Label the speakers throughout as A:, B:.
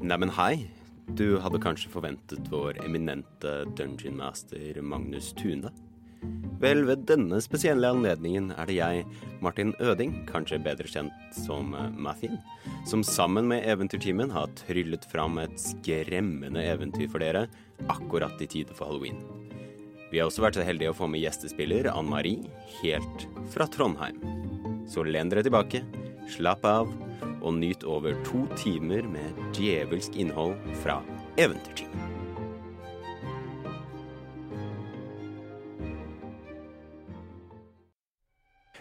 A: Neimen, hei. Du hadde kanskje forventet vår eminente dungeon master Magnus Tune? Vel, ved denne spesielle anledningen er det jeg, Martin Øding, kanskje bedre kjent som eh, Mathien, som sammen med Eventyrtimen har tryllet fram et skremmende eventyr for dere akkurat i tide for halloween. Vi har også vært så heldige å få med gjestespiller Ann Marie, helt fra Trondheim. Så len dere tilbake, slapp av, og nyt over to timer med djevelsk innhold fra Eventyrtimen.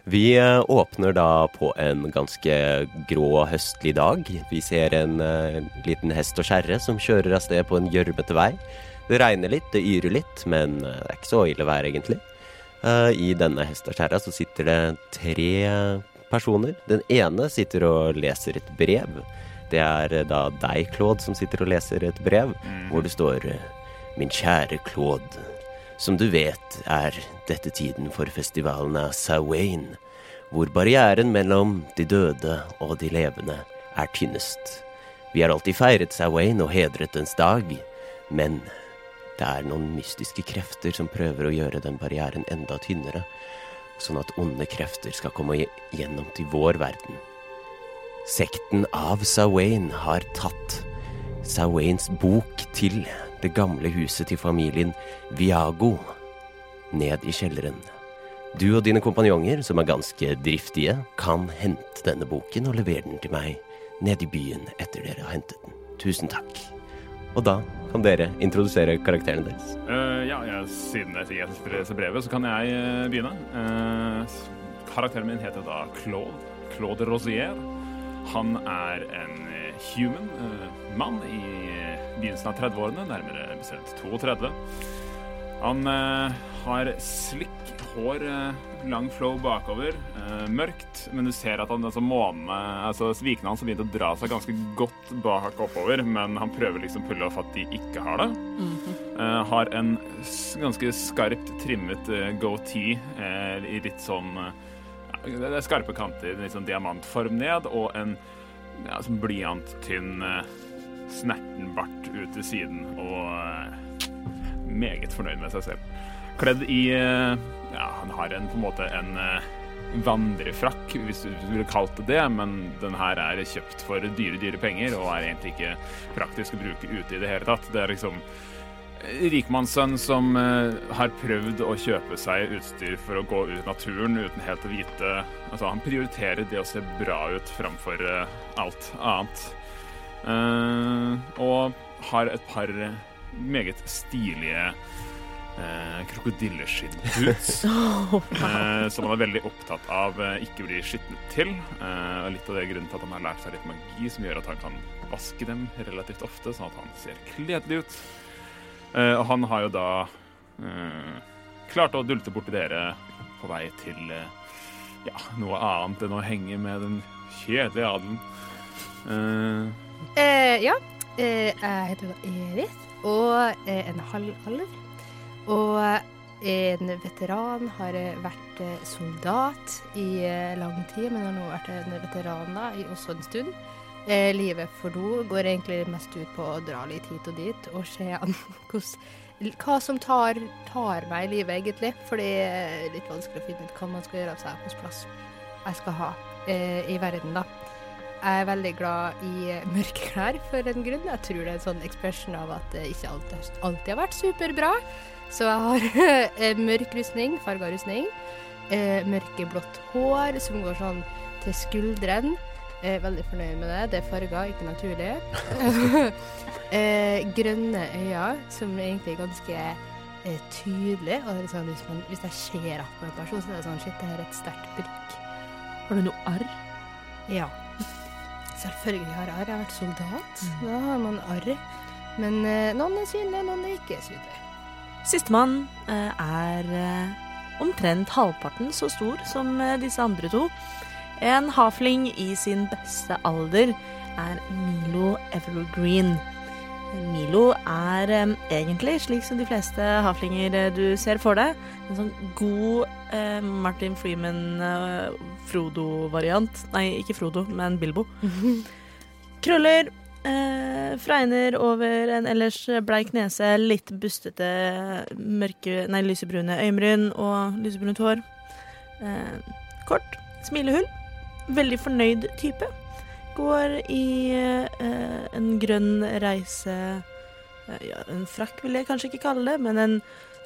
B: Vi eh, åpner da på en ganske grå høstlig dag. Vi ser en eh, liten hest og kjerre som kjører av sted på en gjørmete vei. Det regner litt, det yrer litt, men eh, det er ikke så ille vær, egentlig. Eh, I denne hest og kjerra så sitter det tre personer. Den ene sitter og leser et brev. Det er eh, da deg, Claude, som sitter og leser et brev, hvor det står eh, Min kjære Claude. Som du vet, er dette tiden for festivalen av Sawain, hvor barrieren mellom de døde og de levende er tynnest. Vi har alltid feiret Sawain og hedret dens dag, men det er noen mystiske krefter som prøver å gjøre den barrieren enda tynnere, sånn at onde krefter skal komme gje- gjennom til vår verden. Sekten av Sawain har tatt Sawains bok til det gamle huset til familien Viago ned i kjelleren. Du og dine kompanjonger, som er ganske driftige, kan hente denne boken og levere den til meg nede i byen etter dere har hentet den. Tusen takk. Og da kan dere introdusere karakterene deres.
C: Eh, ja, jeg, siden jeg sier jeg leser brevet, så kan jeg eh, begynne. Eh, s- karakteren min heter da Claude. Claude Rosier. Han er en eh, human eh, mann i eh, begynnelsen av 30-årene, nærmere bestemt 32. Han eh, har slick hår, eh, lang flow bakover, eh, mørkt, men du ser at han, altså månene, altså svikene hans har begynt å dra seg ganske godt bak oppover, men han prøver liksom å pulle off at de ikke har det. Eh, har en s- ganske skarpt trimmet eh, goatee, eh, i litt sånn eh, ja, Det er skarpe kanter, litt sånn diamantform ned, og en ja, sånn blyanttynn eh, snertenbart ut til siden, og eh, meget fornøyd med seg selv. Kledd i eh, Ja, han har en, på en måte en eh, vandrefrakk, hvis du ville kalt det det, men den her er kjøpt for dyre, dyre penger og er egentlig ikke praktisk å bruke ute i det hele tatt. Det er liksom rikmannssønn som eh, har prøvd å kjøpe seg utstyr for å gå ut i naturen uten helt å vite Altså, han prioriterer det å se bra ut framfor eh, alt annet. Eh, og har et par meget stilige uh, krokodilleskinn-boots. eh, som han er veldig opptatt av eh, ikke blir skitnet til. Eh, og litt av det er grunnen til at han har lært seg litt magi, som gjør at han kan vaske dem relativt ofte, sånn at han ser kledelig ut. Eh, og han har jo da eh, klart å dulte bort til dere på vei til eh, ja, noe annet enn å henge med den kjedelige adelen. Eh,
D: Eh, ja, eh, jeg heter Eris og er en halv alv. Og er en veteran, har eh, vært eh, soldat i eh, lang tid, men har nå vært en veteran da, i også en stund. Eh, livet for do går egentlig mest ut på å dra litt hit og dit og se an hvordan- hva som tar, tar meg i livet, egentlig. For det er litt vanskelig å finne ut hva man skal gjøre av seg hos plass jeg skal ha eh, i verden, da. Jeg er veldig glad i eh, mørke klær for en grunn. Jeg tror det er en sånn ekspresjon av at det ikke alltid, har- alltid har vært superbra. Så jeg har eh, mørk rustning, farga rustning, eh, mørkeblått hår som går sånn til skulderen. Eh, veldig fornøyd med det. Det er farga, ikke naturlig. eh, grønne øyne, som er egentlig er ganske eh, tydelige. Og det er litt sånn, hvis, man, hvis jeg ser at på en person, så er det sånn Shit, det her er et sterkt blikk.
E: Har du noe arr?
D: Ja. Selvfølgelig har jeg arr. Jeg har vært soldat. Da har man arr. Men eh, noen er synlige, noen er ikke synlige.
E: Sistemann eh, er eh, omtrent halvparten så stor som eh, disse andre to. En hafling i sin beste alder er Milo Evergreen. Milo er eh, egentlig, slik som de fleste haflinger eh, du ser for deg, en sånn god eh, Martin eh, Freeman-Frodo-variant. Nei, ikke Frodo, men Bilbo. Krøller, Eh, fregner over en ellers bleik nese, litt bustete, mørke, nei, lysebrune øyenbryn og lysebrunt hår. Eh, kort, smilehull. Veldig fornøyd type. Går i eh, en grønn reise eh, ja, En frakk vil jeg kanskje ikke kalle det, men en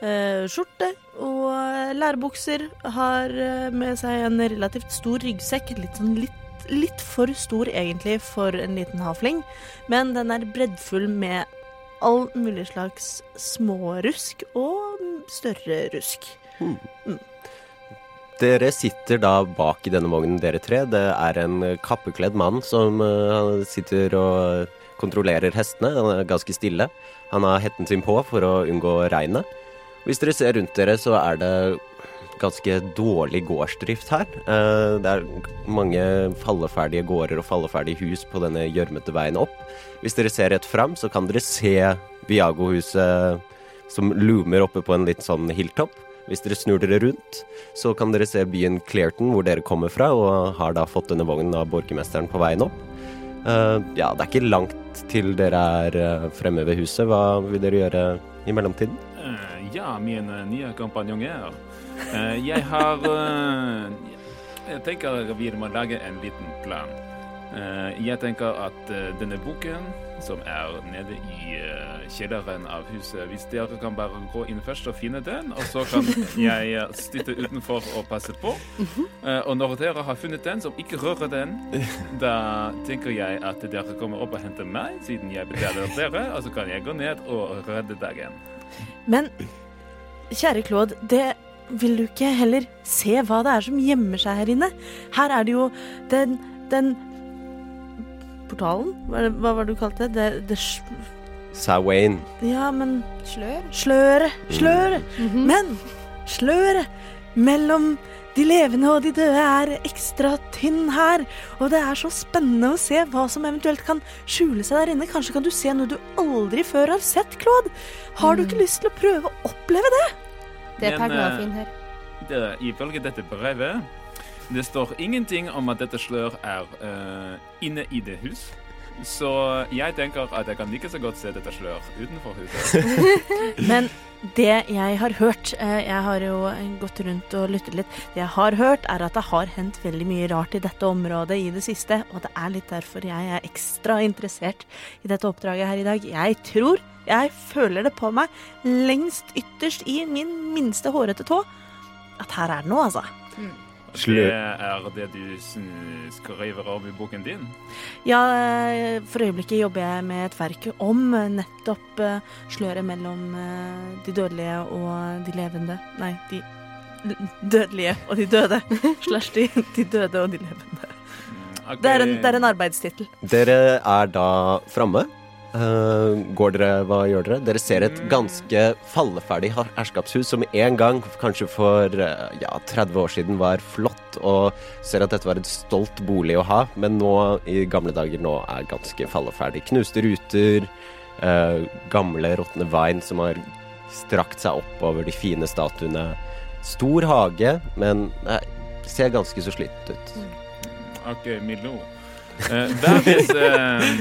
E: eh, skjorte og lærbukser. Har eh, med seg en relativt stor ryggsekk. Litt, sånn litt, litt for stor egentlig for en liten hafling, men den er breddfull med all mulig slags smårusk og større rusk.
B: Dere sitter da bak i denne vognen, dere tre. Det er en kappekledd mann som eh, han sitter og kontrollerer hestene. Han er ganske stille. Han har hetten sin på for å unngå regnet. Hvis dere ser rundt dere, så er det ganske dårlig gårdsdrift her. Eh, Det er mange falleferdige gårder og falleferdige hus på denne gjørmete veien opp. Hvis dere ser rett fram, så kan dere se Viago-huset som loomer oppe på en litt sånn hilltopp. Hvis dere snur dere rundt, så kan dere se byen Clearton, hvor dere kommer fra, og har da fått denne vognen av borgermesteren på veien opp. Eh, ja, det er ikke langt til dere er eh, fremme ved huset. Hva vil dere gjøre i mellomtiden?
C: Eh, ja, min eh, nye kompanjonger. Eh, jeg har eh, Jeg tenker vi må lage en liten plan. Eh, jeg tenker at eh, denne boken, som er nede i eh, kjelleren av huset Hvis dere kan bare gå inn først og finne den, og så kan jeg eh, sitte utenfor og passe på. Eh, og når dere har funnet den, som ikke rører den, da tenker jeg at dere kommer opp og henter meg, siden jeg betaler dere, og så kan jeg gå ned og redde dagen.
E: Men kjære Claude, det vil du ikke heller se hva det er som gjemmer seg her inne? Her er det jo den, den portalen? Hva, hva var det du kalte det? Det, det sj-
B: Sawain.
E: Ja, men
D: Slør?
E: Sløret, sløret.
D: Mhm.
E: Men sløret mellom de levende og de døde er ekstra tynn her. Og det er så spennende å se hva som eventuelt kan skjule seg der inne. Kanskje kan du se noe du aldri før har sett, Claude. Har du ikke lyst til å prøve å oppleve det?
D: Det
C: Men,
D: er
C: eh,
D: perglafin her.
C: Det, ifølge dette brevet Det står ingenting om at dette slør er eh, inne i det hus. Så jeg tenker at jeg kan like så godt se dette slør utenfor huset.
E: Men det jeg har hørt eh, Jeg har jo gått rundt og lyttet litt. Det jeg har hørt, er at det har hendt veldig mye rart i dette området i det siste. Og det er litt derfor jeg er ekstra interessert i dette oppdraget her i dag. Jeg tror, jeg føler det på meg, lengst ytterst i min minste hårete tå, at her er det noe, altså.
C: Det
B: Slør.
C: er det du sn- skriver om i boken din.
E: Ja, eh, for øyeblikket jobber jeg med et verk om eh, nettopp eh, sløret mellom eh, de dødelige og de levende. Nei, de l- dødelige og de døde. Slash de, de døde og de levende.
C: Mm, ok.
E: Det er en, det er en arbeidstittel.
B: Dere er da framme. Eh, går dere, hva gjør dere? Dere ser et ganske falleferdig her- herskapshus som en gang, kanskje for eh, ja, 30 år siden, var flott og ser at dette var et stolt bolig å ha, men nå i gamle dager nå er ganske falleferdig. Knuste ruter, eh, gamle råtne vein som har strakt seg opp over de fine statuene. Stor hage, men eh, ser ganske så slitt ut.
C: OK, Milo. Eh, der hvis eh,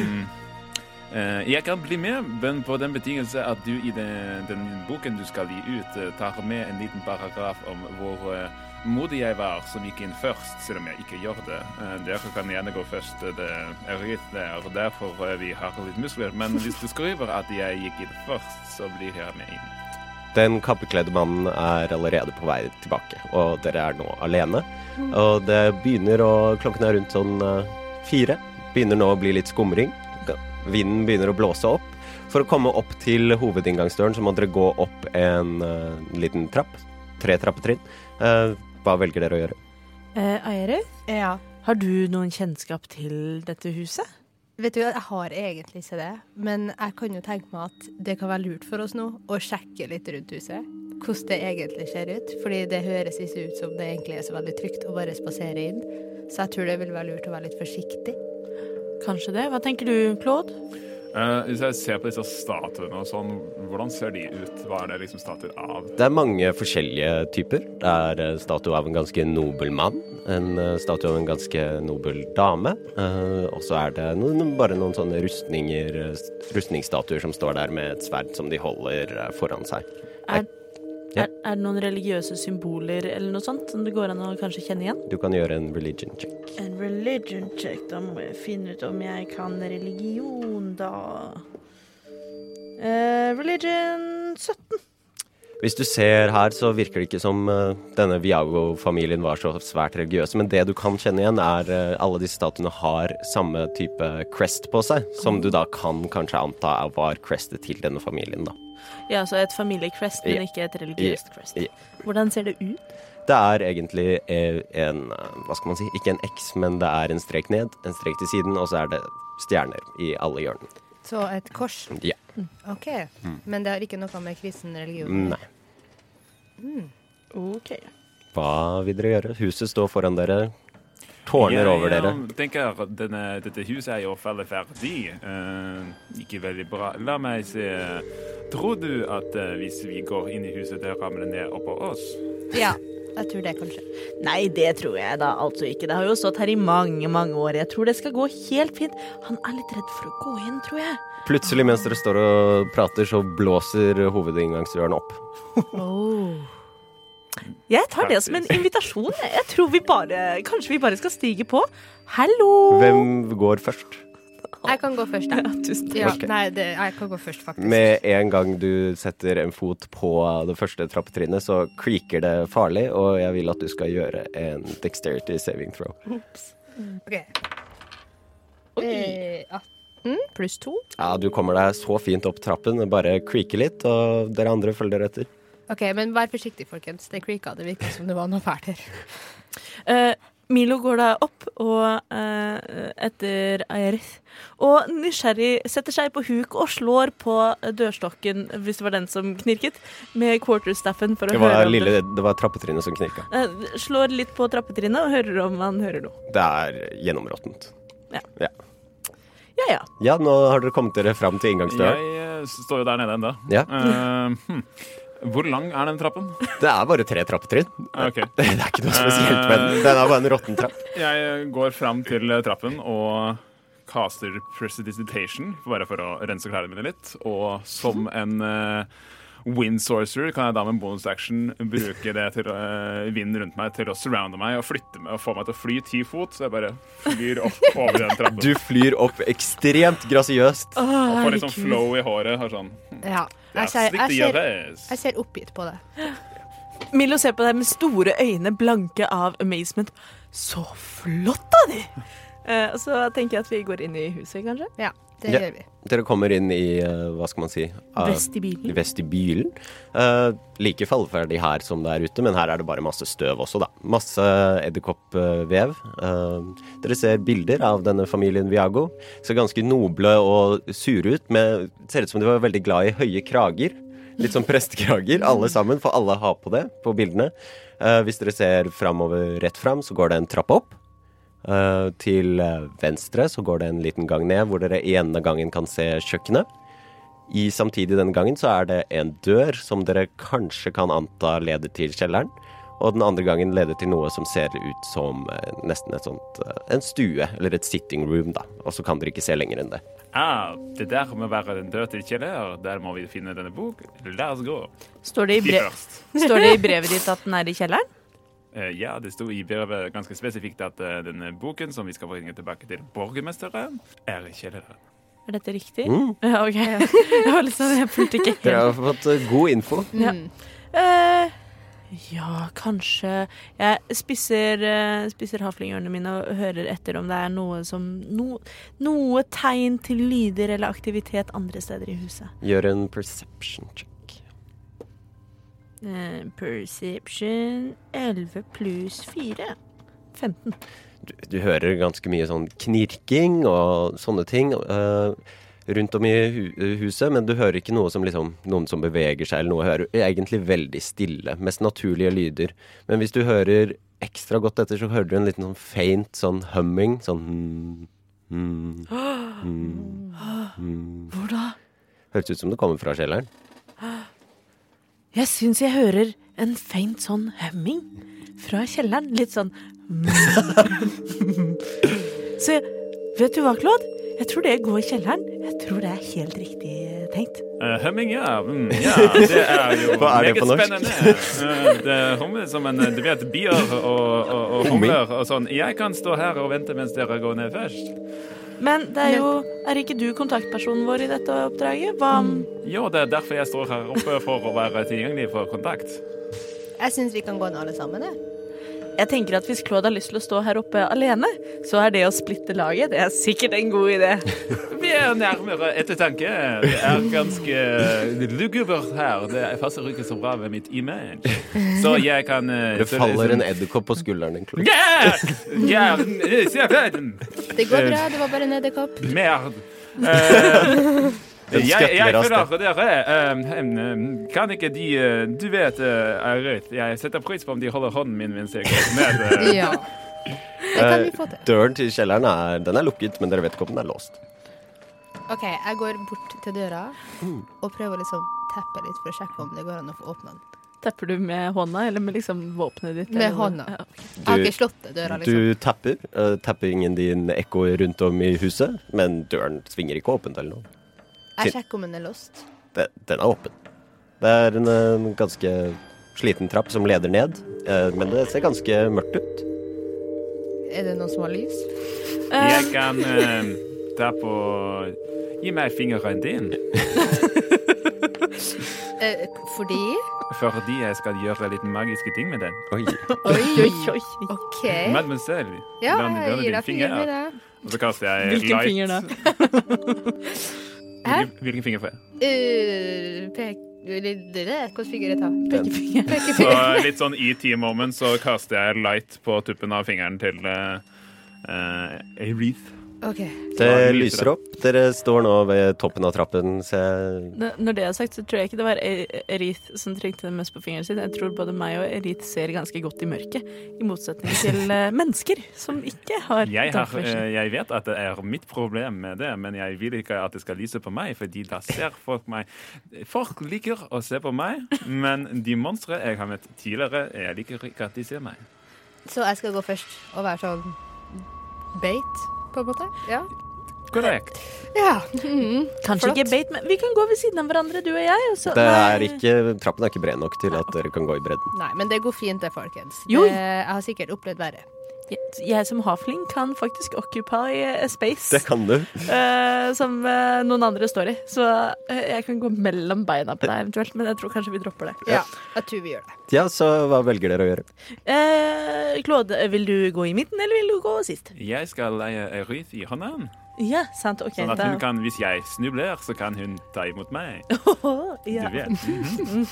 C: eh, Jeg kan bli med, men på den betingelse at du i den, den boken du skal gi ut, eh, tar med en liten paragraf om hvor eh, modig jeg var som gikk inn først, selv om jeg ikke gjør det. Eh, dere kan gjerne gå først. eh, Det er greit, det er derfor eh, vi har litt muskler. Men hvis du skriver at jeg gikk inn først, så blir jeg med inn.
B: Den kappekledde mannen er allerede på vei tilbake, og dere er nå alene. Og det begynner å Klokken er rundt sånn eh, fire. Begynner nå å bli litt skumring. Vinden begynner å blåse opp. For å komme opp til hovedinngangsdøren så må dere gå opp en eh, liten trapp. Tre trappetrinn. Eh, hva velger dere å gjøre?
E: Eh, Aierøy,
D: Ja.
E: har du noen kjennskap til dette huset?
D: Vet du, hva, Jeg har egentlig ikke det, men jeg kan jo tenke meg at det kan være lurt for oss nå å sjekke litt rundt huset. Hvordan det egentlig ser ut. Fordi det høres ikke ut som det egentlig er så veldig trygt å bare spasere inn. Så jeg tror det vil være lurt å være litt forsiktig.
E: Kanskje det. Hva tenker du, Claude?
C: Eh, hvis jeg ser på disse statuene og sånn, hvordan ser de ut? Hva er det liksom statuer av?
B: Det er mange forskjellige typer. Det er eh, statue av en ganske nobel mann. En eh, statue av en ganske nobel dame. Eh, og så er det noen, bare noen sånne rustninger, eh, s- rustningsstatuer som står der med et sverd som de holder eh, foran seg.
E: Er,
B: Ja.
E: er, er det noen religiøse symboler eller noe sånt som det går an å kanskje kjenne igjen?
B: Du kan gjøre en religion check.
E: En religion check. Da må jeg finne ut om jeg kan religion, da. Eh, religion 17.
B: Hvis du ser her, så virker det ikke som eh, denne Viago-familien var så svært religiøse, men det du kan kjenne igjen, er eh, alle disse statuene har samme type crest på seg, som du da kan kanskje anta er- var crestet til denne familien, da.
E: Ja, altså et familiecrest, men
B: Ja.
E: ikke et religiøst crest.
B: Ja.
E: Hvordan ser det ut?
B: Det er egentlig eh, en eh, Hva skal man si? Ikke en X, men det er en strek ned, en strek til siden, og så er det stjerner i alle hjørnene.
D: Så et kors.
B: Ja.
D: OK. Men det har ikke noe med kristen religion
B: Nei.
E: OK.
B: Hva vil dere gjøre? Huset står foran dere. Tårner over dere.
C: Jeg tenker at denne, dette huset er jo ferdig ferdig. Eh, ikke veldig bra. La meg se. Tror du at eh, hvis vi går inn i huset, det ramler ned oppå oss?
D: Ja, jeg tror det, kanskje.
E: Nei, det tror jeg da altså ikke. Det har jo stått her i mange, mange år. Jeg tror det skal gå helt fint. Han er litt redd for å gå inn, tror jeg.
B: Plutselig mens dere står og prater, så blåser hovedinngangsdøren opp.
D: Oh.
E: Jeg tar det som en invitasjon. Jeg tror vi bare Kanskje vi bare skal stige på. Hallo!
B: Hvem går først?
D: Jeg kan gå først,
E: Ja,
D: jeg.
E: tusen takk.
D: Ja,
B: Ok.
D: nei, det, jeg kan gå først, faktisk.
B: Med en gang du setter en fot på det første trappetrinnet, så creaker det farlig, og jeg vil at du skal gjøre en dexterity saving throw.
D: Ok. Eh, 18 pluss 2.
B: Ja, du kommer deg så fint opp trappen, bare creaker litt, og dere andre følger etter.
D: OK, men vær forsiktig, folkens. Det creaka. Det virka som det var noe fælt her.
E: Eh, Milo går da opp og eh, etter Eirith. Og nysgjerrig setter seg på huk og slår på dørstokken, hvis det var den som knirket, med quarterstaffen for å
B: Det
E: høre
B: var,
E: om
B: lille,
E: det.
B: det var trappetrinnet som knirka.
E: Eh, slår litt på trappetrinnet og hører om han hører noe.
B: Det er gjennområttent.
E: Ja.
B: Ja.
E: Ja, ja.
B: ja, nå har dere kommet dere fram til inngangsdøren.
C: Jeg eh, står jo der nede ennå.
B: Ja.
C: hm. Hvor lang er den trappen?
B: Det er bare tre trappetrinn.
C: Ok.
B: Det er ikke noe spesielt med den. Den er bare en råtten trapp.
C: Jeg går fram til trappen og caster prestidigitation, bare for å rense klærne mine litt. Og som en eh, wind sorcerer kan jeg da med en bonus action bruke det til eh, vinden rundt meg til å surrounde meg og flytte meg og få meg til å fly ti fot. Så jeg bare flyr opp over den trappen.
B: Du flyr opp ekstremt grasiøst.
D: Ah,
C: og får litt sånn flow i håret. Har sånn
D: Ja. Jeg
C: "That's
D: ser,
C: the
D: jeg ser,
C: DRS."
D: jeg ser oppgitt på det.
E: Milo ser på deg med store øyne blanke av amazement. Så flott av de! Eh, og så tenker jeg at vi går inn i huset, kanskje.
D: Ja, det
B: Ja.
D: gjør vi.
B: Dere kommer inn i eh, hva skal man si eh,
E: Vestibylen.
B: vestibylen. Eh, like falleferdig her som det er ute, men her er det bare masse støv også, da. Masse edderkoppvev. Eh, dere ser bilder av denne familien Viago. Ser ganske noble og sure ut. Med, ser ut som de var veldig glad i høye krager. Litt som prestekrager, alle sammen, for alle har på det på bildene. Eh, hvis dere ser framover, rett fram, så går det en trapp opp. Eh, til eh, venstre så går det en liten gang ned, hvor dere i enden av gangen kan se kjøkkenet. I samtidig denne gangen så er det en dør som dere kanskje kan anta leder til kjelleren. Og den andre gangen leder til noe som ser ut som eh, nesten et sånt, eh, en stue, eller et sitting room, da. Og så kan dere ikke se lenger enn det.
C: ah, Det der må være den døde til kjeller. Der må vi finne denne bok. La oss gå.
E: Står det, i
C: De
E: brev,
C: først.
E: står det i brevet ditt at den er i kjelleren?
C: Eh, Ja, det sto i brevet ganske spesifikt at eh, denne boken, som vi skal bringe tilbake til borgermesteren, er i kjelleren.
E: Er dette riktig?
B: Mm.
E: Ja, OK. Jeg var litt sånn, jeg fulgte ikke helt.
B: Dere har fått eh, god info.
D: Mm.
E: Eh, ja, kanskje Jeg spisser, uh, spisser haflingørene mine og hører etter om det er noe som no, Noe tegn til lyder eller aktivitet andre steder i huset.
B: Gjør en perception check.
E: Eh, perception 11 pluss 4. 15.
B: du, du hører ganske mye sånn knirking og sånne ting eh, rundt om i hu eh, huset, men du hører ikke noe som liksom, noen som beveger seg eller noe. Hører egentlig veldig stille, mest naturlige lyder. Men hvis du hører ekstra godt etter, så hører du en liten sånn faint sånn humming, sånn hmm, hmm, hmm, hmm.
E: Hvor da?
B: Høres ut som det kommer fra kjelleren.
E: Jeg syns jeg hører en faint sånn hemming fra kjelleren. Litt sånn Så vet du hva, Claude? Jeg tror det går i kjelleren. Jeg tror det er helt riktig eh, tenkt.
C: Eh, Humming, ja. Mm, ja. Det er jo
B: Hva er det på norsk?
C: spennende. Eh, det hummer som en eh, du vet, bier og, og, og humler og sånn. Jeg kan stå her og vente mens dere går ned først.
E: Men det er jo Er ikke du kontaktpersonen vår i dette oppdraget? Hva om
C: Jo, det er derfor jeg står her oppe, for å være tilgjengelig for kontakt.
D: Jeg syns vi kan gå inn alle sammen, jeg.
E: Jeg tenker at hvis Claude har lyst til å stå her oppe alene, så er det å splitte laget Det er sikkert en god idé.
C: Vi er nærmere ettertanke. Det er ganske eh, lugubert her. Det passer ikke så bra med mitt image. Så jeg kan eh,
B: Det
C: så-
B: faller en edderkopp på skulderen din. Claude.
C: Ja! Ja, eh, se verden!
D: Det
C: Eh,
D: går bra, det var bare en edderkopp.
C: Merd. Eh,
B: Den
C: jeg, jeg
B: skvetter av sted.
C: føler dere eh, em, em, Kan ikke de eh, Du vet, eh, Eirik, jeg setter pris på om de holder hånden min mens jeg går ned. eh.
D: Ja. Det
B: Eh,
D: kan vi få til.
B: Døren til kjelleren er, den er lukket, men dere vet ikke om den er låst.
D: OK, jeg går bort til døra og prøver å liksom teppe litt for å sjekke om det går an å få åpna den.
E: Tepper du med hånda, eller med liksom våpenet ditt?
D: Med
E: eller-
D: hånda.
E: Ja.
D: Jeg har ikke slått døra, liksom.
B: Du tapper. eh, tappingen din ekkoer rundt om i huset, men døren svinger ikke åpent eller noe.
D: Jeg sjekker om den er låst.
B: Det, den er åpen. Det er en, eh, ganske sliten trapp som leder ned, eh, men det ser ganske mørkt ut.
D: Er det noen som har lys?
E: Eh,
C: Jeg kan eh, ta på Gi meg fingeren din,
D: Eh, fordi
C: fordi jeg skal gjøre litt magiske ting med den.
B: Oi.
E: Oi,
D: Oi,
E: oi, oi.
D: OK.
C: Mademoiselle,
D: Ja,
C: la meg
D: jeg
C: låne
D: gir
C: din
D: deg fingeren
C: finger.
D: min, jeg.
C: Og så kaster jeg
E: Hvilken
C: Eh, light.
E: finger da?
D: Hæ?
C: Hvilken, hvilken finger får jeg?
D: Eh, pek... Hvilken finger jeg tar?
E: Pekefinger.
C: Så
D: Pekefinger.
C: litt sånn ET moment, så kaster jeg light på tuppen av fingeren til eh, eh, Aerith.
D: OK.
B: Det lyser opp. Dere står nå ved toppen av trappen. Se.
E: N- Når det er sagt, så tror jeg ikke det var E- Erith som trengte det mest på fingeren sin. Jeg tror både meg og Erith ser ganske godt i mørket, i motsetning til eh, mennesker som ikke har
C: Jeg, har,
E: dagførsel.
C: eh, jeg vet at det er mitt problem med det, men jeg vil ikke at det skal lyse på meg, fordi da ser folk meg. Folk liker å se på meg, men de monstre jeg har møtt tidligere, jeg liker ikke at de ser meg.
D: Så jeg skal gå først og være sånn bait, på en måte? Ja.
C: Korrekt.
D: ja.
E: Kanskje
D: flott.
E: ikke beit, men vi kan gå ved siden av hverandre, du og jeg. Og så,
B: Det er
E: Nei.
B: ikke, trappen er ikke bred nok til at dere kan gå i bredden.
D: Nei, men det går fint, det, folkens.
E: Jo.
D: Det, jeg har sikkert opplevd verre.
E: Jeg- Jeg som hafling kan faktisk occupy eh, space
B: Det kan du.
E: eh, som eh, noen andre står i. Så eh, jeg kan gå mellom beina på deg eventuelt, men jeg tror kanskje vi dropper det.
D: Ja, jeg tror vi gjør det.
B: Ja, så hva velger dere å gjøre?
E: Eh, Claude, vil du gå i midten, eller vil du gå sist?
C: Jeg skal leie Aerith i hånden,
E: Ja, sant. Ok.
C: sånn at
E: da-
C: hun kan, hvis jeg snubler, så kan hun ta imot meg.
E: ja.
C: Du vet.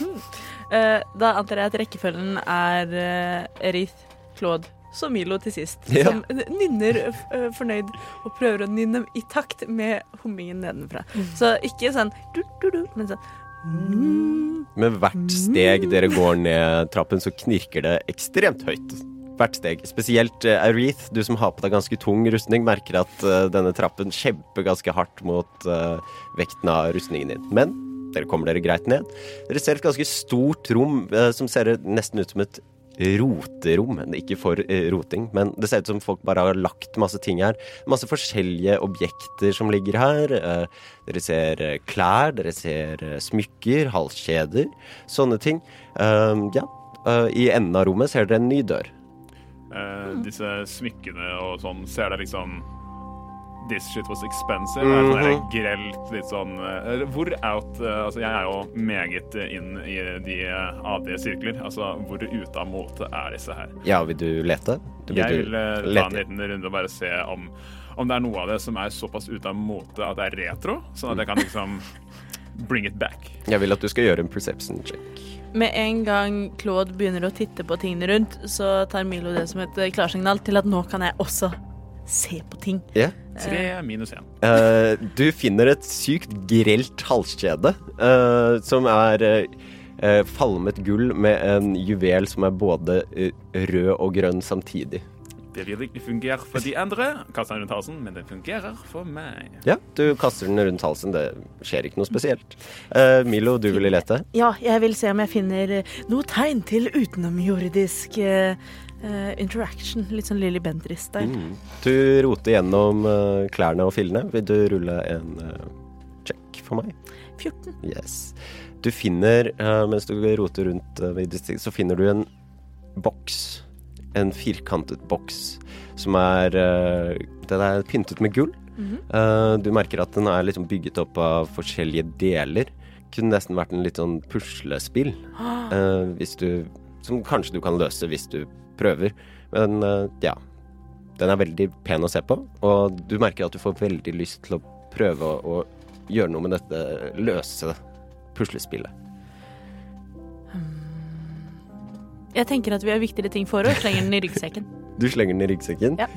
E: Eh, da antar jeg at rekkefølgen er eh, Erith, Claude, så Milo til sist.
B: Ja.
E: Som nynner f- eh, fornøyd og prøver å nynne i takt med hummingen nedenfra. Så ikke sånn du, du, du, men sånn mm.
B: Med hvert steg dere går ned trappen, så knirker det ekstremt høyt. Hvert steg. Spesielt eh, Aerith, du som har på deg ganske tung rustning, merker at eh, denne trappen kjemper ganske hardt mot eh, vekten av rustningen din. Men dere kommer dere greit ned. Dere ser et ganske stort rom eh, som ser nesten ut som et roterom. men Ikke for eh, roting, men det ser ut som folk bare har lagt masse ting her. Masse forskjellige objekter som ligger her. Eh, Dere ser eh, klær, dere ser eh, smykker, halskjeder, sånne ting. Eh, Ja. Eh, I enden av rommet ser dere en ny dør.
C: Eh, disse smykkene og sånn, ser det liksom This shit was expensive. Det er sånn der grelt, litt sånn eh, Hvor out eh, Altså, jeg er jo meget inn i de eh, AD-sirkler. Altså, hvor ute av mote er disse her?
B: Ja, vil du lete? Du,
C: Jeg
B: du
C: vil eh, ta en
B: lete?
C: liten runde og bare se om, om det er noe av det som er såpass ute av mote at det er retro, sånn at jeg kan liksom bring it back.
B: Jeg vil at du skal gjøre en perception check.
E: Med en gang Claude begynner å titte på tingene rundt, så tar Milo det som et eh, klarsignal til at nå kan jeg også se på ting.
B: Ja.
C: Tre minus én.
B: Eh, du finner et sykt grelt halskjede eh, som er eh, eh, falmet gull med en juvel som er både eh, rød og grønn samtidig.
C: Det vil ikke fungere for de andre, kaster han rundt halsen, men det fungerer for meg.
B: Ja, du kaster den rundt halsen. Det skjer ikke noe spesielt. Eh, Milo, du ville lete.
E: Ja, jeg vil se om jeg finner eh, noe tegn til utenomjordisk eh, eh, interaction. Litt sånn Lilly Bendriss-style.
B: Mm. Du roter gjennom eh, klærne og fillene. Vil du rulle en eh, check for meg?
E: 14.
B: Yes. Du finner, eh, mens du roter rundt eh, i distriktet, så finner du en boks. En firkantet boks som er eh, Den er pyntet med gull. Eh, Du merker at den er liksom bygget opp av forskjellige deler. Kunne nesten vært en litt sånn puslespill.
E: Ah.
B: eh, Hvis du Som kanskje du kan løse hvis du prøver. Men eh, ja. Den er veldig pen å se på, og du merker at du får veldig lyst til å prøve å, å gjøre noe med dette løse puslespillet.
E: Mm. Jeg tenker at vi har viktigere ting for oss. Slenger den i ryggsekken.
B: Du slenger den i ryggsekken.
E: Ja.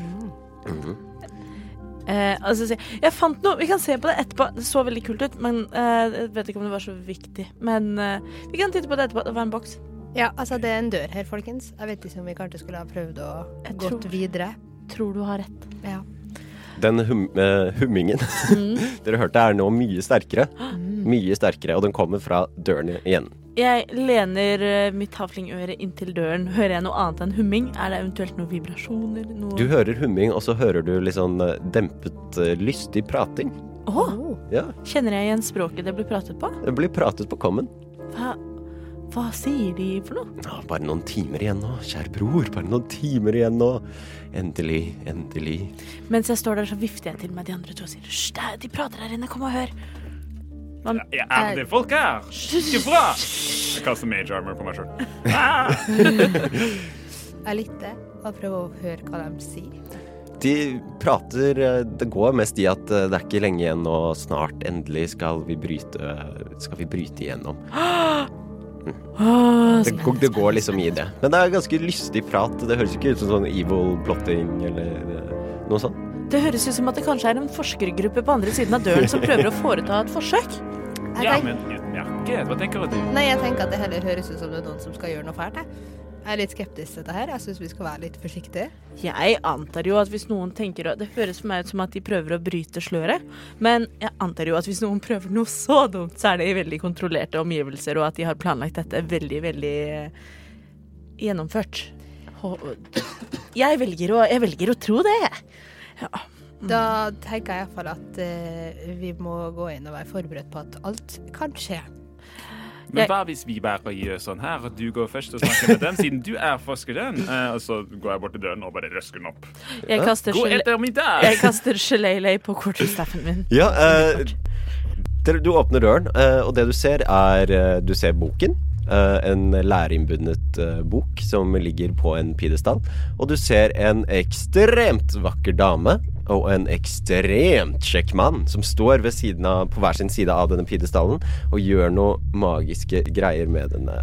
E: Eh, altså, så- jeg fant noe Vi kan se på det etterpå. Det så veldig kult ut, men eh, jeg vet ikke om det var så viktig. Men eh, vi kan titte på det etterpå. Det var en boks.
D: Ja, altså det er en dør her, folkens. Jeg vet ikke om vi kanskje skulle ha prøvd å
E: Jeg
D: gått
E: tror-
D: videre.
E: Tror du har rett.
D: Ja.
B: Den hum eh, hummingen
E: Mm.
B: dere hørte, er nå mye sterkere.
D: Mm.
B: Mye sterkere, og den kommer fra døren igjen.
E: Jeg lener eh, mitt havlingøre inntil døren. Hører jeg noe annet enn humming? Er det eventuelt noen vibrasjoner? Noe
B: Du hører humming, og så hører du litt sånn eh, dempet, eh, lystig prating.
E: Åh,
B: Ja,
E: Kjenner jeg igjen språket det ble pratet på?
B: det blir pratet på kommen.
E: Hva, hva sier de for noe?
B: Ja, bare noen timer igjen nå, kjære bror. Bare noen timer igjen nå. Endelig, endelig.
E: Mens jeg står der, så vifter jeg til meg de andre to og sier hysj, det er- de prater her inne, kom og hør.
C: Jeg- Jeg er det folk er! Ikke bra! Jeg kaster mage armor på meg sjøl.
D: Jeg lytter og prøver å høre hva de sier.
B: De prater eh, Det går mest i at eh, det er ikke lenge igjen, og snart, endelig, skal vi bryte eh, Skal vi bryte igjennom.
E: Åh,
B: Det, går- det går liksom i det. Men det er ganske lystig prat. Det høres ikke ut som sånn evil plotting eller eh, noe sånt.
E: det høres ut som at det kanskje er en forskergruppe på andre siden av døren som prøver å foreta et forsøk.
D: Jeg
C: Ja,
D: tenk-
C: men ja, ok, hva tenker du?
D: Nei, jeg tenker at det heller høres ut som det er noen som skal gjøre noe fælt. Jeg, jeg er litt skeptisk til dette her. Jeg syns vi skal være litt forsiktige.
E: Jeg antar jo at hvis noen tenker å- Det høres for meg ut som at de prøver å bryte sløret, men jeg antar jo at hvis noen prøver noe så dumt, så er det i veldig kontrollerte omgivelser, og at de har planlagt dette veldig, veldig eh, gjennomført. Hå- Jeg velger å, jeg velger å tro det.
D: Da tenker jeg iallfall at eh, vi må gå inn og være forberedt på at alt kan skje.
C: Men hva hvis vi bare gjør sånn her, og du går først og snakker med dem, siden du er forskeren? Eh, og så går jeg bort til døren og bare røsker den opp.
E: Jeg kaster,
C: God
E: gelé-
C: ettermiddag!
E: jeg kaster gelélei på quarterstaffen min.
B: Ja, eh, dere- du åpner døren, eh, og det du ser er eh, Du ser boken. eh, en læreinnbundet eh, bok som ligger på en pidestall. Og du ser en ekstremt vakker dame og en ekstremt kjekk mann som står ved siden av, på hver sin side av denne pidestallen og gjør noe magiske greier med denne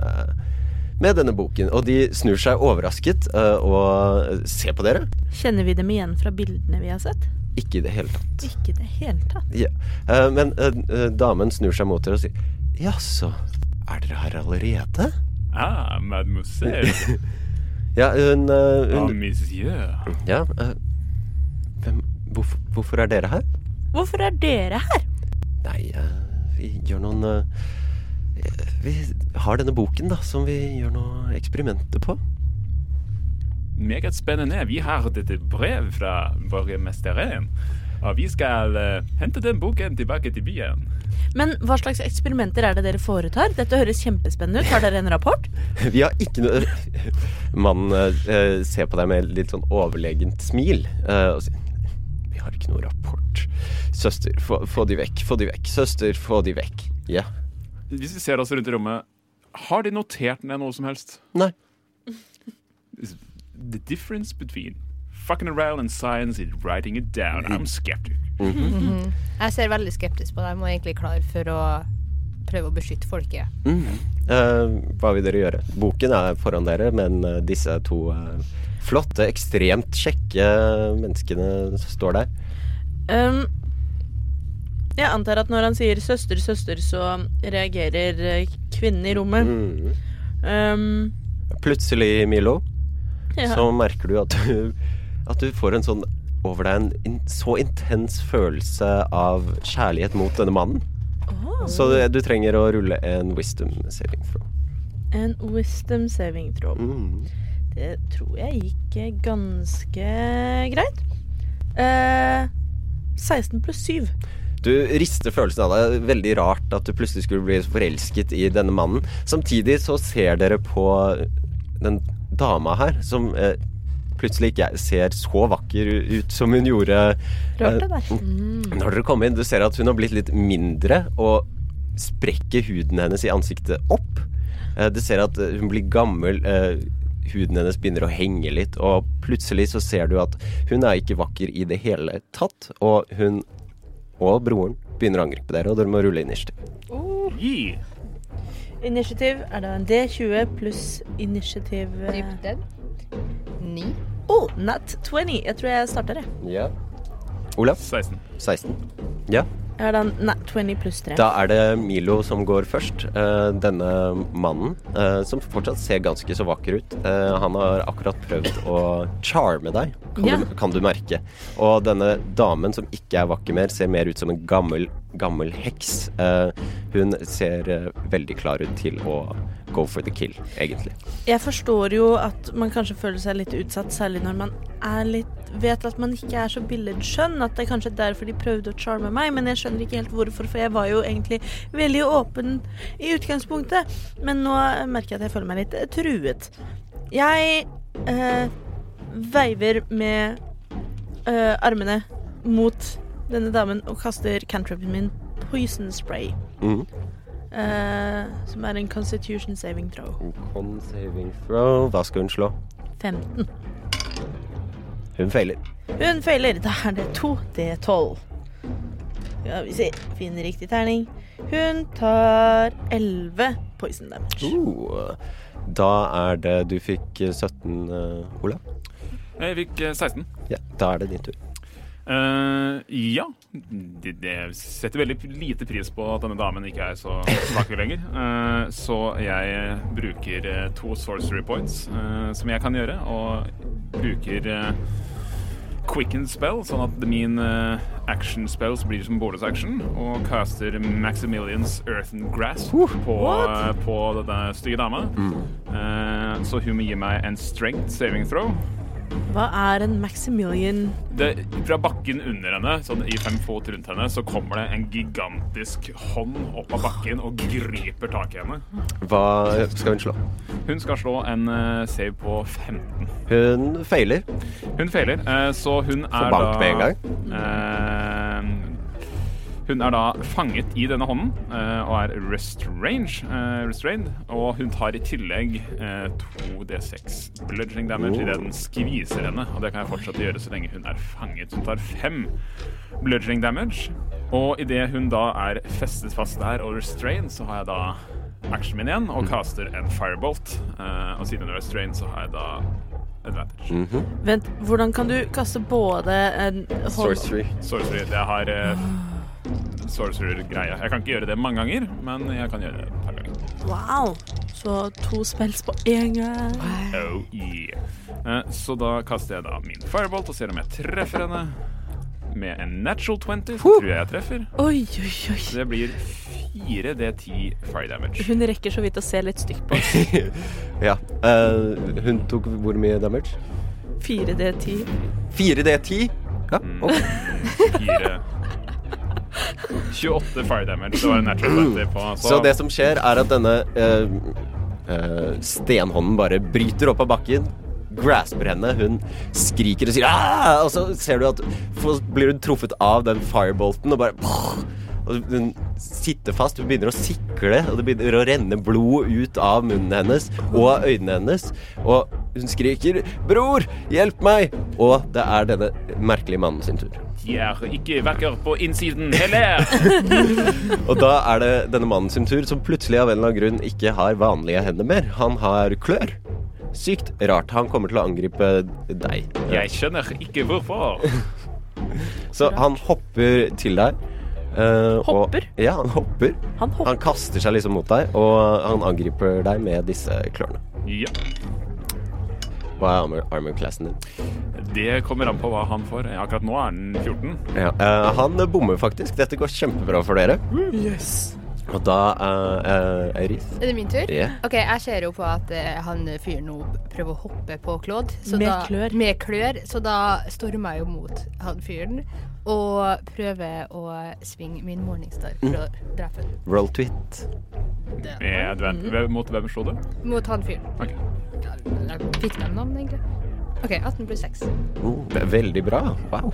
B: med denne boken, og de snur seg overrasket eh, og ser på dere.
E: Kjenner vi dem igjen fra bildene vi har sett?
B: Ikke i det hele tatt.
E: Ikke i det hele tatt.
B: Ja. Eh, men eh, eh, damen snur seg mot dere og sier Jaså, er dere her allerede?
C: Ah, mademoiselle.
B: Ja, hun, eh,
C: Ah,
B: hun
C: monsieur.
B: Ja. eh, hvem, hvorfor, hvorfor er dere her?
E: Hvorfor er dere her?
B: Nei, eh, vi gjør noen eh, eh, Vi har denne boken, da, som vi gjør noen eksperimenter på.
C: Meget spennende. Vi har dette brev fra vår mesteren. Og vi skal eh, hente den boken tilbake til byen.
E: Men hva slags eksperimenter er det dere foretar? Dette høres kjempespennende ut. Har dere en rapport?
B: Vi har ikke noe Mannen eh, ser på deg med litt sånn overlegent smil eh, og sier Vi har ikke noe rapport. Søster, få, få de vekk. Få de vekk. Søster, få de vekk. Ja.
C: Hvis vi ser oss rundt i rommet, har de notert ned noe som helst?
B: Nei.
C: The difference between fucking around and science is writing it down. I'm skeptic. Mm-hmm.
D: Jeg ser veldig skeptisk på det. Jeg må egentlig klare for å prøve å beskytte folket.
B: Eh, hva vil dere gjøre? Boken er foran dere, men eh, disse to eh, flotte, ekstremt kjekke eh, menneskene står der.
E: Um, jeg antar at når han sier 'søster, søster', så reagerer eh, kvinnen i rommet.
B: Mm.
E: Um,
B: Plutselig, Milo,
E: ja.
B: så merker du at du At du får en sånn over deg en in så intens følelse av kjærlighet mot denne mannen.
E: Ah.
B: Så du, du trenger å rulle en wisdom saving throw.
E: En wisdom saving throw.
B: Mm.
E: Det tror jeg gikk eh, ganske greit. Eh, 16 pluss 7.
B: Du rister følelsen av deg. Veldig rart at du plutselig skulle bli forelsket i denne mannen. Samtidig så ser dere på den dama her, som eh, plutselig ikke ser så vakker ut som hun gjorde eh,
E: Rart det der.
B: når dere kommer inn. Du ser at hun har blitt litt mindre, og sprekker huden hennes i ansiktet opp. Eh, Du ser at eh, hun blir gammel. eh, Huden hennes begynner å henge litt, og plutselig så ser du at hun er ikke vakker i det hele tatt, og hun og broren begynner å angripe dere, og dere må rulle initiativ.
C: Gi!
E: Initiativ er da en D20 pluss initiativ eh,
D: Typ den. Ni.
E: Oh, nat 20. Jeg tror jeg starter, jeg.
B: Ja. Olav,
C: 16.
B: 16. Ja.
E: Jeg har da en nat 20 pluss 3.
B: Da er det Milo som går først. Eh, denne mannen, eh, som fortsatt ser ganske så vakker ut. Eh, han har akkurat prøvd å charme deg, kan,
E: Ja.
B: du, kan du merke. Og denne damen som ikke er vakker mer, ser mer ut som en gammel, gammel heks. Eh, hun ser eh, veldig klar ut til å go for the kill, egentlig.
E: Jeg forstår jo at man kanskje føler seg litt utsatt, særlig når man er litt Vet at man ikke er så billedskjønn, at det er kanskje derfor de prøvde å charme meg, men jeg skjønner ikke helt hvorfor, for jeg var jo egentlig veldig åpen i utgangspunktet. Men nå merker jeg at jeg føler meg litt eh, truet. Jeg eh, veiver med eh, armene mot denne damen og kaster cantripen min poison spray,
B: Mhm.
E: eh, som er en constitution saving throw.
B: Con saving throw. Hva skal hun slå?
E: 15.
B: Hun feiler.
E: Hun feiler. Da er det 2D12. Skal vi se. Finner riktig terning. Hun tar 11 poison damage.
B: Uh, da er det Du fikk eh, 17, eh, Olav?
C: Jeg fikk eh, 16.
B: Ja, da er det din tur.
C: Eh, ja. Det, det setter veldig lite pris på at denne damen ikke er så vakker lenger. Eh, så jeg bruker eh, to sorcery points eh, som jeg kan gjøre, og bruker eh, quicken spell, sånn at min eh, action spells blir som bonus action, og caster Maximilians Earthen Grasp på, eh,
E: what?
C: på denne stygge dama. Eh, så hun må gi meg en strength saving throw.
E: Hva er en Maximilian
C: det, fra bakken under henne, sånn i fem fot rundt henne, så kommer det en gigantisk hånd opp av bakken og griper tak i henne.
B: Hva skal hun slå?
C: Hun skal slå en eh, save på 15.
B: Hun feiler.
C: Hun feiler, eh, så hun er
B: Får bank
C: da
B: med en gang.
C: eh, hun er da fanget i denne hånden eh, og er restrained, eh, restrained. Og hun tar i tillegg eh, 2D6 bludging damage
B: Oh.
C: idet den skviser henne. Og det kan jeg fortsette å gjøre så lenge hun er fanget. Hun tar fem bludging damage. Og idet hun da er festet fast der og restrained, så har jeg da actionen min igjen
B: Mm.
C: og caster en firebolt. Eh, og siden hun er restrained, så har jeg da advantage.
E: Vent, hvordan kan du kaste både en hånd-
C: Sorcery. Jeg har uh, sorcerer-greia. Jeg kan ikke gjøre det mange ganger, men jeg kan gjøre det et par ganger.
E: Wow! Så to spells på én gang.
C: Oh yeah. Eh, så da kaster jeg da min firebolt og ser om jeg treffer henne. Med en natural 20 så tror jeg jeg treffer.
E: Oi, oi, oi.
C: Det blir 4D10 fire damage.
E: Hun rekker så vidt å se litt stygt på oss.
B: Ja. eh, hun tok hvor mye damage?
E: 4D10.
B: 4D10. Ja, ok.
C: 4 28 fire damage. Det var en natural 20 på.
B: Så det som skjer, er at denne eh, eh, stenhånden bare bryter opp av bakken, grasper henne, hun skriker og sier «Ah!» Og så ser du at f- blir hun truffet av den firebolten og bare og hun sitter fast, hun begynner å sikle, og det begynner å renne blod ut av munnen hennes og øynene hennes. Og hun skriker 'Bror, hjelp meg!' Og det er denne merkelige mannen sin tur.
C: De er ikke vakker på innsiden heller!
B: Og da er det denne mannen sin tur, som plutselig av en eller annen grunn ikke har vanlige hender mer. Han har klør. Sykt rart. Han kommer til å angripe deg.
C: Jeg skjønner ikke hvorfor.
B: Så han hopper til deg. eh,
E: Hopper?
B: Og, ja, han hopper.
E: Han hopper.
B: Han kaster seg liksom mot deg, og han angriper deg med disse klørne.
C: Ja.
B: Hva er armor, armor classen din?
C: Det kommer an på hva han får. Eh, Akkurat nå er den 14.
B: Ja. eh, han bommer faktisk. Dette går kjempebra for dere. Og da uh, Eirith
D: Er det min tur?
B: Ja.
D: OK, jeg ser jo på at eh, han fyren nå prøver å hoppe på Claude. så
E: Med
D: da-
E: klør.
D: Med klør. Så da stormer jeg jo mot han fyren og prøver å svinge min morningstar for å drepe ham.
B: Roll to hit.
C: Med advan- Hvem- Mot hvem slo du?
D: Mot han fyren.
C: Ok.
D: Jeg Fikk de navn, egentlig? OK, 18 pluss 6.
B: Oh, ve- veldig bra. Wow.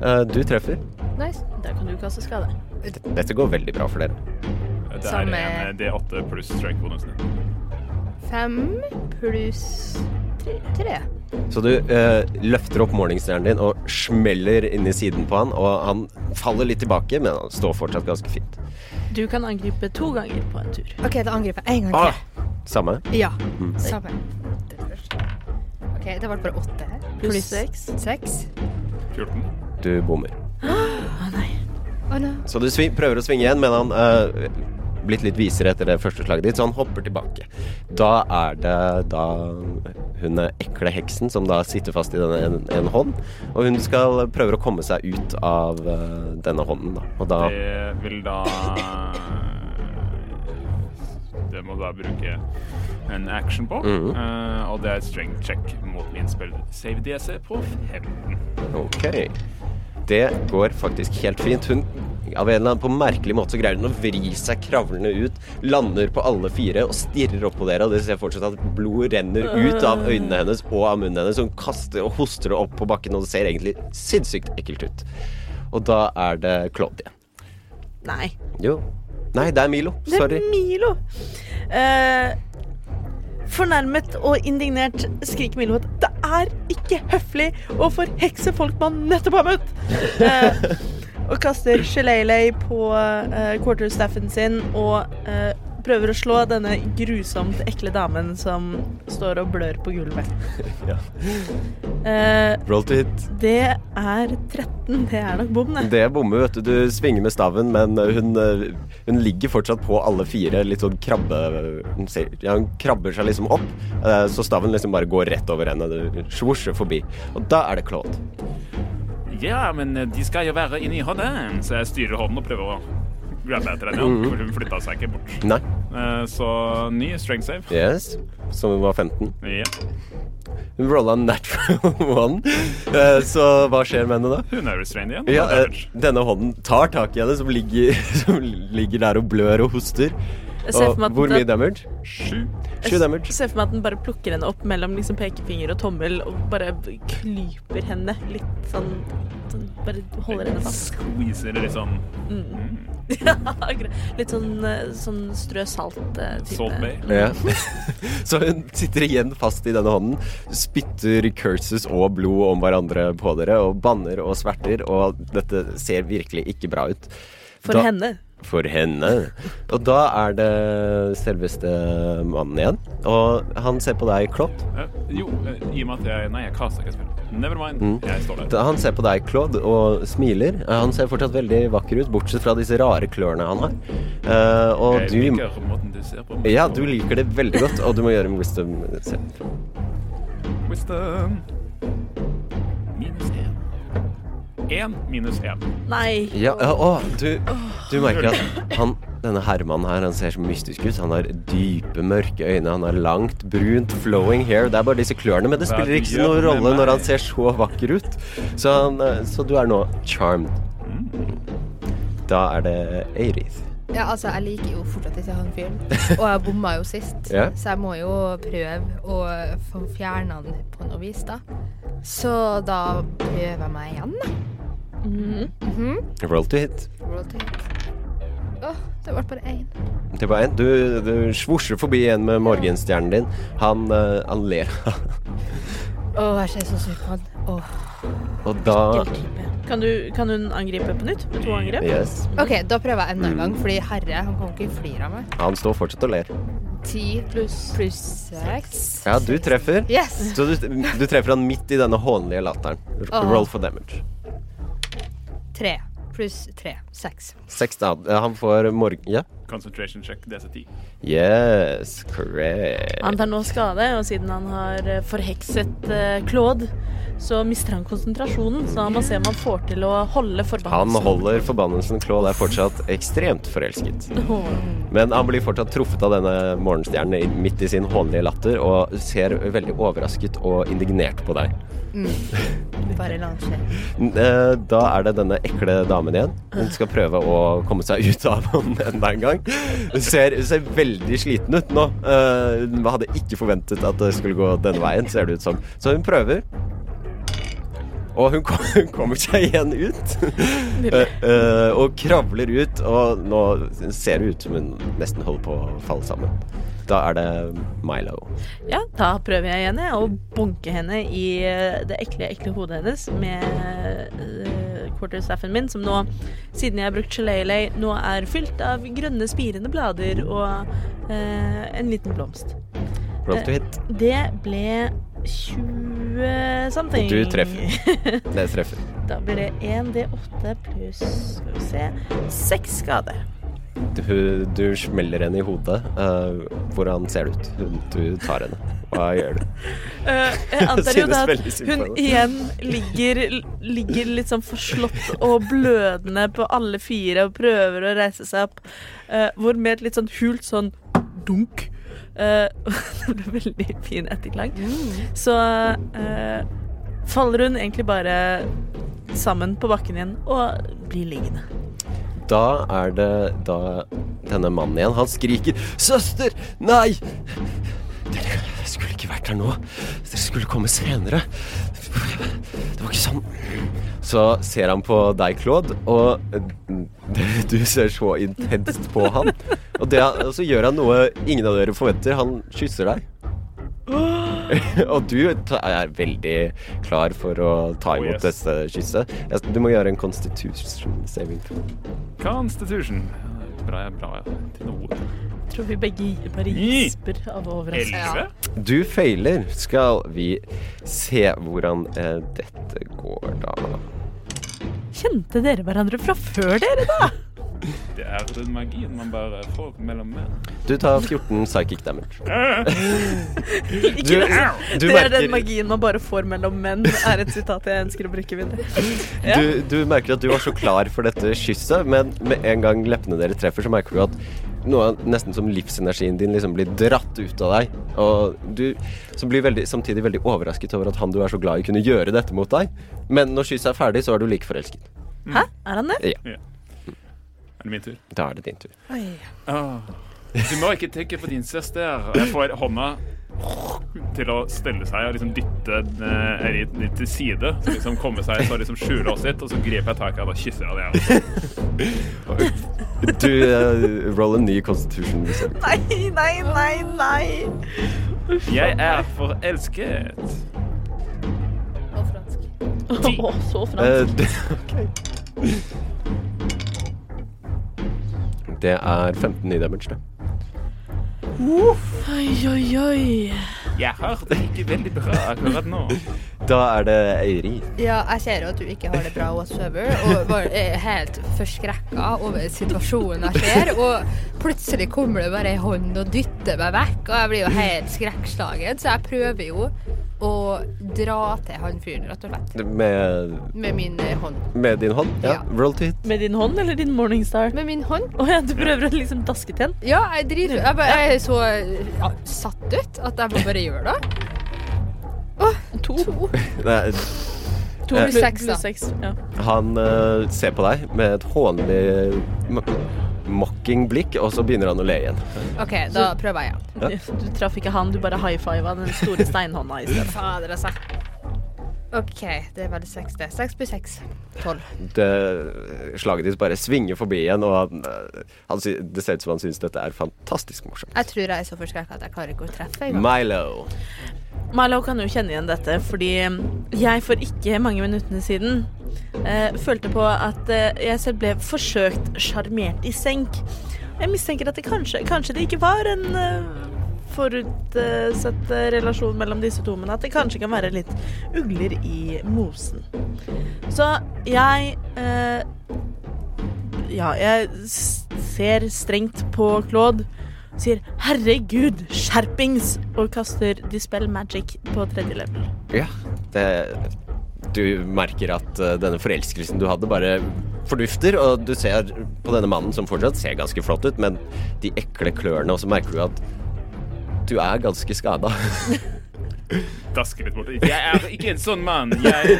B: Eh, du treffer.
D: Nice.
E: Der kan du kaste skade.
B: Dette går veldig bra for dere.
C: Det er
D: Samme-
C: en eh, D8 pluss strength-bonusen.
D: 5 pluss 3.
B: Så du eh, løfter opp morningstjernen din og smeller inn i siden på han, og han faller litt tilbake, men han står fortsatt ganske fint.
E: Du kan angripe to ganger på en tur.
D: OK, da angriper jeg en gang
B: Ah,
D: til.
B: samme.
D: Ja. Samme. Det første. OK, det ble bare 8 her.
E: Pluss seks.
D: 6.
C: 14.
B: Du bommer.
E: Å nei.
D: Å no.
B: Så du svi- prøver å svinge igjen, men han eh, blitt litt visere etter det første slaget ditt, så han hopper tilbake. Da er det da hun eh, ekle heksen som da sitter fast i denne en, en hånd, og hun skal prøve å komme seg ut av eh, denne hånden, da. Og da
C: Det vil da eh, Det må da bruke en action på.
B: Mhm.
C: Eh, og det er strength check mot min spill save DC på 15.
B: Ok. Det går faktisk helt fint. Hun av en eller annen på merkelig måte så greier hun å vri seg kravlende ut, lander på alle fire og stirrer opp på dere, og dere ser fortsatt at blod renner ut av øynene hennes og av munnen hennes. Hun kaster og hoster det opp på bakken, og det ser egentlig sinnssykt ekkelt ut. Og da er det Claude igjen.
E: Nei.
B: Jo. Nei, det er Milo.
E: Det
B: Sorry.
E: er Milo. Eh, fornærmet og indignert skriker Milo at det er ikke høflig å forhekse folk man nettopp har møtt. Eh, og kaster Shillelagh på eh, quarterstaffen sin og eh, prøver å slå denne grusomt ekle damen som står og blør på gulvet.
B: Ja.
E: Eh,
B: Roll to hit.
E: det er 13. Det er nok bom, det.
B: Det bommer, vet du. Du svinger med staven, men hun, eh, hun ligger fortsatt på alle fire. Litt sånn krabbe... Hun, ser, ja, hun krabber seg liksom opp, eh, så staven liksom bare går rett over henne. Det svosjer forbi. Og da er det Claude.
C: Ja, men eh, de skal jo være inni hodet, så jeg styrer hånden og prøver å grabbe etter henne.
B: Mhm.
C: ja, For hun flytta seg ikke bort.
B: Nei.
C: Eh, så ny strength save.
B: Yes. Som hun var 15.
C: Ja.
B: Hun rolla en natural one. Eh, så hva skjer med henne da?
C: Hun er restrained igjen.
B: Ja, eh,
C: Damage.
B: denne hånden tar tak i henne, som ligger, som ligger der og blør og hoster.
E: Jeg ser
B: Og
E: for meg at
B: hvor
E: den-
B: mye damage?
C: Sju.
B: Sju damage.
E: Jeg ser for meg at den bare plukker henne opp mellom liksom pekefinger og tommel og bare klyper henne litt sånn, sånn Bare holder henne fast.
C: Squeezer litt sånn
E: Ja, akkurat. litt sånn, eh, sånn strø eh, salt-type.
C: Salt Bay.
B: Ja. Så hun sitter igjen fast i denne hånden, spytter curses og blod om hverandre på dere, og banner og sverter, og dette ser virkelig ikke bra ut.
E: For
B: Da-
E: henne.
B: For henne. Og da er det selveste mannen igjen, og han ser på deg, Claude.
C: Eh, jo, eh, i og med at jeg Nei, jeg kasta ikke spillet. Never mind. Jeg står der.
B: Mm. Da- Han ser på deg, Claude, og smiler. Eh, Han ser fortsatt veldig vakker ut, bortsett fra disse rare klørne han har. Eh, og
C: Jeg
B: du
C: liker måten du ser på.
B: Ja, du liker det veldig godt, og du må gjøre en wisdom selv.
C: Wisdom. Minus én. Én minus én.
E: Nei.
B: Ja, ja, å, du, du merker at han, denne herremannen her, han ser så mystisk ut. Han har dype, mørke øyne, han har langt, brunt, flowing hair. Det er bare disse klørne, men det
C: Hva er
B: spiller
C: det
B: ikke
C: du gjør
B: noen
C: med
B: rolle
C: meg?
B: når han ser så vakker ut. Så, han, eh, så du er nå charmed.
C: Mm.
B: Da er det Eirith.
D: Ja, altså, jeg liker jo fortsatt ikke han fyren. Og jeg bomma jo sist,
B: Ja.
D: så jeg må jo prøve å få fjerna han på noe vis, da. Så da prøver jeg meg igjen, da.
E: Mhm.
B: Roll to hit.
D: Roll to hit. Åh, det ble bare én.
B: Det var en. Du, du svosjer forbi en med morgenstjernen din. Han, eh, han ler.
D: Å, jeg ser så sur på han. Åh.
B: Og da
E: Kan, du, kan hun angripe på nytt med to angrep?
B: Yes.
D: OK, da prøver jeg enda en gang, fordi herre, han kan ikke flire av meg.
B: Han står fortsatt og ler.
D: Ti pluss pluss seks.
B: Ja, du treffer.
D: Yes!
B: Så du, du treffer han midt i denne hånlige latteren. R-
D: Åh.
B: Roll for damage.
D: Tre pluss tre. Seks.
B: Seks da. Han Eh, får morgen... Ja.
C: Concentration check DC10.
B: Yes, correct.
E: Han tar nå skade, og siden han har eh, forhekset eh, Claude, så mister han konsentrasjonen. Så han må se om han får til å holde
B: Han
E: forbannelsen.
B: holder forbannelsen. Claude er fortsatt ekstremt forelsket.
E: Åh.
B: Men han blir fortsatt truffet av denne morgenstjernen i- midt i sin hånlige latter og ser veldig overrasket og indignert på deg.
D: Bare la det skje.
B: N- eh, Da er det denne ekle damen igjen. Hun skal prøve å komme seg ut av ham enda en gang. Hun ser, hun ser veldig sliten ut nå. Eh, Hun hadde ikke forventet at det skulle gå denne veien, ser det ut som. Så hun prøver. Og hun, kom, hun kommer seg igjen ut.
E: Nydelig.
B: Eh, eh, og kravler ut, og nå ser det ut som hun nesten holder på å falle sammen. Da er det Milo.
E: Ja, da prøver jeg igjen jeg, å bunke henne i eh, det ekle, ekle hodet hennes med eh, quarterstaffen min, som nå, siden jeg har brukt gelélei, nå er fylt av grønne spirende blader og eh, en liten blomst.
B: Roll to hit.
E: Det ble 20 something.
B: Du treffer. Det treffer.
E: Da blir det 1D8 pluss Skal vi se 6 skade.
B: Du, du smeller henne i hodet. eh, hvordan ser det ut? Hun, du tar henne. Hva gjør du?
E: Eh, jeg antar jo
B: Synes
E: da at
B: veldig synd på
E: hun
B: henne.
E: igjen ligger, ligger litt sånn forslått og blødende på alle fire og prøver å reise seg opp. eh, hvor med et litt sånn hult sånn dunk eh, Det ble veldig fin etterklang.
D: Mm.
E: Så eh, faller hun egentlig bare sammen på bakken igjen og blir liggende.
B: Da er det da denne mannen igjen. Han skriker 'Søster! Nei! Dere skulle ikke vært her nå. Dere skulle komme senere. Det var ikke sånn. Så ser han på deg, Claude, og eh, du ser så intenst på han. Og, det, han- og så gjør han noe ingen av dere forventer. Han kysser deg. Og du ta- er veldig klar for å ta
C: Oh,
B: imot
C: yes.
B: dette kysset. Jeg- Du må gjøre en constitution saving throw.
C: Constitution. Bra, bra ja. til noe.
E: Jeg tror vi begge bare
C: Gi.
E: gisper av overraskelse.
D: Ja.
C: Elleve?
B: Du feiler. Skal vi se hvordan eh, dette går, da.
E: Kjente dere hverandre fra før dere, da?
C: Det er den magien man bare får mellom menn.
B: Du tar 14 psychic damage. Du-
E: Ikke det.
B: du
E: det er
B: merker-
E: den magien man bare får mellom menn, er et sitat jeg ønsker å bruke videre. Ja.
B: Du, du merker at du var så klar for dette kysset, men med en gang leppene dere treffer, så merker du at noe av- nesten som livsenergien din liksom blir dratt ut av deg. Og du som blir veldig, samtidig veldig overrasket over at han du er så glad i, kunne gjøre dette mot deg. Men når kysset er ferdig, så er du like forelsket.
E: Hæ? Er han det?
C: Er det min tur?
B: Da er det din tur.
C: Åh. Ah. Du må ikke tenke på din søster. Jeg får hånda til å stelle seg og liksom dytte eh, Erit litt til side. Så liksom komme seg så liksom skjule oss litt, og så griper jeg tak i henne og kysser henne. jeg også.
B: Du eh, roll en ny constitution. saving.
E: Nei, nei, nei, nei.
C: Jeg er forelsket.
D: Og fransk.
E: Å, så
B: Eh,
E: fransk.
B: det, det er 15 nye damage, det.
E: Oi, oi, oi.
C: Jeg har det ikke veldig bra akkurat nå.
B: Da er det Eiri.
D: Ja, jeg ser jo at du ikke har det bra whatsoever, og var eh, helt forskrekka over situasjonen jeg ser, og plutselig kommer det bare ei hånd og dytter meg vekk, og jeg blir jo helt skrekkslagen, så jeg prøver jo å dra til han fyren, rett og slett,
B: Med,
D: med min eh, hånd.
B: med din hånd? Ja.
D: Ja.
B: Roll to hit.
E: Med din hånd eller din morningstar?
D: Med min hånd?
E: Å ja, du prøver å liksom daske til den?
D: Ja, jeg driter Jeg, bare, jeg er så ja, satt ut at jeg må bare gjøre det.
E: To.
D: To.
B: Nei,
E: To
B: Eh,
E: pluss
D: seks, da.
E: pluss seks. Ja.
B: Han eh, ser på deg med et hånlig mo- mocking blikk, og så begynner han å le igjen.
D: OK, da prøver jeg igjen.
B: Ja.
E: Du traff ikke han, du bare high-fiva den store steinhånda i stedet.
D: Fader, altså. OK, det var det seks, det. Seks pluss seks. Tolv.
B: Det, slaget ditt bare svinger forbi igjen, og han, eh, han, sy- det ser ut som han syns dette er fantastisk morsomt.
D: Jeg tror jeg er så forskrekka at jeg klarer ikke å treffe engang.
B: Milo.
E: Milo kan jo kjenne igjen dette, fordi mm, jeg for ikke mange minuttene siden eh, følte på at eh, jeg selv ble forsøkt sjarmert i senk. Jeg mistenker at det kanskje, kanskje det ikke var en eh, forutsett eh, relasjon mellom disse to, men at det kanskje kan være litt ugler i mosen. Så jeg eh, Ja, jeg s- ser strengt på Claude, sier 'herregud, skjerpings' og kaster dispel magic på tredje level.
B: Ja, det, du merker at eh, denne forelskelsen du hadde, bare fordufter. Og du ser på denne mannen, som fortsatt ser ganske flott ut, men de ekle klørne, og så merker du at du er ganske skada.
C: dasker litt bort. Jeg er ikke en sånn mann. Jeg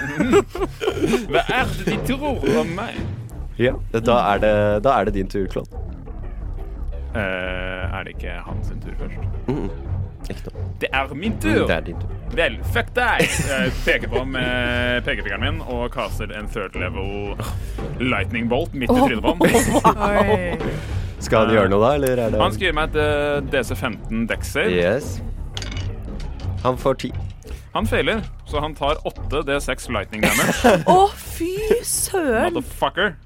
C: Hva er det de tror om meg?
B: Ja. Da er det, da er det din tur, Klon.
C: Eh, er det ikke han sin tur først?
B: Ikke noe.
C: Det er min tur!
B: Mm, Det er din tur.
C: Vel, fuck deg! Jeg peker på med pekefingeren min og kaster en third level lightning bolt midt i trynet på ham.
E: Oi.
B: Skal han gjøre noe da, eller er det
C: Han skriver meg et eh, DC15 dex-save.
B: Yes. Han får ti.
C: Han feiler, så han tar 8 D6 lightning damage.
E: Å, fy søren!
C: Motherfucker.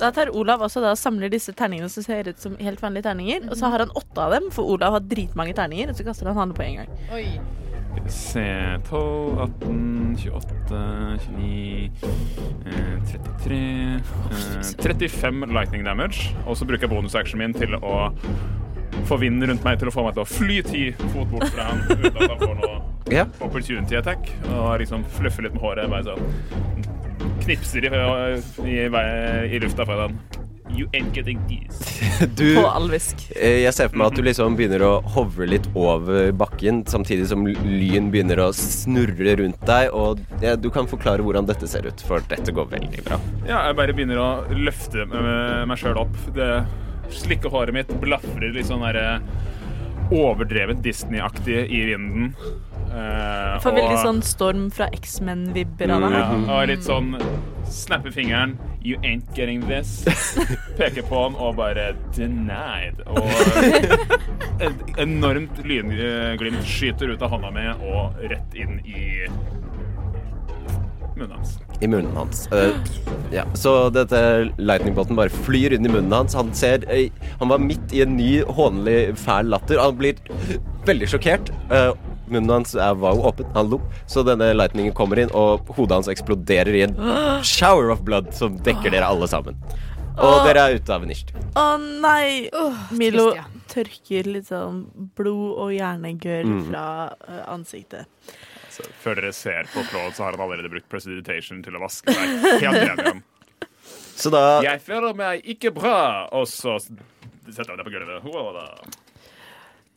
E: Da tar Olav også da og samler disse terningene som ser ut som helt vanlige terninger. Og så har han åtte av dem, for Olav har dritmange terninger. Og så kaster han alle på en gang.
D: Oi.
C: Se 12, 18, 28, 29 eh, 33 eh, 35 lightning damage. Og så bruker jeg bonusactionen min til å få vinden rundt meg til å få meg til å fly ti fot bort fra han uten at han får noe
B: Ja.
C: opportunity attack. Og liksom fluffer litt med håret. Bare sånn knipser i, i, vei- i lufta foran. You ain't getting these.
B: Du
E: På alvisk.
B: Eh, Jeg ser for meg at du liksom begynner å hovre litt over bakken, samtidig som lyn begynner å snurre rundt deg, og eh, du kan forklare hvordan dette ser ut, for dette går veldig bra.
C: Ja, jeg bare begynner å løfte eh, meg sjøl opp. Det slikke håret mitt blafrer litt sånn derre overdrevet Disney-aktig i vinden. Eh,
E: Får veldig
C: og-
E: sånn storm fra X-Men-vibber av
C: ja,
E: ham.
C: og litt sånn snappe fingeren. You ain't getting this. Peker på han og bare denied. Og et enormt lynglimt skyter ut av hånda mi og rett inn i munnen hans.
B: I munnen hans. Eh, ja. Så dette lightningboten bare flyr inn i munnen hans. Han ser eh, Han var midt i en ny, hånlig, fæl latter. Han blir veldig sjokkert. Eh, munnen hans er, var jo åpen. Han lo. Så denne lightningen kommer inn, og hodet hans eksploderer i en shower of blood som dekker dere alle sammen. Og dere er ute av nisj.
E: Å nei!
D: Åh,
E: Milo
D: trist, ja.
E: tørker litt sånn blod og hjernegørr fra eh, ansiktet.
C: Før dere ser på Claude, så har han allerede brukt presiditation til å vaske deg helt ren igjen.
B: Så da
C: Jeg føler meg ikke bra, og så setter han deg på gulvet. Hoa da.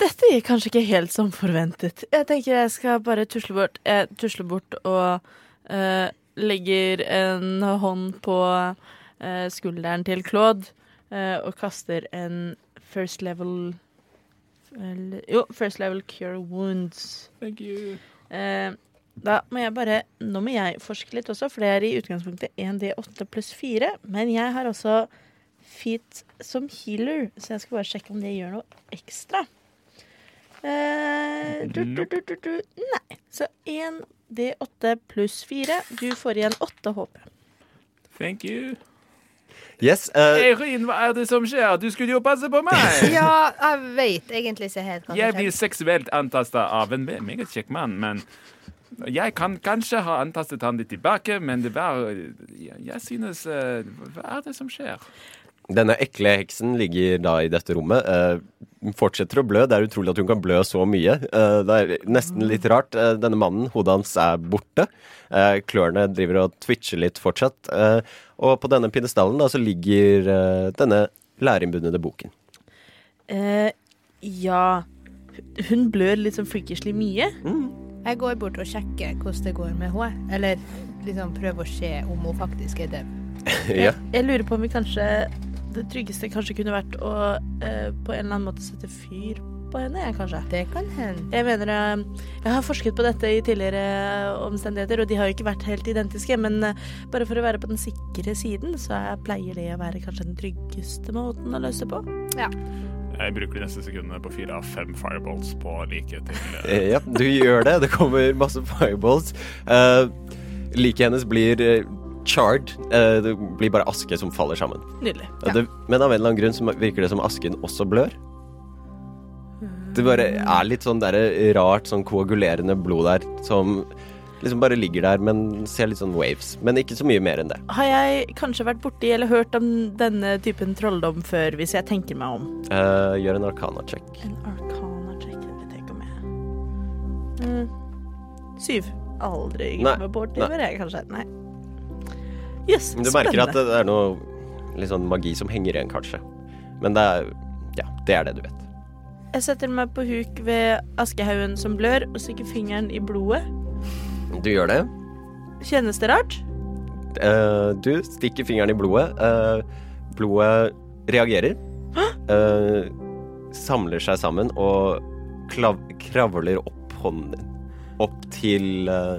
E: Dette gikk kanskje ikke helt som forventet. Jeg tenker jeg skal bare tusle bort. Jeg tusler bort og eh, legger en hånd på eh, skulderen til Claude eh, og kaster en first level vel, Jo, first level cure wounds.
C: Thank you.
E: Eh, da må jeg bare Nå må jeg forske litt også, for det er i utgangspunktet 1D8 pluss 4. Men jeg har også feet som healer, så jeg skal bare sjekke om det gjør noe ekstra. Eh, du, du, du, du, du. Nei. Så 1D8 pluss 4. Du får igjen 8 HP.
C: Thank you.
B: Yes. eh,
C: Eirin, hva er det som skjer? Du skulle jo passe på meg!
D: Ja, jeg veit egentlig ikke helt hva
C: Jeg
D: som
C: blir
D: skjer.
C: seksuelt antasta av en meget kjekk mann, men jeg kan kanskje ha antastet han litt tilbake, men det var Jeg, jeg synes eh, Hva er det som skjer?
B: Denne ekle heksen ligger da i dette rommet. eh, Hun fortsetter å blø. Det er utrolig at hun kan blø så mye. Eh, det er nesten litt rart. Eh, denne mannen, hodet hans er borte. Eh, klørne driver og twitcher litt fortsatt. Eh, og på denne pidestallen da, så ligger eh, denne læreinnbundne boken.
E: Eh, ja Hun blør litt sånn freakishly mye.
D: Jeg går bort og sjekker hvordan det går med henne. Eller liksom prøver å se om hun faktisk er død.
B: ja.
E: Jeg lurer på om vi kanskje Det tryggeste kanskje kunne vært å eh, på en eller annen måte sette fyr på henne, jeg, kanskje.
D: Det kan hende.
E: Jeg mener eh, Jeg har forsket på dette i tidligere omstendigheter, og de har jo ikke vært helt identiske, men eh, bare for å være på den sikre siden, så er- pleier det å være kanskje den tryggeste måten å løse det på.
C: Jeg bruker de neste sekundene på fire av fem fireballs på liket til eh,
B: Eh, ja, du gjør det. Det kommer masse fireballs. Uh, Liket hennes blir eh, charred. Eh, det blir bare aske som faller sammen.
E: Nydelig.
B: Ja. Det, men av en eller annen grunn så virker det som asken også blør. Det bare er litt sånn der rart, sånn koagulerende blod der som Liksom bare ligger der, men ser litt sånn waves. Men ikke så mye mer enn det.
E: Har jeg kanskje vært borti eller hørt om denne typen trolldom før, hvis jeg tenker meg om?
B: Eh, gjør en arcana-check.
E: En arcana check, jeg vet ikke om jeg mm. Syv. Aldri
B: Nei,
E: kommet borti
B: nei.
E: før, jeg kanskje. Nei. Jøss,
B: Men Du
E: spennende.
B: merker at det er noe litt sånn magi som henger igjen, kanskje. Men det er Ja, det er det du vet.
E: Jeg setter meg på huk ved askehaugen som blør, og stikker fingeren i blodet.
B: Du gjør det.
E: Kjennes det rart?
B: Eh, du stikker fingeren i blodet. Eh, blodet reagerer. Eh, samler seg sammen og klav kravler opp hånden din. Opp til eh,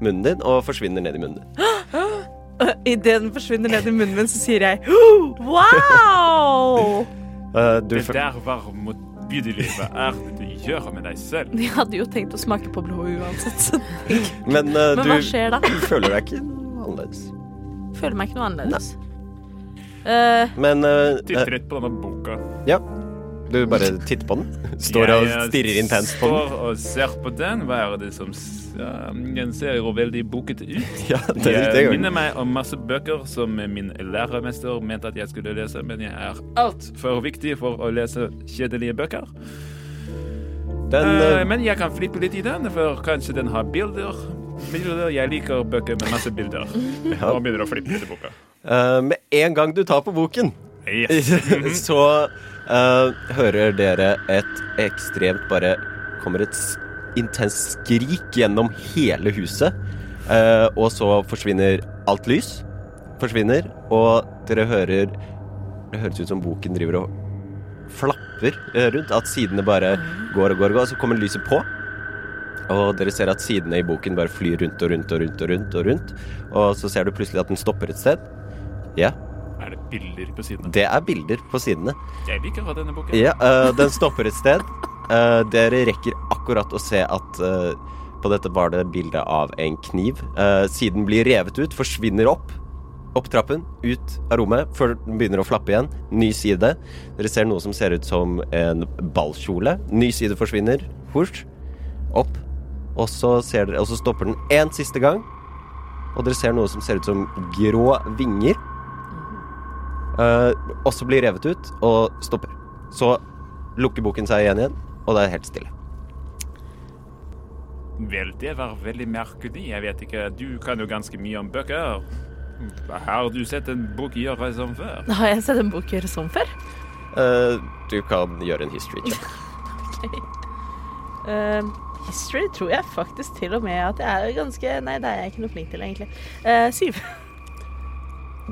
B: munnen din og forsvinner ned i munnen din.
E: Idet den forsvinner ned i munnen min, så sier jeg «Huh, wow!
B: Eh, du
C: Det
B: fø-
C: der var motbydelig. Hva er det du gjør med deg selv?
E: De hadde jo tenkt å smake på blodet uansett.
B: men eh,
E: Men
B: du,
E: hva skjer da?
B: du føler deg ikke annerledes.
E: Føler meg ikke noe annerledes. Eh,
B: Men eh,
C: Titter litt på denne boka.
B: eh, ja. Du bare titter på den. Står og
C: Jeg eh,
B: stirrer intenst på den.
C: Står og ser på den. Hva er det som s- ja, Den ser jo veldig bokete ut.
B: Ja, det, det
C: Jeg
B: gjør
C: minner
B: den.
C: meg om masse bøker som min lærermester mente at jeg skulle lese, men jeg er altfor viktig for å lese kjedelige bøker.
B: Den,
C: Eh,
B: eh,
C: men jeg kan flippe litt i den, for kanskje den har bilder. Bilder, Jeg liker bøker med masse bilder. Og begynner å flippe til boka.
B: eh, med en gang du tar på boken,
C: Yes. Mhm.
B: så eh, hører dere et ekstremt bare Kommer et s- intenst skrik gjennom hele huset. eh, og så forsvinner alt lys. Forsvinner, og dere hører Det høres ut som boken driver og flapper eh, rundt. At sidene bare går og går og går, og så kommer lyset på. Og dere ser at sidene i boken bare flyr rundt og rundt og rundt og rundt. Og rundt Og så ser du plutselig at den stopper et sted. Ja,
C: Er det bilder på siden?
B: det er bilder på sidene.
C: Jeg liker denne boken.
B: Ja, øh, den stopper et sted. Øh, dere rekker akkurat å se at øh, på dette var det bilde av en kniv. Øh, siden blir revet ut, forsvinner opp. Opp trappen, ut av rommet, før den begynner å flappe igjen. Ny side. Dere ser noe som ser ut som en ballkjole. Ny side forsvinner. Husj. Opp. Og så, ser dere, og så stopper den én siste gang. Og dere ser noe som ser ut som grå vinger. Eh, også blir revet ut og stopper. Så lukker boken seg igjen igjen, og det er helt stille.
C: Vel, det var veldig merkelig. Jeg vet ikke, du kan jo ganske mye om bøker. Har du sett en bok gjøre som før?
E: har jeg sett en bok gjøre sånn før?
B: Eh, du kan gjøre en history check.
E: Eh, history tror jeg faktisk til og med at jeg er ganske Nei, det er jeg ikke noe flink til, egentlig. Eh, syv.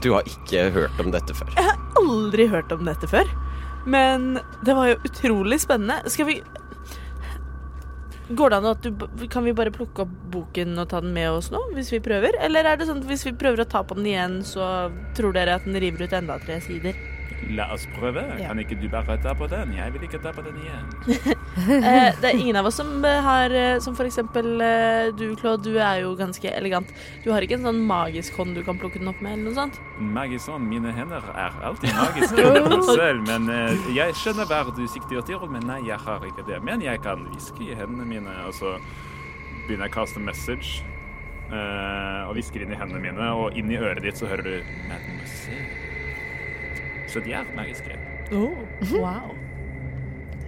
B: Du har ikke hørt om dette før.
E: Aldri hørt om dette før. Men det var jo utrolig spennende. Skal vi Går det an at du b- Kan vi bare plukke opp boken og ta den med oss nå, hvis vi prøver? Eller er det sånn at hvis vi prøver å ta på den igjen, så tror dere at den river ut enda tre sider?
C: La oss prøve.
E: Ja.
C: Kan ikke du bare ta på den? Jeg vil ikke ta på den igjen.
E: Eh, det er ingen av oss som eh, har eh, Som for eksempel eh, du, Claude. Du er jo ganske elegant. Du har ikke en sånn magisk hånd du kan plukke den opp med, eller noe sånt?
C: Magison, mine hender er alltid magiske selv, men eh, jeg skjønner hva du sikter til, men nei, jeg har ikke det. Men jeg kan hviske i hendene mine, og så begynner jeg å kaste message, eh, og hvisker inn i hendene mine, og inn i øret ditt så hører du Mademoiselle. Så de er magiske.
E: Oh, wow.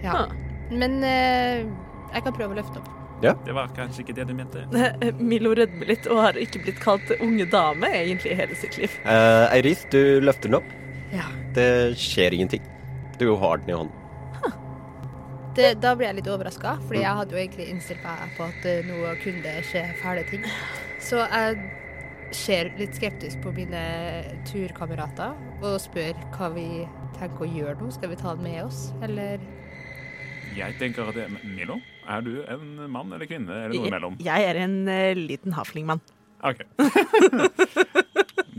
D: Ja. Men eh, jeg kan prøve å løfte opp.
C: Det var kanskje ikke det du mente.
E: Milo rødmer litt og har ikke blitt kalt unge dame egentlig i hele sitt liv.
B: Uh, Eiris, du løfter den opp.
D: Ja.
B: Det skjer ingenting. Du har den i hånden.
D: Det, da ble jeg litt overraska, fordi jeg hadde jo egentlig innstilt meg på at eh, nå kunne det skje fæle ting. Så jeg ser litt skeptisk på mine turkamerater og spør hva vi tenker å gjøre nå. Skal vi ta den med oss, eller
C: Jeg tenker at det Milo, er du en mann eller kvinne, eller noe imellom?
E: Jeg er en eh, liten haflingmann.
C: OK.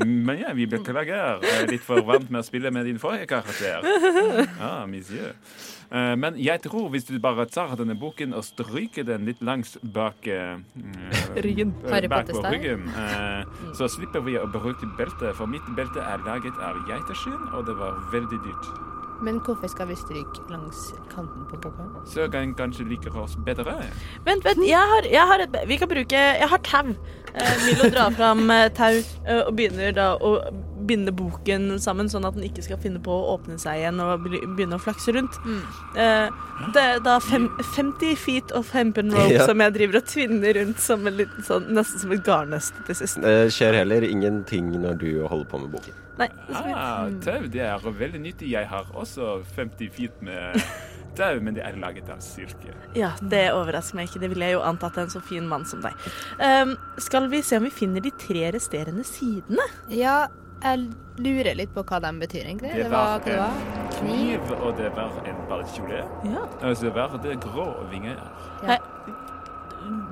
C: Men ja, vi beklager. Jeg er litt for vant med å spille med din forrige karakter. Ah, monsieur. Eh, Men jeg tror hvis du bare tar denne boken og stryker den litt langs bak eh, eh,
E: Ryggen.
D: Harry
C: bak på
D: Potter-style.
C: ryggen, eh, så slipper vi å bruke belte, for mitt belte er laget av geiteskinn, og det var veldig dyrt.
D: Men hvorfor skal vi stryke langs kanten på bobberen?
C: Så kan kanskje like oss bedre.
E: Vent, vent, jeg har, jeg har et Vi kan bruke Jeg har tau. Eh, Milo drar fram eh, tau eh, og begynner da å binde boken sammen, sånn at den ikke skal finne på å åpne seg igjen og bli- begynne å flakse rundt. Eh, det er da fem, 50 feet of hempen rope
B: Ja.
E: som jeg driver og tvinner rundt som en liten sånn Nesten som et garnnøste til sist.
B: Det Eh, skjer heller ingenting når du holder på med boken.
E: Nei.
C: Ah, tau det er veldig nyttig. Jeg har også 50 feet med tau, men det er laget av silke.
E: Ja, det overrasker meg ikke. Det ville jeg jo antatt en så fin mann som deg. Eh, skal vi se om vi finner de tre resterende sidene?
D: Ja, jeg lurer litt på hva de betyr, egentlig. Det var hva det var. Kniv.
C: kniv, og det var en ballkjole.
E: Ja.
C: Og så var det grå vinger.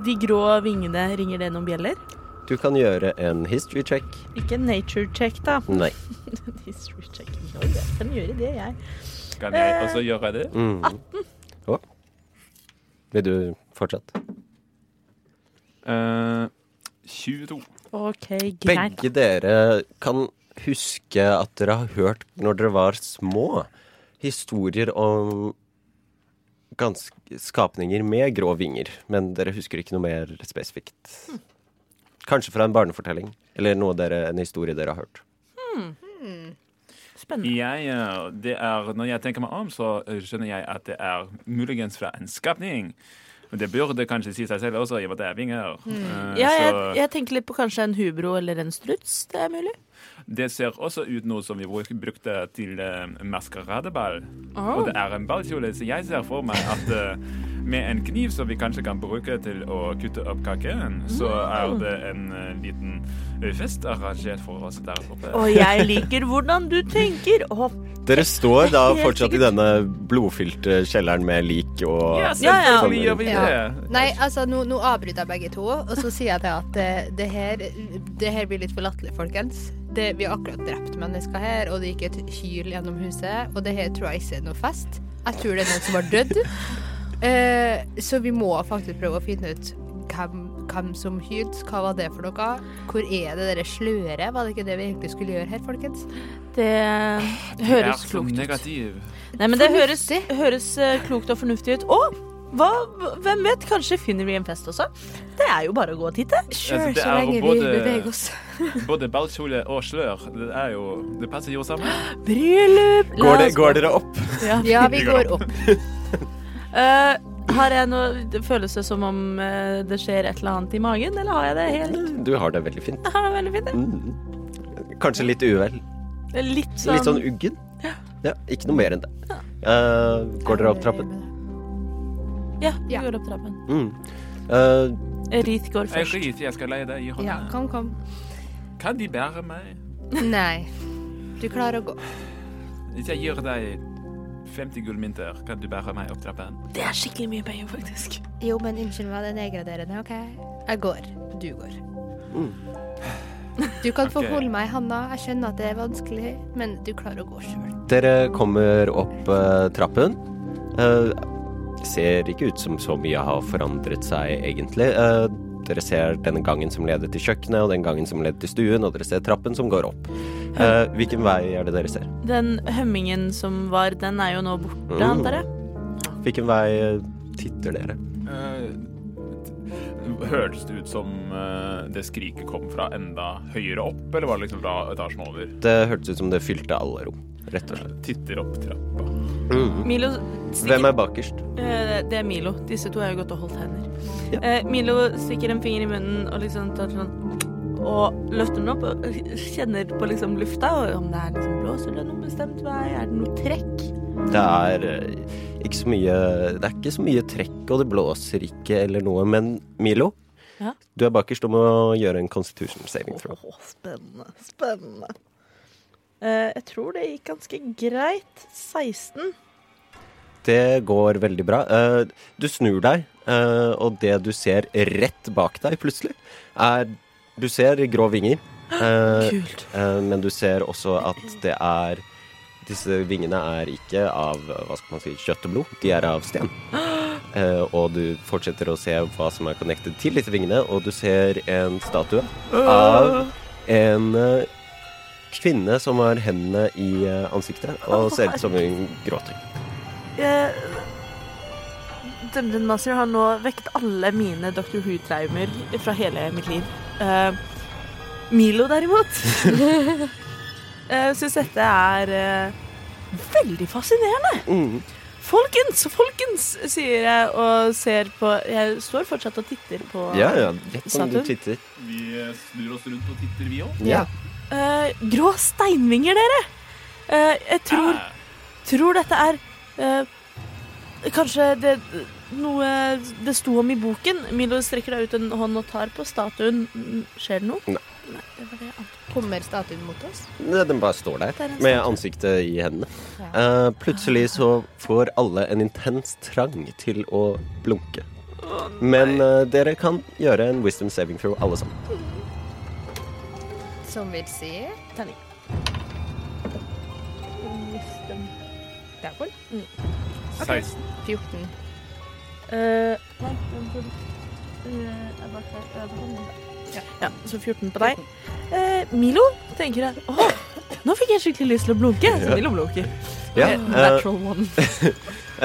E: De grå vingene, ringer det noen bjeller?
B: Du kan gjøre en history check.
E: Ikke en nature check, da.
B: Nei.
E: History check. Jo, jeg kan gjøre det, jeg.
C: Kan
E: Eh.
C: jeg også gjøre det?
B: Mm. Å. Vil du fortsette?
C: Eh, 22.
E: OK, greit.
B: Begge dere kan huske at dere har hørt, når dere var små, historier om ganske skapninger med grå vinger. Men dere husker ikke noe mer spesifikt. Kanskje fra en barnefortelling, eller noe dere, en historie dere har hørt.
E: Spennende.
C: Jeg, eh, det er, når jeg tenker meg om, så eh, skjønner jeg at det er muligens fra en skapning. Men det burde kanskje si seg selv også, i og med at det er vinger. Eh,
E: Mm. Ja, jeg,
C: så
E: jeg tenker litt på kanskje en hubro eller en struts. Det er mulig.
C: det ser også ut noe som vi bruk- brukte til eh, maskeradeball. Og det er en ballkjole, så jeg ser for meg at eh, med en kniv som vi kanskje kan bruke til å kutte opp kaken, så er det en eh, liten eh, fest arrangert for oss der oppe.
E: Og jeg liker hvordan du tenker. Å,
B: Dere står da
E: Helt
B: fortsatt i
E: sikkert.
B: denne blodfylte kjelleren med lik og
C: Ja,
E: Ja, altså, ja.
C: selvfølgelig gjør vi det.
D: Ja. Nei, altså, nå, nå avbryter jeg begge to, og så sier jeg til at eh, det her, det her blir litt for latterlig, folkens. Det, vi har akkurat drept mennesker her, og det gikk et hyl gjennom huset, og det her tror jeg ikke er noe fest. Jeg tror det er noen som har dødd. Eh, så vi må faktisk prøve å finne ut hvem, hvem som hylte, hva var det for noe? Hvor er det dere sløret? Var det ikke det vi egentlig skulle gjøre her, folkens?
E: det
C: er
E: høres
C: så
E: klokt ut.
C: negativ.
E: Nei, men det høres,
D: Fornuftig.
E: høres eh, klokt og fornuftig ut. Å, hva, hvem vet? Kanskje finner vi en fest også. Det er jo bare å gå og titte.
C: Sure, Altså, det så er lenge jo vi både- beveger oss. Både ballkjole og slør. Det, er jo, det passer jo sammen.
E: Bryllup! La
B: går, det,
E: oss gå.
B: går dere opp?
E: Ja.
D: Ja, vi går opp.
E: Eh, har jeg noe det føles det som om eh, det skjer et eller annet i magen, eller har jeg det helt
B: Du har det veldig fint. Mm.
E: Jeg har det veldig fint. jeg.
B: Kanskje litt uvel.
E: Det er Litt sånn,
B: Litt sånn uggen. Ja, ikke noe mer enn det. Eh, går dere opp trappen?
E: Ja, vi
D: Ja.
E: går opp trappen.
B: Mm. Eh,
E: Rith går
C: Jeg
E: først.
C: skiter, jeg skal leie deg i
D: Ja,
C: hånda.
D: kom, kom.
C: Kan de bære meg?
D: Nei. Du klarer å gå.
C: Hvis jeg gir deg 50 gullmynter, kan du bære meg opp trappen?
E: Det er skikkelig mye penger, faktisk.
D: Jo, men unnskyld meg, det er nedgraderende, OK? Jeg går. Du går. Mm. Du kan få
C: Ok.
D: holde meg i handa. Jeg skjønner at det er vanskelig, men du klarer å gå sjøl.
B: Dere kommer opp eh, trappen. Eh, ser ikke ut som så mye har forandret seg, egentlig. Eh, dere ser denne gangen som leder til kjøkkenet, og den gangen som leder til stuen, og dere ser trappen som går opp. Eh, hvilken vei er det dere ser?
E: Den hømmingen som var, den er jo nå borte,
B: Mm.
E: antar jeg.
B: Hvilken vei eh, titter dere?
C: Eh, Hørtes det ut som eh, det skriket kom fra enda høyere opp, eller var det liksom fra etasjen over?
B: Det hørtes ut som det fylte alle rom, rett og slett.
C: Titter opp trappa.
B: Mm.
E: Milo stikker
B: Hvem er bakerst?
E: Eh, Det er Milo. Disse to har jo gått og holdt hender.
B: Ja.
E: Eh, Milo stikker en finger i munnen og liksom tar sånn og løfter den opp og kjenner på liksom lufta, og om det er liksom blåser det noen bestemt vei, er det noe trekk?
B: Det er eh, ikke så mye Det er ikke så mye trekk, og det blåser ikke eller noe, men Milo,
E: Ja.
B: du er bakerst om å gjøre en constitution saving throw.
E: Åh, spennende. Spennende. Eh, jeg tror det gikk ganske greit. 16.
B: Det går veldig bra. Eh, Du snur deg, eh, og det du ser rett bak deg plutselig, er Du ser grå vinger, eh,
E: Kult.
B: eh, men du ser også at det er Disse vingene er ikke av eh, hva skal man si, kjøtt og blod, de er av sten. Eh, Og du fortsetter å se hva som er connected til disse vingene, og du ser en statue av en eh, kvinne som har hendene i eh, ansiktet og ser ut som hun gråter.
E: Eh, Dungeon Master har nå vekket alle mine Dr. Who-traumer fra hele mitt liv. Eh, Milo, derimot, uh, syns dette er eh, veldig fascinerende.
B: Mm.
E: Folkens, folkens, sier jeg og ser på Jeg står fortsatt og titter på
B: Ja, ja. Rett som du
E: Saturn?
B: titter.
C: Vi eh, snur oss rundt og titter, vi òg.
B: Ja.
E: Eh, grå steinvinger, dere. Eh, jeg tror tror dette er eh, Kanskje det noe det sto om i boken. Milo strekker deg ut en hånd og tar på statuen. Mm, Skjer det noe?
B: Nei.
E: Nei det var det jeg ante.
D: Kommer statuen mot oss?
B: Nei, Den bare står der
E: Det er en
B: med
E: statue.
B: ansiktet i hendene. Eh, plutselig så får alle en intens trang til å blunke. Men eh, dere kan gjøre en wisdom saving throw, alle sammen.
D: Som vil si
E: Terning.
D: Der går den.
C: 16.
D: 14.
E: Eh, nei, den får- eh, jeg bare får- jeg får den.
D: Ja.
E: Ja, så 14 på deg. Eh, Milo tenker jeg Åh, nå fikk jeg skikkelig lyst til å blunke. Så Milo blunker.
B: Ja,
E: Eh,
B: eh,
E: Natural one.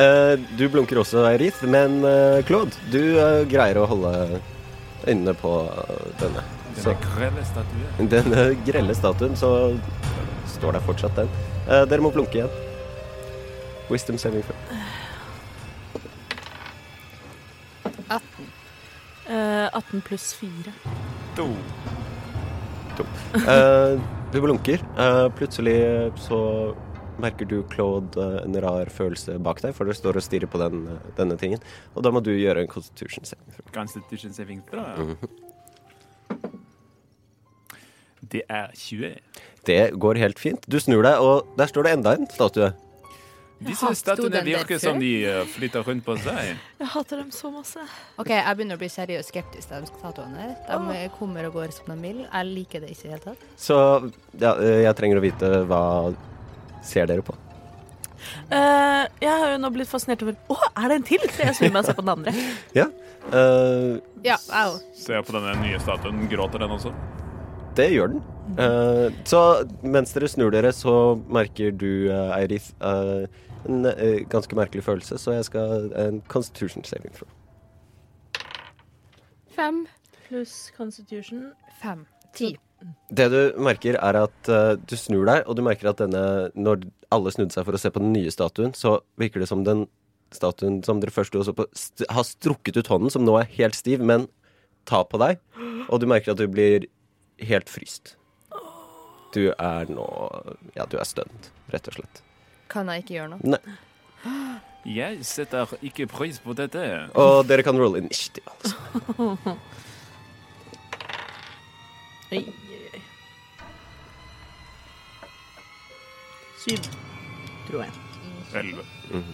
B: eh, du blunker også, Eirith, men eh, Claude, du eh, greier å holde øynene på eh, denne. Så, denne grelle statuen, så står der fortsatt den. Eh, dere må blunke igjen. Wisdom saving throw.
D: 18.
E: Eh, 18 pluss 4.
B: Eh, du blunker. Eh, plutselig eh, så merker du, Claude, eh, en rar følelse bak deg, for du står og stirrer på den, eh, denne tingen. Og da må du gjøre en constitution saving throw.
C: Constitution saving throw. ja. Det er 20.
B: Det går helt fint. Du snur deg, og der står det enda en statue.
C: De
D: Jaha,
C: synes
D: sto
C: statuene
D: den der
C: virker
D: før?
C: som de eh, flytter rundt på seg.
E: Jeg hater dem så masse.
D: OK, jeg begynner å bli seriøst skeptisk til de statuene her. De kommer og går som de vil. Jeg liker det ikke i det hele tatt.
B: Så ja, eh, jeg trenger å vite hva ser dere på.
E: Eh, jeg har jo nå blitt fascinert over Å, er det en til? Så jeg snur meg og ser på den andre.
B: Ja. eh,
D: Ja, jeg òg.
C: Ser jeg på denne nye statuen, gråter den også?
B: det gjør den. Eh, så mens dere snur dere, så merker du, eh, Eirith, eh, en eh, ganske merkelig følelse, så jeg skal eh, en constitution saving throw.
D: Fem.
E: Pluss Constitution.
D: Fem. Ti.
B: Det du merker, er at eh, du snur deg, og du merker at denne Når alle snudde seg for å se på den nye statuen, så virker det som den statuen som dere først sto og så på, st har strukket ut hånden, som nå er helt stiv, men tar på deg, og du merker at du blir helt fryst. Du er nå Ja, du er stunt, rett og slett.
D: Kan jeg ikke gjøre noe?
C: Jeg setter ikke pris på dette.
B: Og dere kan rolle initiativ, altså.
E: Oi, oi, oi. Syv, tror jeg.
C: 11.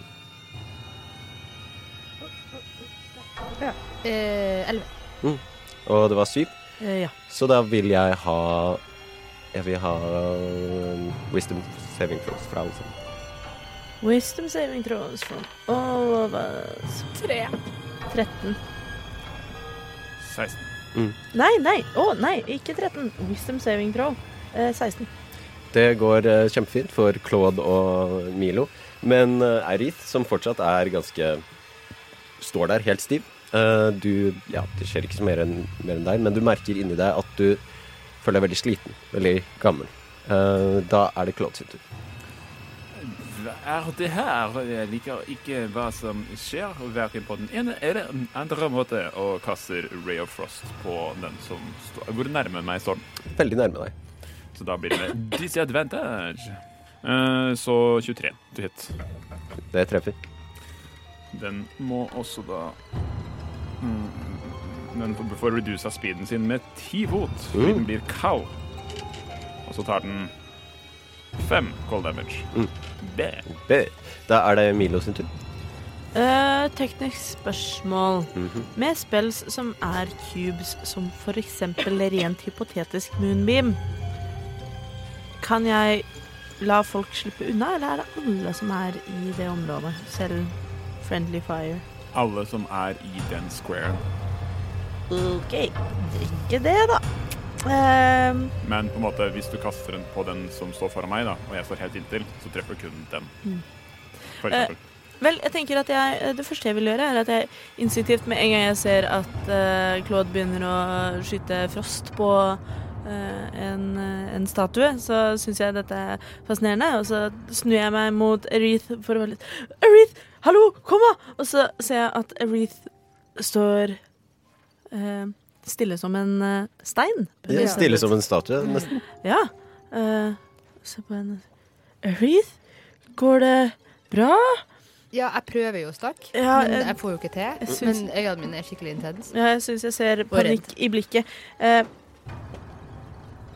D: Eh, Elleve.
B: Og det var syv,
E: Eh, ja.
B: så da vil jeg ha Jeg vil ha eh, wisdom saving throws fra alle sammen.
E: Wisdom saving throws from all of us. Tre. 13.
C: 16.
E: Nei, nei. Å, nei, ikke 13. Wisdom saving throw. Eh, 16.
B: Det går eh, kjempefint for Claude og Milo, men uh, Eirith, som fortsatt er ganske Står der helt stiv. eh, du Ja, det skjer ikke så mer enn mer enn deg, men du merker inni deg at du føler deg veldig sliten, veldig gammel. Eh, da er det Claude sin tur.
C: Hva er det her? Jeg liker ikke hva som skjer, verken på den ene eller den andre måte, og kaster Ray of Frost på den som står Hvor nærme meg står den?
B: Veldig nærme deg.
C: Så da blir det disadvantage. Eh, Så 23 til hit.
B: Det treffer.
C: Den må også da Mm, Den får- får redusa speeden sin med ti fot. fordi
B: Mm.
C: Den blir cow. Og så tar den fem cold damage.
B: Mm.
C: Det
B: Det, da er det Milo sin tur.
E: Eh, teknisk spørsmål.
B: Mhm.
E: Med spells som er cubes, som for eksempel rent hypotetisk moonbeam, kan jeg la folk slippe unna, eller er det alle som er i det området? Selv friendly fire.
C: alle som er i den squaren.
E: OK, ikke det, da. Eh,
C: Men på en måte, hvis du kaster den på den som står foran meg, da, og jeg står helt inntil, så treffer du kun den. For
E: Eh,
C: eksempel.
E: vel, jeg tenker at jeg, eh, det første jeg vil gjøre, er at jeg instinktivt med en gang jeg ser at eh, Claude begynner å skyte frost på eh, en, en statue, så syns jeg dette er fascinerende. Og så snur jeg meg mot Areeth for å være litt Areeth, hallo, kom da! Og så ser jeg at Areeth står eh, stille som en eh, stein.
B: Ja, stille som en statue, nesten.
E: Ja. eh, se på henne. Areeth, går det bra?
D: Ja, jeg prøver jo, stakk.
E: Ja, eh,
D: men
E: jeg-
D: jeg får jo ikke til.
E: syns-
D: Men øynene mine er skikkelig intense.
E: Ja, jeg syns jeg ser
D: Og redd.
E: panikk i blikket. Eh,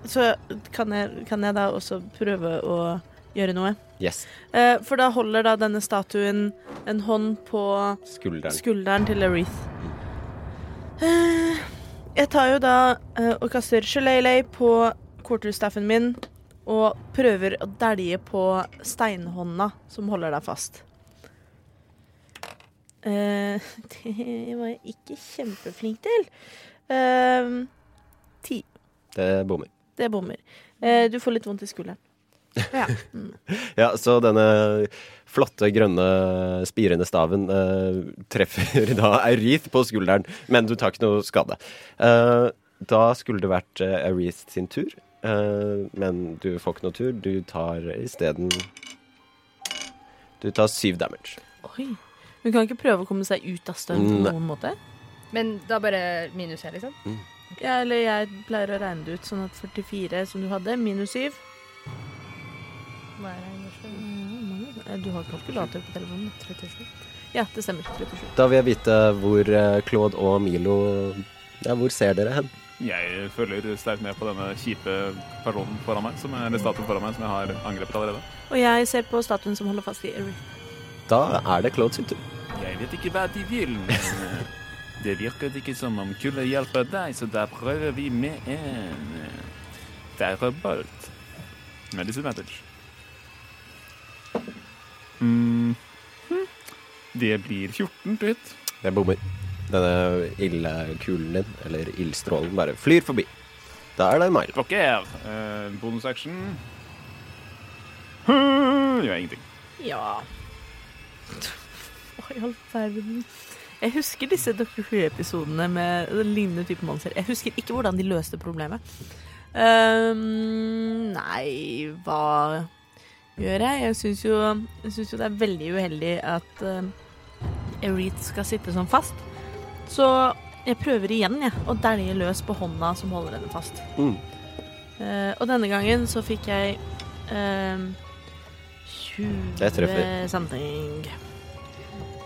E: så kan jeg, kan jeg da også prøve å gjøre noe.
B: Yes.
E: Eh, for da holder da denne statuen en hånd på
B: Skulderen.
E: skulderen til Arethe. Eh, Jeg tar jo da eh, og kaster shalelei på quarterstaffen min og prøver å dælje på steinhånda som holder deg fast. Eh, det var jeg ikke kjempeflink til. Eh, ti.
B: Det bommer.
E: Det bommer. Eh, du får litt vondt i skulderen.
D: Ja.
B: Ja, så denne flotte, grønne, spirende staven eh, treffer da Areeth på skulderen, men du tar ikke noe skade. Eh, da skulle det vært eh, Areeth sin tur, eh, men du får ikke noe tur. Du tar isteden Du tar syv damage.
E: Oi. Hun kan ikke prøve å komme seg ut av støen på
B: Nei.
E: noen måte?
D: Men da bare minus her, liksom.
E: Ja, eller jeg pleier å regne det ut sånn at 44 som du hadde, minus 7
D: Må jeg regne selv?
E: Eh, Du har kalkulator på telefonen.
D: 37.
E: Ja, det stemmer. 37.
B: Da vil jeg vite hvor eh, Claude og Milo Ja, hvor ser dere hen?
C: Jeg følger sterkt med på denne kjipe personen foran meg, som er, eller statuen foran meg, som jeg har angrepet allerede.
E: Og jeg ser på statuen som holder fast i Eric.
B: Da er det Claude sin tur.
C: Jeg vet ikke hva de vil, men eh, det virket ikke som om kulde hjelper deg, så da prøver vi med en eh, firebolt. Med disadvantage. Mm. Hm. Det blir 14 til hit.
B: Det bommer. Denne ildkulen din, eller ildstrålen, bare flyr forbi. Da er det Milo.
C: Blokker. Eh, Bonusaction. Hm, Gjør ingenting.
E: Ja Hva i all verden Jeg husker disse Dr. Who-episodene med lignende type monster. Jeg husker ikke hvordan de løste problemet. Ehm, nei, hva gjør jeg? Jeg syns jo, jeg synes jo det er veldig uheldig at um, Ereeth skal sitte sånn fast. Så jeg prøver igjen, jeg, å dælje løs på hånda som holder henne fast.
B: Mm.
E: Eh, og denne gangen så fikk jeg um, 20
B: Det treffer.
E: something.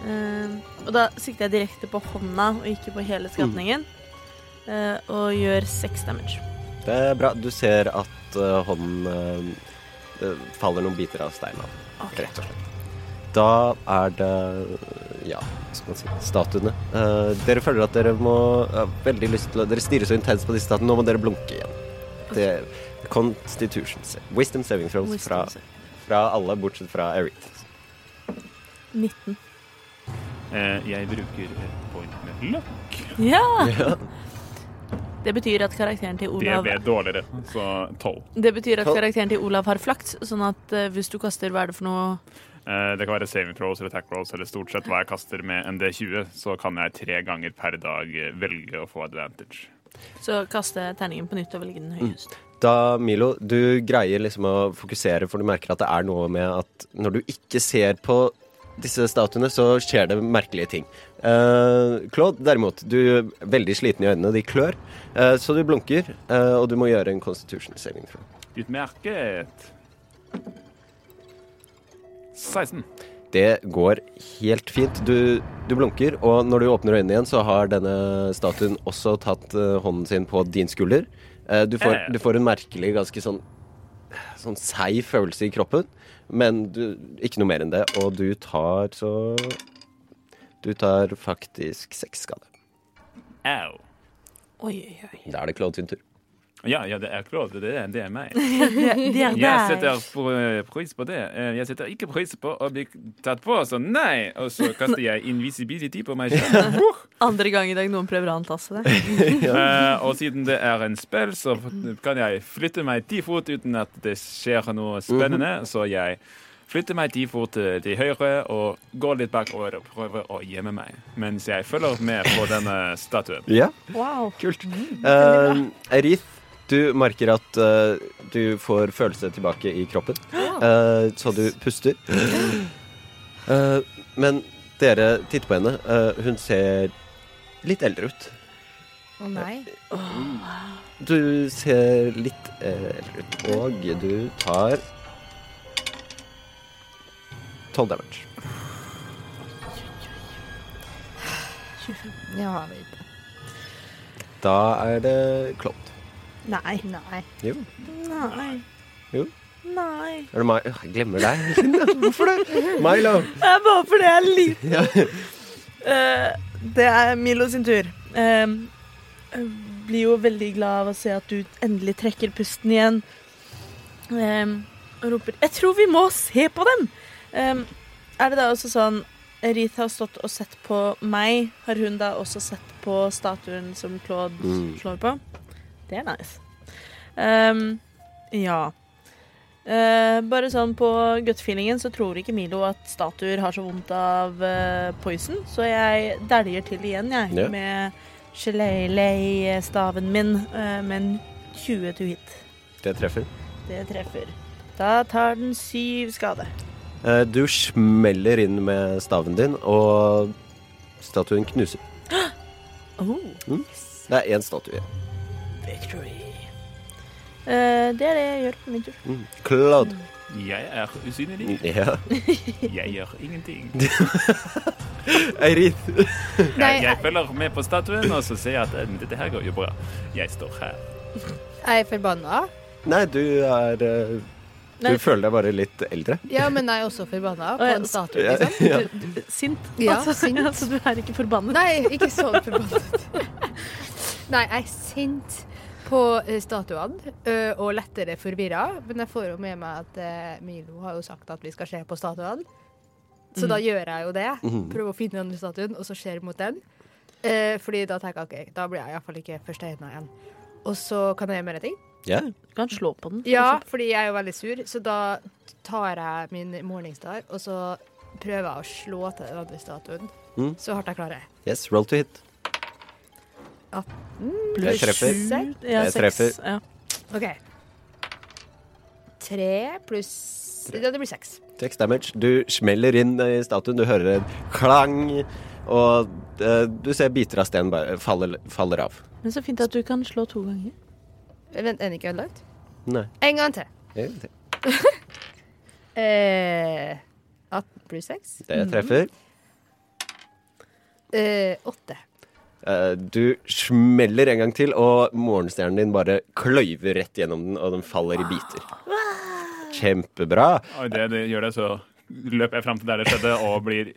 E: Ehm, og da sikter jeg direkte på hånda og ikke på hele skapningen. eh, og gjør seks damage.
B: Det er bra. Du ser at eh, hånden eh, eh, faller noen biter av steinen av. Rett og slett. Da er det ja, hva skal man si, statuene. Eh, dere føler at dere må har veldig lyst til å Dere stirrer så intenst på disse statuene. Nå må dere blunke igjen. Det Constitution. sa- Wisdom saving throws fra,
E: Wisdom save.
B: fra alle, bortsett fra Erith.
E: 19.
C: Eh, jeg bruker et point med løkk.
E: Ja! Det betyr at karakteren til
C: Det
E: Olav
C: ble dårligere, så 12.
E: Det betyr at karakteren til Olav har flaks, sånn at eh, hvis du kaster hva er det for noe
C: Eh, Det kan være saving throws eller attack rolls, eller stort sett hva jeg kaster med en D20, så kan jeg tre ganger per dag eh, velge å få advantage.
E: Så kaste terningen på nytt og velge den
B: Mm.
E: høyest.
B: Da, Milo, du greier liksom å fokusere, for du merker at det er noe med at når du ikke ser på disse statuene, så skjer det merkelige ting. Eh, Claude, derimot, du er veldig sliten i øynene, de klør, eh, så du blunker, eh, og du må gjøre en constitution saving throw.
C: Utmerket! 16.
B: Det går helt fint. Du, du blunker, og når du åpner øynene igjen, så har denne statuen også tatt eh, hånden sin på din skulder. Eh, du, får, du får en merkelig, ganske sånn sånn seig følelse i kroppen, men du, ikke noe mer enn det. Og du tar så Du tar faktisk seks skade.
C: Au.
E: Oi, oi, oi.
B: Da er det Claude sin tur.
C: Ja, ja, det er klart. Det er, det er meg.
E: De er
C: Jeg
E: der.
C: setter pr- pris på det. Eh, Jeg setter ikke pris på å bli tatt på, så nei! Og så kaster jeg invisibility på meg selv. Uh!
E: Andre gang i dag noen prøver å antaste det.
C: Eh, og siden det er en spill, så f- kan jeg flytte meg ti fot uten at det skjer noe spennende. Så jeg flytter meg ti fot eh, til høyre og går litt bakover og prøver å gjemme meg. Mens jeg følger med på denne statuen.
B: Ja,
E: Wow.
B: kult. Uh, Erith, du merker at eh, du får følelse tilbake i kroppen, eh, så du puster. Eh, men dere titter på henne. Eh, hun ser litt eldre ut.
D: Å nei.
B: Du ser litt eh, eldre ut, og du tar tolv damage.
D: Ja, vet du.
B: Da er det klovn.
E: Nei.
D: Nei.
B: Jo.
E: Nei.
B: Jo.
E: Nei.
B: Er det Mai? Åh, Jeg glemmer deg. Hvorfor det? Milo.
E: Det er bare fordi jeg er liten. Eh, det er Milo sin tur. Eh, jeg blir jo veldig glad av å se at du endelig trekker pusten igjen. Eh, og roper 'Jeg tror vi må se på dem'! Eh, er det da også sånn Reith har stått og sett på meg. Har hun da også sett på statuen som Claude
B: Mm.
E: slår på? Det er nice. Ehm, ja. Eh, bare sånn på gut-feelingen så tror ikke Milo at statuer har så vondt av eh, poison, så jeg dæljer til igjen, jeg,
B: Ja.
E: med shelelei-staven min, eh, med en 20 to hit.
B: Det treffer.
E: Det treffer. Da tar den syv skade.
B: Eh, Du smeller inn med staven din, og statuen knuser.
E: Oh,
B: Det er én statue igjen.
E: victory. Eh, det er det jeg gjør på min tur.
B: Mm. Claude.
C: Jeg er usynlig.
B: Ja.
C: Jeg gjør ingenting.
B: Eirith.
D: Nei,
C: Jeg, jeg følger med på statuen, og så ser jeg at eh, dette her går jo bra. Jeg står her.
D: Er jeg forbanna?
B: Nei, du er eh, Du
E: Nei.
B: føler deg bare litt eldre.
D: Ja, men jeg er også forbanna på
E: Å, ja,
D: en
E: s-
D: statue,
B: Ja,
D: liksom.
B: ja.
E: Du- du- Sint.
D: Ja,
E: altså,
D: sint.
E: altså, du er ikke forbannet.
D: Nei, ikke sånn forbannet. Nei, jeg er sint på eh, statuene ø, og lettere forvirra. Men jeg får jo med meg at eh, Milo har jo sagt at vi skal se på statuene. Så da gjør jeg jo det. Prøver å finne den statuen, og så ser jeg mot den. Eh, fordi da tenker jeg OK, da blir jeg iallfall ikke forsteina igjen. Og så kan jeg gjøre mer ting.
B: Ja.
E: Du kan slå på den. for
D: Ja,
E: eksempel.
D: fordi jeg er jo veldig sur, så da tar jeg min morningstar, og så prøver jeg å slå til den andre statuen.
B: Mm.
D: Så hardt jeg klarer.
B: Yes, roll to hit.
E: Pluss
B: treffer.
E: sju. Ja,
B: Jeg
E: seks.
B: treffer.
E: Ja.
D: OK. Tre pluss Ja, det blir seks.
B: Seks damage. Du smeller inn eh, i statuen, du hører en klang, og eh, du ser biter av steinen bare faller, faller av.
E: Men så fint at du kan slå to ganger.
D: Vent, er den ikke ødelagt?
B: Nei.
D: En gang til.
B: Det
D: Eh, 18 pluss 6
B: treffer.
D: eh, 8.
B: Eh, Du smeller en gang til, og morgenstjernen din bare kløyver rett gjennom den, og den faller i biter. Kjempebra.
C: Og det, det gjør det, så løper jeg fram til der det skjedde, og blir,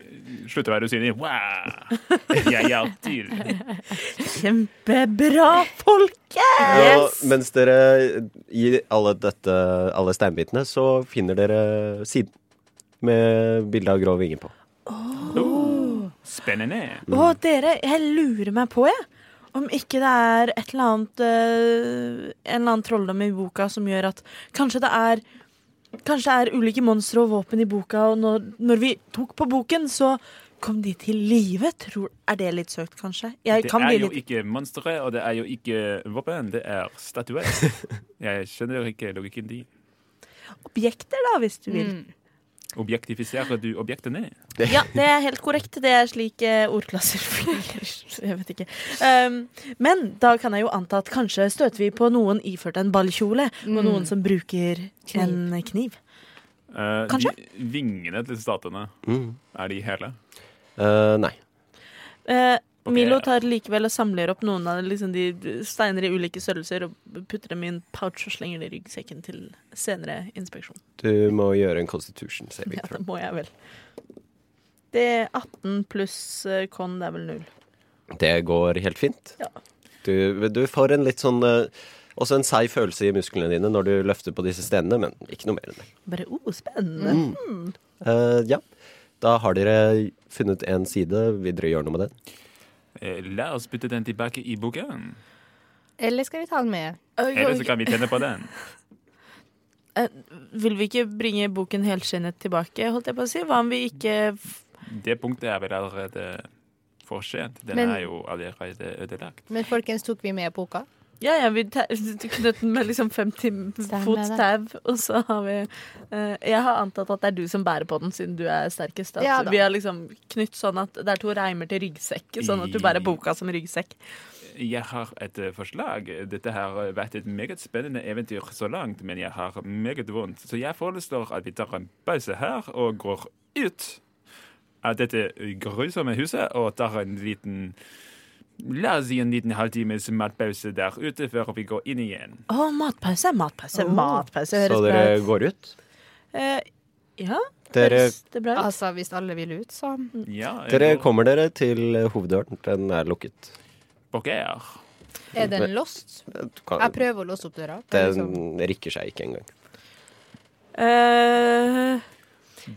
C: slutter å være usynlig. Wow! Jeg er tydelig.
E: Kjempebra, folket!
B: Og mens dere i alle, dette, alle steinbitene, så finner dere siden med bilde av grå vinge på.
C: Spennende.
E: Og dere, jeg lurer meg på, jeg. Om ikke det er et eller annet eh, En eller annen trolldom i boka som gjør at kanskje det er Kanskje det er ulike monstre og våpen i boka, og når, når vi tok på boken, så kom de til live. Tror, er det litt søkt, kanskje? Jeg
C: Det
E: kan
C: er
E: bli
C: jo
E: litt
C: ikke monstre, og det er jo ikke våpen. Det er statuer. Jeg skjønner ikke logikken din.
E: objekter, da, hvis du vil.
D: Mm.
C: Objektifiserer du objektene?
E: Ja, det er helt korrekt. Det er slik eh, ordklasser fungerer. Så Jeg vet ikke. Um, men da kan jeg jo anta at kanskje støter vi på noen iført en ballkjole, og noen som bruker en Mm. kniv.
C: Eh,
E: Kanskje. Mm.
C: De vingene til statuene, er de hele?
B: Eh, nei.
E: Eh,
C: Ok.
E: Milo tar likevel og samler opp noen av liksom, de steiner i ulike størrelser og putter dem i en pouch og slenger det i ryggsekken til senere inspeksjon.
B: Du må gjøre en constitution saving
E: Ja,
B: throw.
E: det må jeg vel. Det er 18 pluss eh, con, det er vel null.
B: Det går helt fint.
E: Ja.
B: Du, du får en litt sånn eh, Også en seig følelse i musklene dine når du løfter på disse stenene, men ikke noe mer enn det.
E: Bare oh, spennende.
B: Eh, ja, da har dere funnet en side. Vil dere gjøre noe med den?
C: Eh, La oss putte den tilbake i boken.
D: Eller skal vi ta den med?
E: Oi, oi,
C: Eller så kan vi tenne på den.
E: eh, Vil vi ikke bringe boken helskinnet tilbake, holdt jeg på å si? Hva om vi ikke f-
C: Det punktet er vel allerede for sent. Den
D: Men-
C: er jo allerede ødelagt.
D: Men folkens, tok vi med boka?
E: Ja, ja, vi ta- knøt den med liksom 50
D: Stemmer
E: fots
D: det.
E: tau, og så har vi eh, Jeg har antatt at det er du som bærer på den, siden du er sterkest. At
D: Ja da.
E: vi har liksom knytt sånn at det er to reimer til ryggsekk, sånn at du bærer boka som ryggsekk.
C: Jeg har et eh, forslag. Dette har vært et meget spennende eventyr så langt, men jeg har meget vondt. Så jeg foreslår at vi tar en pause her og går ut av dette grusomme huset og tar en liten La oss si en liten halvtimes matpause der ute før vi går inn igjen.
E: Å, matpause, matpause,
D: Åh.
E: matpause.
B: Så
E: Høres bra
B: dere
E: ut.
B: går ut.
E: Eh, ja,
B: Dere,
E: høres det bra ut?
D: Altså, hvis alle vil ut, så
C: Ja, jeg
B: dere
C: går-
B: kommer dere til hoveddøren. Den er lukket.
C: Pokker.
D: er den låst.
B: Du
D: Jeg
B: kan-
D: prøver å låse opp døra. for liksom-
B: Den rikker seg ikke engang.
E: Eh,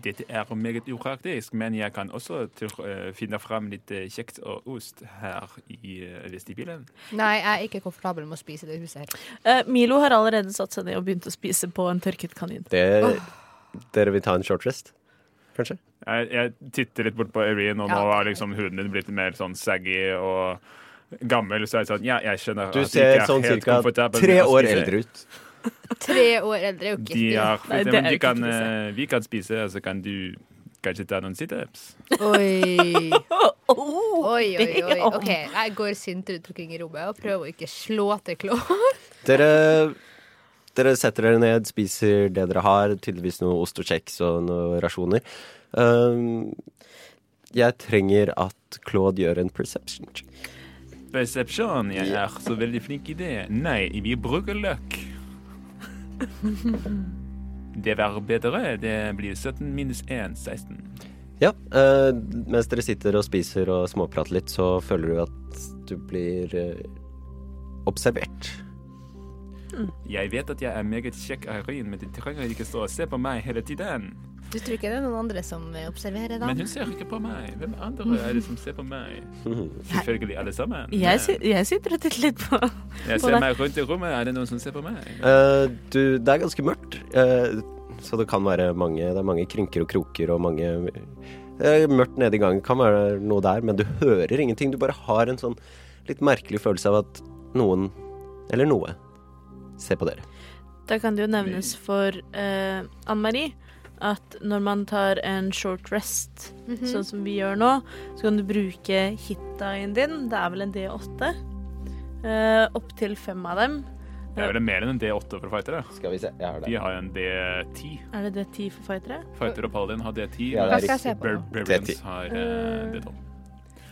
C: Dette er meget upraktisk, men jeg kan også til, eh, finne fram litt eh, kjekt og ost her i eh, vestibylen.
D: Nei, jeg er ikke komfortabel med å spise i det huset her.
E: eh, Milo har allerede satt seg ned og begynt å spise på en tørket kanin.
B: Det, dere vil ta en short rest, kanskje?
C: Jeg, jeg titter litt bort på Irene, og
D: Ja.
C: nå har liksom huden din blitt mer sånn saggy og gammel. Så jeg er sånn, ja, jeg skjønner
B: Du
C: at de
B: ser
C: ikke er
B: sånn
C: helt
B: cirka
C: komfortable
B: tre
C: med å
B: år
C: spise.
B: eldre ut.
D: Tre år eldre er jo
C: De
D: ikke
C: er,
E: Nei, det
C: men
E: er
C: de
E: ikke
C: kan,
E: spise.
C: eh, vi kan spise, og så kan du kanskje ta noen situps.
D: Oi.
E: Oh,
D: Oi, oi, oi. OK, jeg går sint rundt omkring i rommet og prøver å ikke slå til klå.
B: Dere, dere setter dere ned, spiser det dere har, tydeligvis noe ost og kjeks og noen rasjoner. Ehm, jeg trenger at Claude gjør en perception check.
C: Perception, jeg er så veldig flink i det. Nei, vi bruker løk. Det var bedre. Det blir 17 minus 1, 16.
B: Ja, eh, mens dere sitter og spiser og småprater litt, så føler du at du blir eh, observert.
C: Jeg vet at jeg er meget kjekk, Irene, men du trenger ikke stå og se på meg hele tiden.
D: Du tror ikke det er noen andre som eh, observerer, da?
C: Men hun ser ikke på meg. Hvem andre er det som ser på meg?
B: Mhm.
C: Selvfølgelig alle sammen.
E: Jeg, si- jeg sitter og titter litt på
C: Jeg
E: på
C: ser
E: deg.
C: meg rundt i rommet. Er det noen som ser på meg?
B: Eh, du, det er ganske mørkt, eh, så det kan være mange Det er mange krynker og kroker og mange eh, Mørkt nede i gangen kan være noe der, men du hører ingenting. Du bare har en sånn litt merkelig følelse av at noen, eller noe, ser på dere.
E: Da kan det jo nevnes for eh, Anne Marie at når man tar en short rest, sånn som vi gjør nå, så kan du bruke hitdien din, det er vel en D8, eh, opptil fem av dem.
C: Det er vel mer enn en D8 for fightere.
B: Skal vi se, jeg har
C: De har en D10.
E: Er det D10 for fightere?
C: Fighter og paladin har D10.
B: Ja,
D: Hva
B: det er
D: skal jeg se på
C: Bar-
D: nå?
C: Barbarians
B: D10.
C: har eh, D12.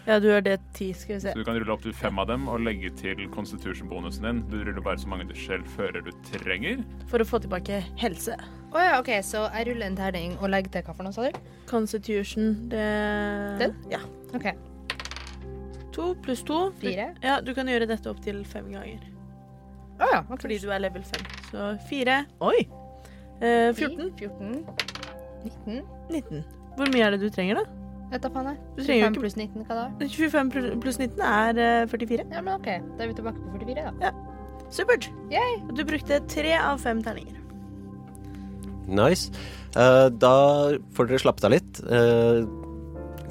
E: Ja, du har D10, skal vi se.
C: Så du kan rulle opp til fem av dem og legge til constitution-bonusen din. Du ruller bare så mange du selv føler du trenger.
E: For å få tilbake helse.
D: Å ja, OK, så jeg ruller en terning og legger til hva for noe, sa du?
E: Constitution, det
D: Den?
E: Ja.
D: OK.
E: To pluss to. Du-
D: Fire.
E: Ja, du kan gjøre dette opptil fem ganger.
D: Å ja. ok.
E: Fordi du er level fem. Så fire. Oi! Eh, 14.
D: 14. 19.
E: 19. Hvor mye er det du trenger, da?
D: Vet da faen, jeg.
E: Du trenger
D: 25
E: jo ikke-
D: pluss 19, hva da?
E: 25 pl- pluss 19 er eh, 44.
D: Ja, men OK, da er vi tilbake på 44, da.
E: Supert.
D: Yay.
E: Og Du brukte tre av fem terninger.
B: Nice. Eh, da får dere slappet av litt. Eh,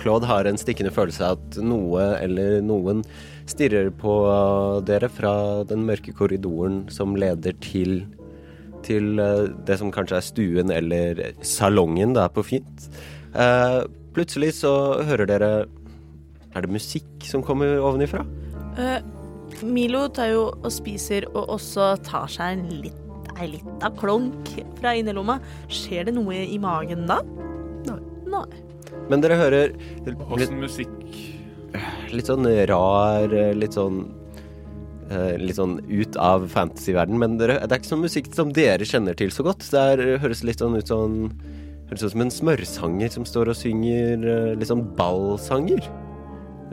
B: Claude har en stikkende følelse av at noe eller noen stirrer på dere fra den mørke korridoren som leder til til eh, det som kanskje er stuen eller salongen det er på fint. Eh, plutselig så hører dere Er det musikk som kommer ovenifra?
E: Eh, Milo tar jo og spiser og også tar seg en litt ei lita klonk fra innerlomma. Skjer det noe i magen da? Nei.
B: Men dere hører litt
C: Åssen musikk
B: Litt sånn rar, litt sånn eh, Litt sånn ut av fantasyverden, men dere, det er ikke sånn musikk som dere kjenner til så godt. Det er, høres litt sånn ut sånn Høres ut som en smørsanger som står og synger eh, litt sånn ballsanger.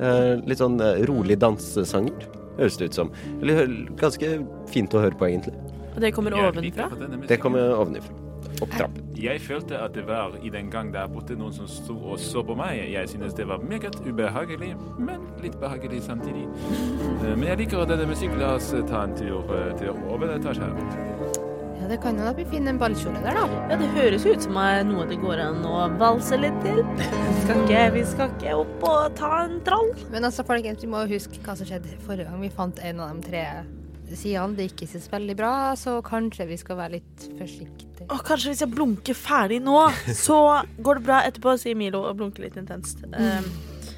B: Eh, Litt sånn eh, rolig dansesanger. høres det ut som. Eller hø- ganske fint å høre på, egentlig.
E: Og det kommer
C: Jeg liker
E: ovenfra.
C: akkurat det, nemlig.
B: Det kommer ovenifra. Opp trappen.
C: Jeg følte at det var i den gang der borte noen som sto og så på meg. Jeg synes det var meget ubehagelig, men litt behagelig samtidig. Eh, Men jeg liker denne musikken. La oss ta en tur eh, til overetasjen.
D: Ja, det kan jo da bli fin en ballkjole der, da.
E: Ja, det høres jo ut som eh, noe det går an å valse litt til. Vi skal ikke, vi skal ikke opp og ta en trall.
D: Men altså, folkens, vi må jo huske hva som skjedde forrige gang vi fant en av de tre sidene. Det gikk ikke så veldig bra, så kanskje vi skal være litt forsiktige.
E: Å, kanskje hvis jeg blunker ferdig nå, så går det bra etterpå, sier Milo og blunker litt intenst.
B: Mm.
E: Eh,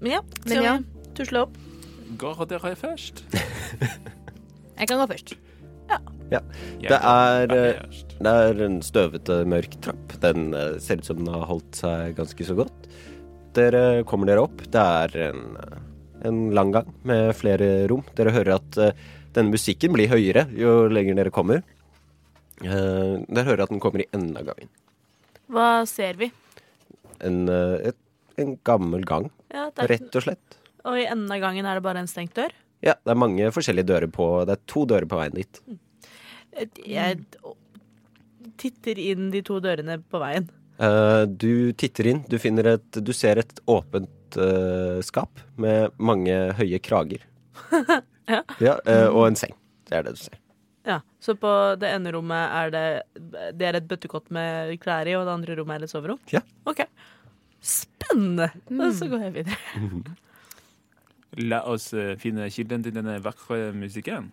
E: men ja,
D: Men
E: skal
D: ja.
E: vi tusle opp?
C: Går dere først?
D: Jeg kan gå først.
C: Jeg
B: Det er,
C: går
B: eh,
C: først.
B: det er en støvete, mørk trapp. Den eh, ser ut som den har holdt seg ganske så godt. Dere kommer dere opp. Det er en, eh, en lang gang med flere rom. Dere hører at eh, denne musikken blir høyere jo lenger dere kommer. Eh, Dere hører at den kommer i enden av gangen.
E: Hva ser vi?
B: En, eh, et, en gammel gang,
E: Ja, det er,
B: rett og slett.
E: og i enden av gangen er det bare en stengt dør.
B: Ja, det er mange forskjellige dører på Det er to dører på veien dit.
E: Jeg titter inn de to dørene på veien.
B: Eh, du titter inn. Du, finner et, du ser et åpent eh, skap med mange høye krager.
E: Ja.
B: eh, og en seng. Det er det du ser.
E: Ja, Så på det ene rommet er det Det er et bøttekott med klær i, og det andre rommet er et soverom?
B: Ja.
E: Ok. Spennende! Og så går jeg videre.
C: La oss eh, finne kilden til denne vakre musikken.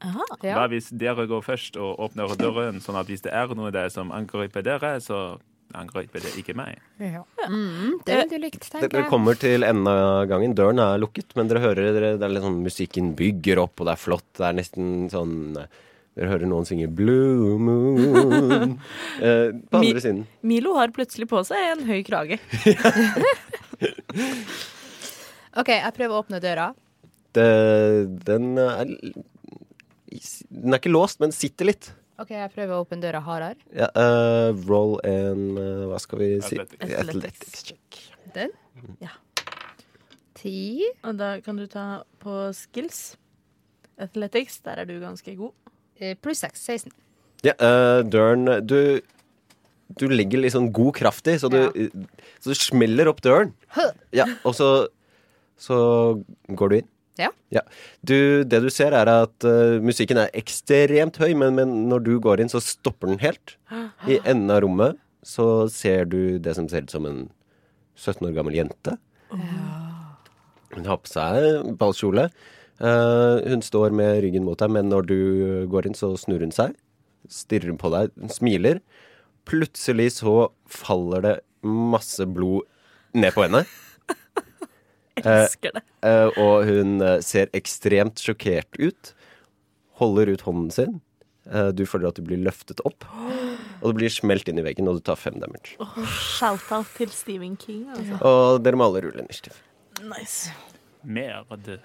D: Ja.
C: Hva hvis dere går først og åpner døren, sånn at hvis det er noe der som angriper dere, så angriper det ikke meg.
D: ja. Mm, det ville du likt, tenker
B: Dere
D: jeg.
B: kommer til enden av gangen. Døren er lukket, men dere hører dere, det er litt sånn musikken bygger opp, og det er flott. Det er nesten sånn Dere hører noen synge 'Blue Moon' eh, på
E: Mi-
B: andre siden.
E: Milo har plutselig på seg en høy krage.
D: OK, jeg prøver å åpne døra.
B: Det, den er l- Den er ikke låst, men sitter litt.
D: OK, jeg prøver å åpne døra hardere.
B: Ja, eh, roll en eh, Hva skal vi si?
C: Athletics.
E: Athletics
B: check.
D: Den.
C: Mm.
E: Ja.
D: Ti.
E: Og da kan du ta på skills. Athletics, der er du ganske god.
D: eh, Pluss seks. 16.
B: Ja, eh, døren du, du ligger litt sånn god kraft i, så du, så du smeller opp døren.
D: Hø.
B: Ja, og så, så går du inn.
D: Ja.
B: Du, det du ser, er at eh, musikken er ekstremt høy, men, men når du går inn, så stopper den helt. I enden av rommet så ser du det som ser ut som en 17 år gammel jente. Hun har på seg ballkjole. Eh, hun står med ryggen mot deg, men når du går inn, så snur hun seg. Stirrer på deg, hun smiler. Plutselig så faller det masse blod ned på henne.
E: Elsker det.
B: Eh, og hun eh, ser ekstremt sjokkert ut. Holder ut hånden sin. Eh, du føler at du blir løftet opp. Og du blir smelt inn i veggen, og du tar fem damage.
E: Shout-out til Stephen King. Altså.
B: Og dere må alle rulle initiativ.
E: Nice.
C: Mer av det.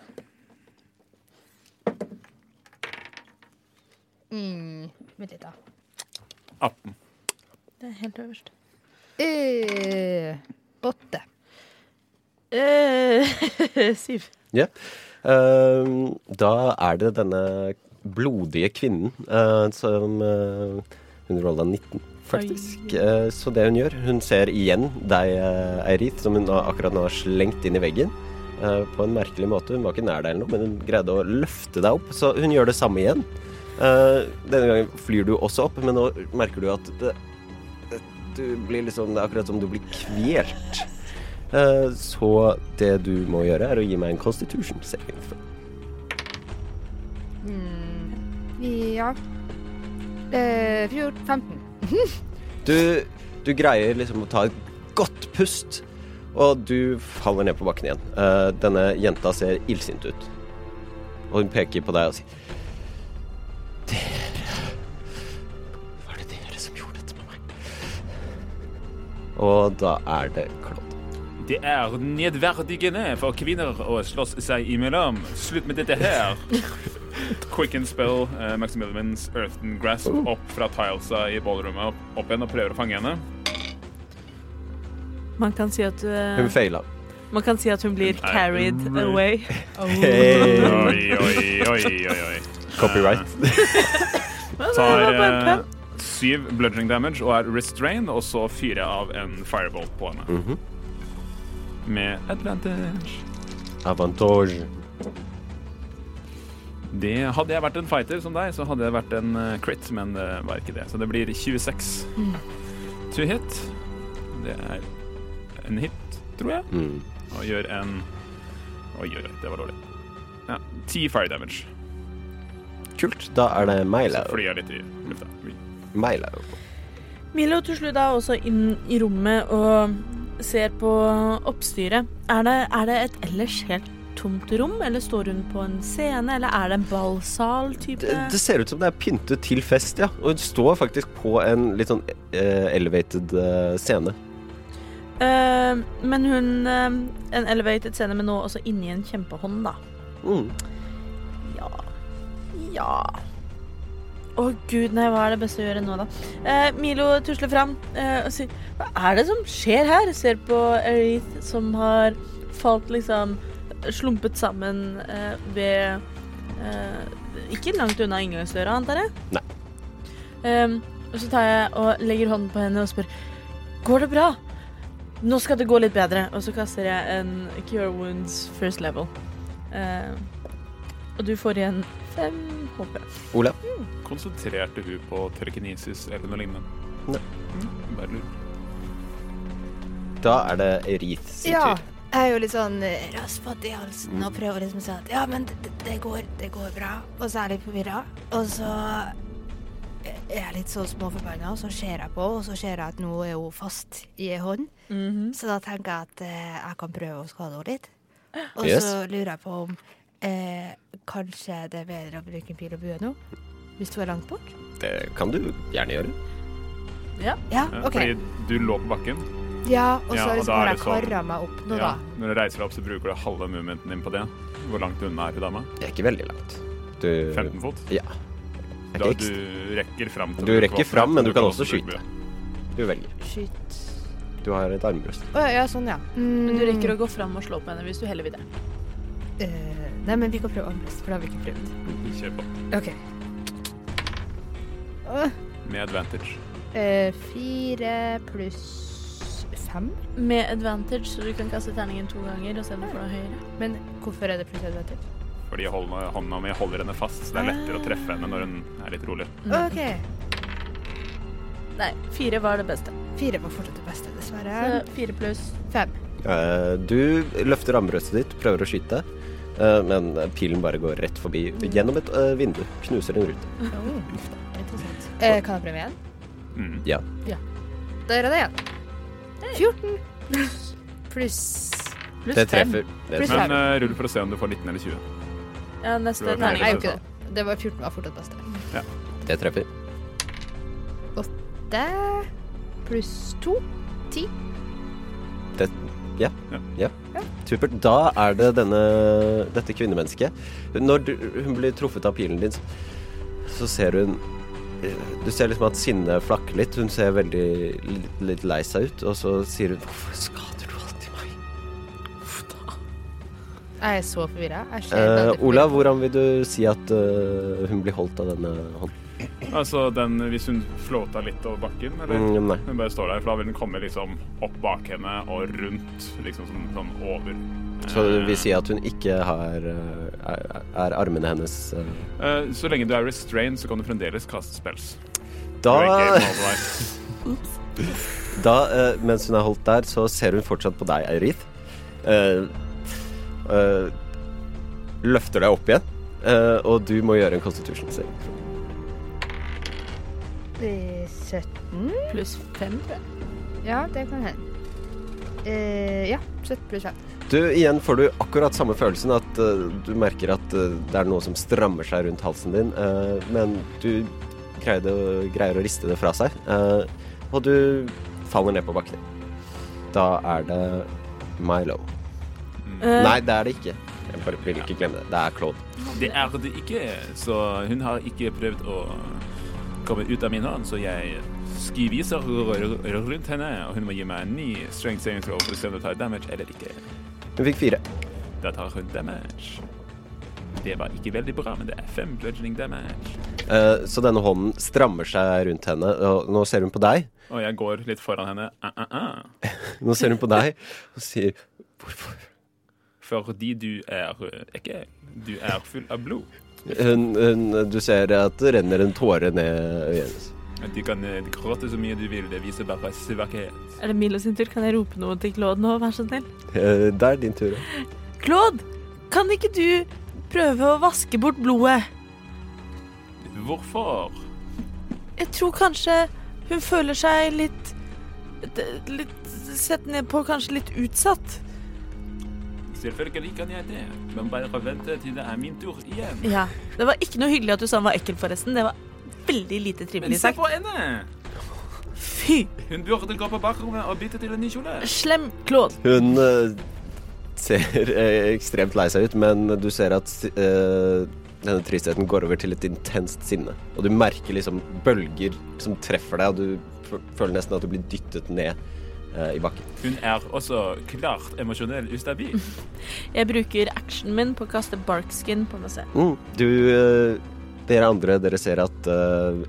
D: Mm. Vent litt, da.
C: 18.
E: Det er helt øverst.
D: Eh, åtte.
E: Eh, Siv.
B: Ja. Ehm, da er det denne blodige kvinnen eh, som eh, Hun rolla 19, faktisk. Eh, så det hun gjør Hun ser igjen deg, uh, Eirith, som hun da akkurat nå har slengt inn i veggen. eh, på en merkelig måte. Hun var ikke nær deg, eller noe, men hun greide å løfte deg opp. Så hun gjør det samme igjen. Eh, denne gangen flyr du også opp, men nå merker du at det, det, du blir liksom, det er akkurat som du blir kvelt. Eh, Så det du må gjøre, er å gi meg en constitution saving. throw.
D: Ja. Eh, 14. 15.
B: Du, du greier liksom å ta et godt pust, og du faller ned på bakken igjen. Eh, Denne jenta ser illsint ut, og hun peker på deg og sier Dere Var det dere som gjorde dette med meg? Og da er det Claude.
C: Det er nedverdigende for kvinner å slåss seg imellom. Slutt med dette her. Quicken spell, eh, Maximilians earthen grasp opp fra tilesa i ballrommet opp, opp igjen og prøver å fange henne.
E: Man kan si at eh,
B: Hun faila.
E: Man kan si at hun blir
C: Hun er
E: carried
C: rude.
E: away.
C: Oi, oi, oi, oi, oi.
B: Copyright.
C: Eh, Tar eh, syv bludging damage og er restrained, og så fyrer jeg av en firebolt på henne. Med advantage.
B: Avantage.
C: Det hadde jeg vært en fighter som deg, så hadde jeg vært en eh, crit, men det var ikke det. Så det blir 26
D: Mm.
C: to hit. Det er en hit, tror jeg.
B: Mm.
C: Og gjør en Oi, oi, oi, det var dårlig. Ja, ti fire damage.
B: Kult. Da er det
C: Så
B: Milo.
C: flyr jeg litt i lufta.
B: Milo.
E: Milo til slutt er også inn i rommet og ser på oppstyret. Er det, er det et ellers helt tomt rom, eller står hun på en scene, eller er det en ballsal-type?
B: Det, det ser ut som det er pyntet til fest, ja. Og hun står faktisk på en litt sånn eh, elevated eh, scene.
E: Eh, men hun eh, En elevated scene, men nå også inni en kjempehånd, da.
B: Mm.
E: Ja. Ja. Å gud, nei, hva er det beste å gjøre nå, da? Eh, Milo tusler fram eh, og sier Hva er det som skjer her? Ser på Erith som har falt liksom slumpet sammen eh, ved eh, Ikke langt unna inngangsdøra, antar jeg?
B: Nei.
E: Ehm, og så tar jeg og legger hånden på henne og spør Går det bra? Nå skal det gå litt bedre. Og så kaster jeg en Cure Wounds first level. Ehm, og du får igjen fem HP.
B: Ola.
C: Konsentrerte hun på telekinesis eller noe lignende?
B: Nei.
C: Mm, Bare lurer.
B: Da er det Erith sin
D: Ja.
B: tur.
D: Jeg er jo litt sånn eh, raspete i halsen og prøver liksom å si at ja, men det, det, går, det går bra. Og så er jeg litt forvirra. Og så er jeg litt så småforbanna, og så ser jeg på, og så ser jeg at nå er hun fast i ei hånd. Så da tenker jeg at eh, jeg kan prøve å skade henne litt. Og
B: Yes.
D: så lurer jeg på om eh, kanskje det er bedre å bruke en pil og bue nå, hvis hun er langt bort.
B: Det kan du gjerne gjøre.
D: Ja,
C: Ja,
D: OK.
C: Fordi du lå på bakken.
D: Ja, og
C: Ja,
D: så
C: og da
D: liksom
C: er
D: har jeg
C: det sånn-
D: kara meg opp nå,
C: Ja,
D: da.
C: når du reiser deg opp, så bruker du halve movementen din på det. Hvor langt unna er hun dama?
B: Det er ikke veldig langt. Du
C: 15 fot?
B: Ja. Det er
C: Da
B: ikke
C: du
B: ekstra.
C: rekker fram til
B: Du
C: å bruke
B: rekker
C: våpenet,
B: fram, men du kan også
C: bruke
B: skyte.
C: bue.
B: Du velger.
D: Skyt.
B: Du har et armbrøst.
D: Å ja, ja, sånn, ja.
E: Men du rekker å gå fram og slå på henne hvis du heller vil det.
D: Eh, nei, men vi kan prøve armbrest, for det har vi ikke prøvd.
C: Kjør på.
D: Ok.
C: Med advantage.
D: Eh, fire pluss fem.
E: Med advantage, så du kan kaste terningen to ganger og se om du får noe høyere.
D: Men hvorfor er det pluss advantage?
C: Fordi jeg holder, hånda mi holder henne fast, så det er lettere å treffe henne når hun er litt rolig.
D: OK.
E: Nei, fire var det beste.
D: Fire var fortsatt det beste, dessverre.
E: Så fire pluss
D: Fem.
B: Eh, du løfter armbrøstet ditt, prøver å skyte, eh, men pilen bare går rett forbi. Gjennom et eh, vindu. Knuser en rute.
D: Interessant. Eh, kan jeg prøve igjen?
C: Mm.
B: Ja.
D: Da gjør jeg det igjen. 14 pluss
E: pluss
B: Det
E: fem.
B: treffer. Det
D: Pluss
B: treffer.
D: fem.
C: Men eh, rull for å se om du får 19 eller 20.
E: Ja, neste
C: Du har
D: Nei,
E: terning.
D: jeg gjorde ikke det. Det var 14 var fortsatt beste.
B: Det treffer.
D: Det pluss to.
B: Det, ja.
C: Ja.
B: ja. Supert. Da er det denne, dette kvinnemennesket. Når du, hun blir truffet av pilen din, så ser hun Du ser liksom at sinnet flakker litt. Hun ser veldig litt, litt lei seg ut, og så sier hun Hvorfor skader du alltid meg?
D: Jeg er så forvirra. Jeg ser
B: Eh,
D: veldig forvirret.
B: Olav, hvordan vil du si at eh, hun blir holdt av denne hånden?
C: Altså, den, hvis hun flåta litt over bakken, eller?
B: Mm, nei.
C: Hun bare står der, for da vil den komme liksom opp bak henne og rundt, liksom sånn, sånn over.
B: Så
C: Eh,
B: du vil si at hun ikke har eh, Er, er armene hennes eh,
C: eh, Så lenge du er restrained, så kan du fremdeles kaste spells.
B: Da
C: Du er game over.
B: Da, eh, mens hun er holdt der, så ser hun fortsatt på deg, Eirith. Eh, eh, løfter deg opp igjen, eh, og du må gjøre en constitution save.
D: Eh, 17.
E: Pluss fem.
D: Ja, det kan hende. Eh, ja, 17 pluss 5.
B: Du, igjen får du akkurat samme følelsen, at eh, du merker at eh, det er noe som strammer seg rundt halsen din, eh, men du greide, å- greier å riste det fra seg, eh, og du faller ned på bakken. Da er det Milo.
E: Mm. Eh,
B: Nei, det er det ikke. Jeg bare vil ikke glemme det. Det er Claude.
C: Det er det ikke, så hun har ikke prøvd å komme ut av min hånd, så jeg skiviser r- r- rundt henne, og hun må gi meg en ny strength saving throw for å se om hun tar damage eller ikke.
B: Hun fikk fire.
C: Da tar hun damage. Det var ikke veldig bra, men det er fem bludgeoning damage.
B: Eh, så denne hånden strammer seg rundt henne, og nå ser hun på deg.
C: Og jeg går litt foran henne. Ah, ah, ah.
B: Nå ser hun på deg og sier Hvorfor?
C: Fordi du er eh, ikke Du er full av blod.
B: Hun, hun, du ser at det renner en tåre ned øyet hennes.
C: Du kan eh, gråte så mye du vil, det viser bare svakhet.
E: Er det Milo sin tur? Kan jeg rope noe til Claude nå, vær så snill?
B: Eh, Det er din tur. ja.
E: Claude, kan ikke du prøve å vaske bort blodet?
C: Hvorfor?
E: Jeg tror kanskje hun føler seg litt d- Litt sett ned på, kanskje litt utsatt.
C: Selvfølgelig kan jeg det, men bare vente til det er min tur igjen.
E: Ja. Det var ikke noe hyggelig at du sa han var ekkel, forresten. Det var veldig lite
C: Men
E: trivelig
C: se
E: sagt.
C: på henne!
E: Fy!
C: Hun burde gå på bakrommet og bytte til en ny kjole.
E: Slem Claude.
B: Hun eh, ser eh, ekstremt lei seg ut, men du ser at eh, denne tristheten går over til et intenst sinne. Og du merker liksom bølger som treffer deg, og du f- føler nesten at du blir dyttet ned eh, i bakken.
C: Hun er også klart emosjonell ustabil.
E: Jeg bruker actionen min på å kaste barkskin på meg selv.
B: Mm. Du, eh, dere andre, dere ser at eh,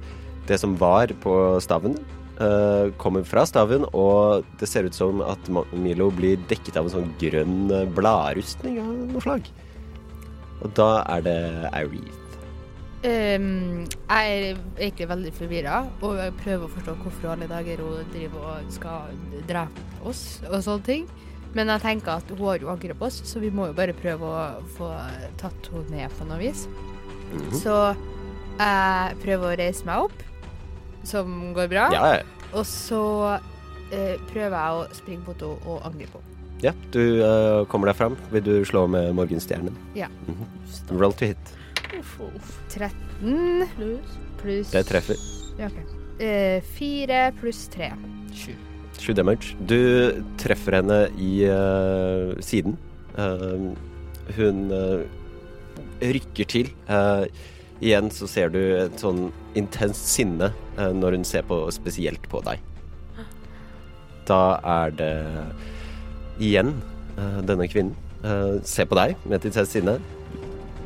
B: det som var på staven, eh, kommer fra staven, og det ser ut som at Ma- Milo blir dekket av en sånn grønn eh, bladrustning av noe slag. Og da er det Irene.
D: Ehm, jeg er egentlig veldig forvirra og jeg prøver å forstå hvorfor alle dager hun driver og skal drepe oss og sånne ting. Men jeg tenker at hun har jo angrepet oss, så vi må jo bare prøve å få tatt henne ned på noe vis. Så jeg prøver å reise meg opp, som går bra.
B: Ja, ja.
D: Og så eh, prøver jeg å springe mot henne og angripe henne.
B: ja du eh, kommer deg fram. Vil du slå med morgenstjernen?
D: Ja.
B: Mhm. Roll to hit.
E: Uff, uff.
D: 13
E: Plus.
D: pluss
B: Det treffer.
D: Ja, ok. Eh, Fire pluss tre. Sju.
B: Sju damage. Du treffer henne i eh, siden. Eh, hun eh, rykker til. Eh, igjen så ser du et sånn intenst sinne eh, når hun ser på, spesielt på deg. Da er det igjen eh, denne kvinnen. eh, ser på deg med et intenst sinne.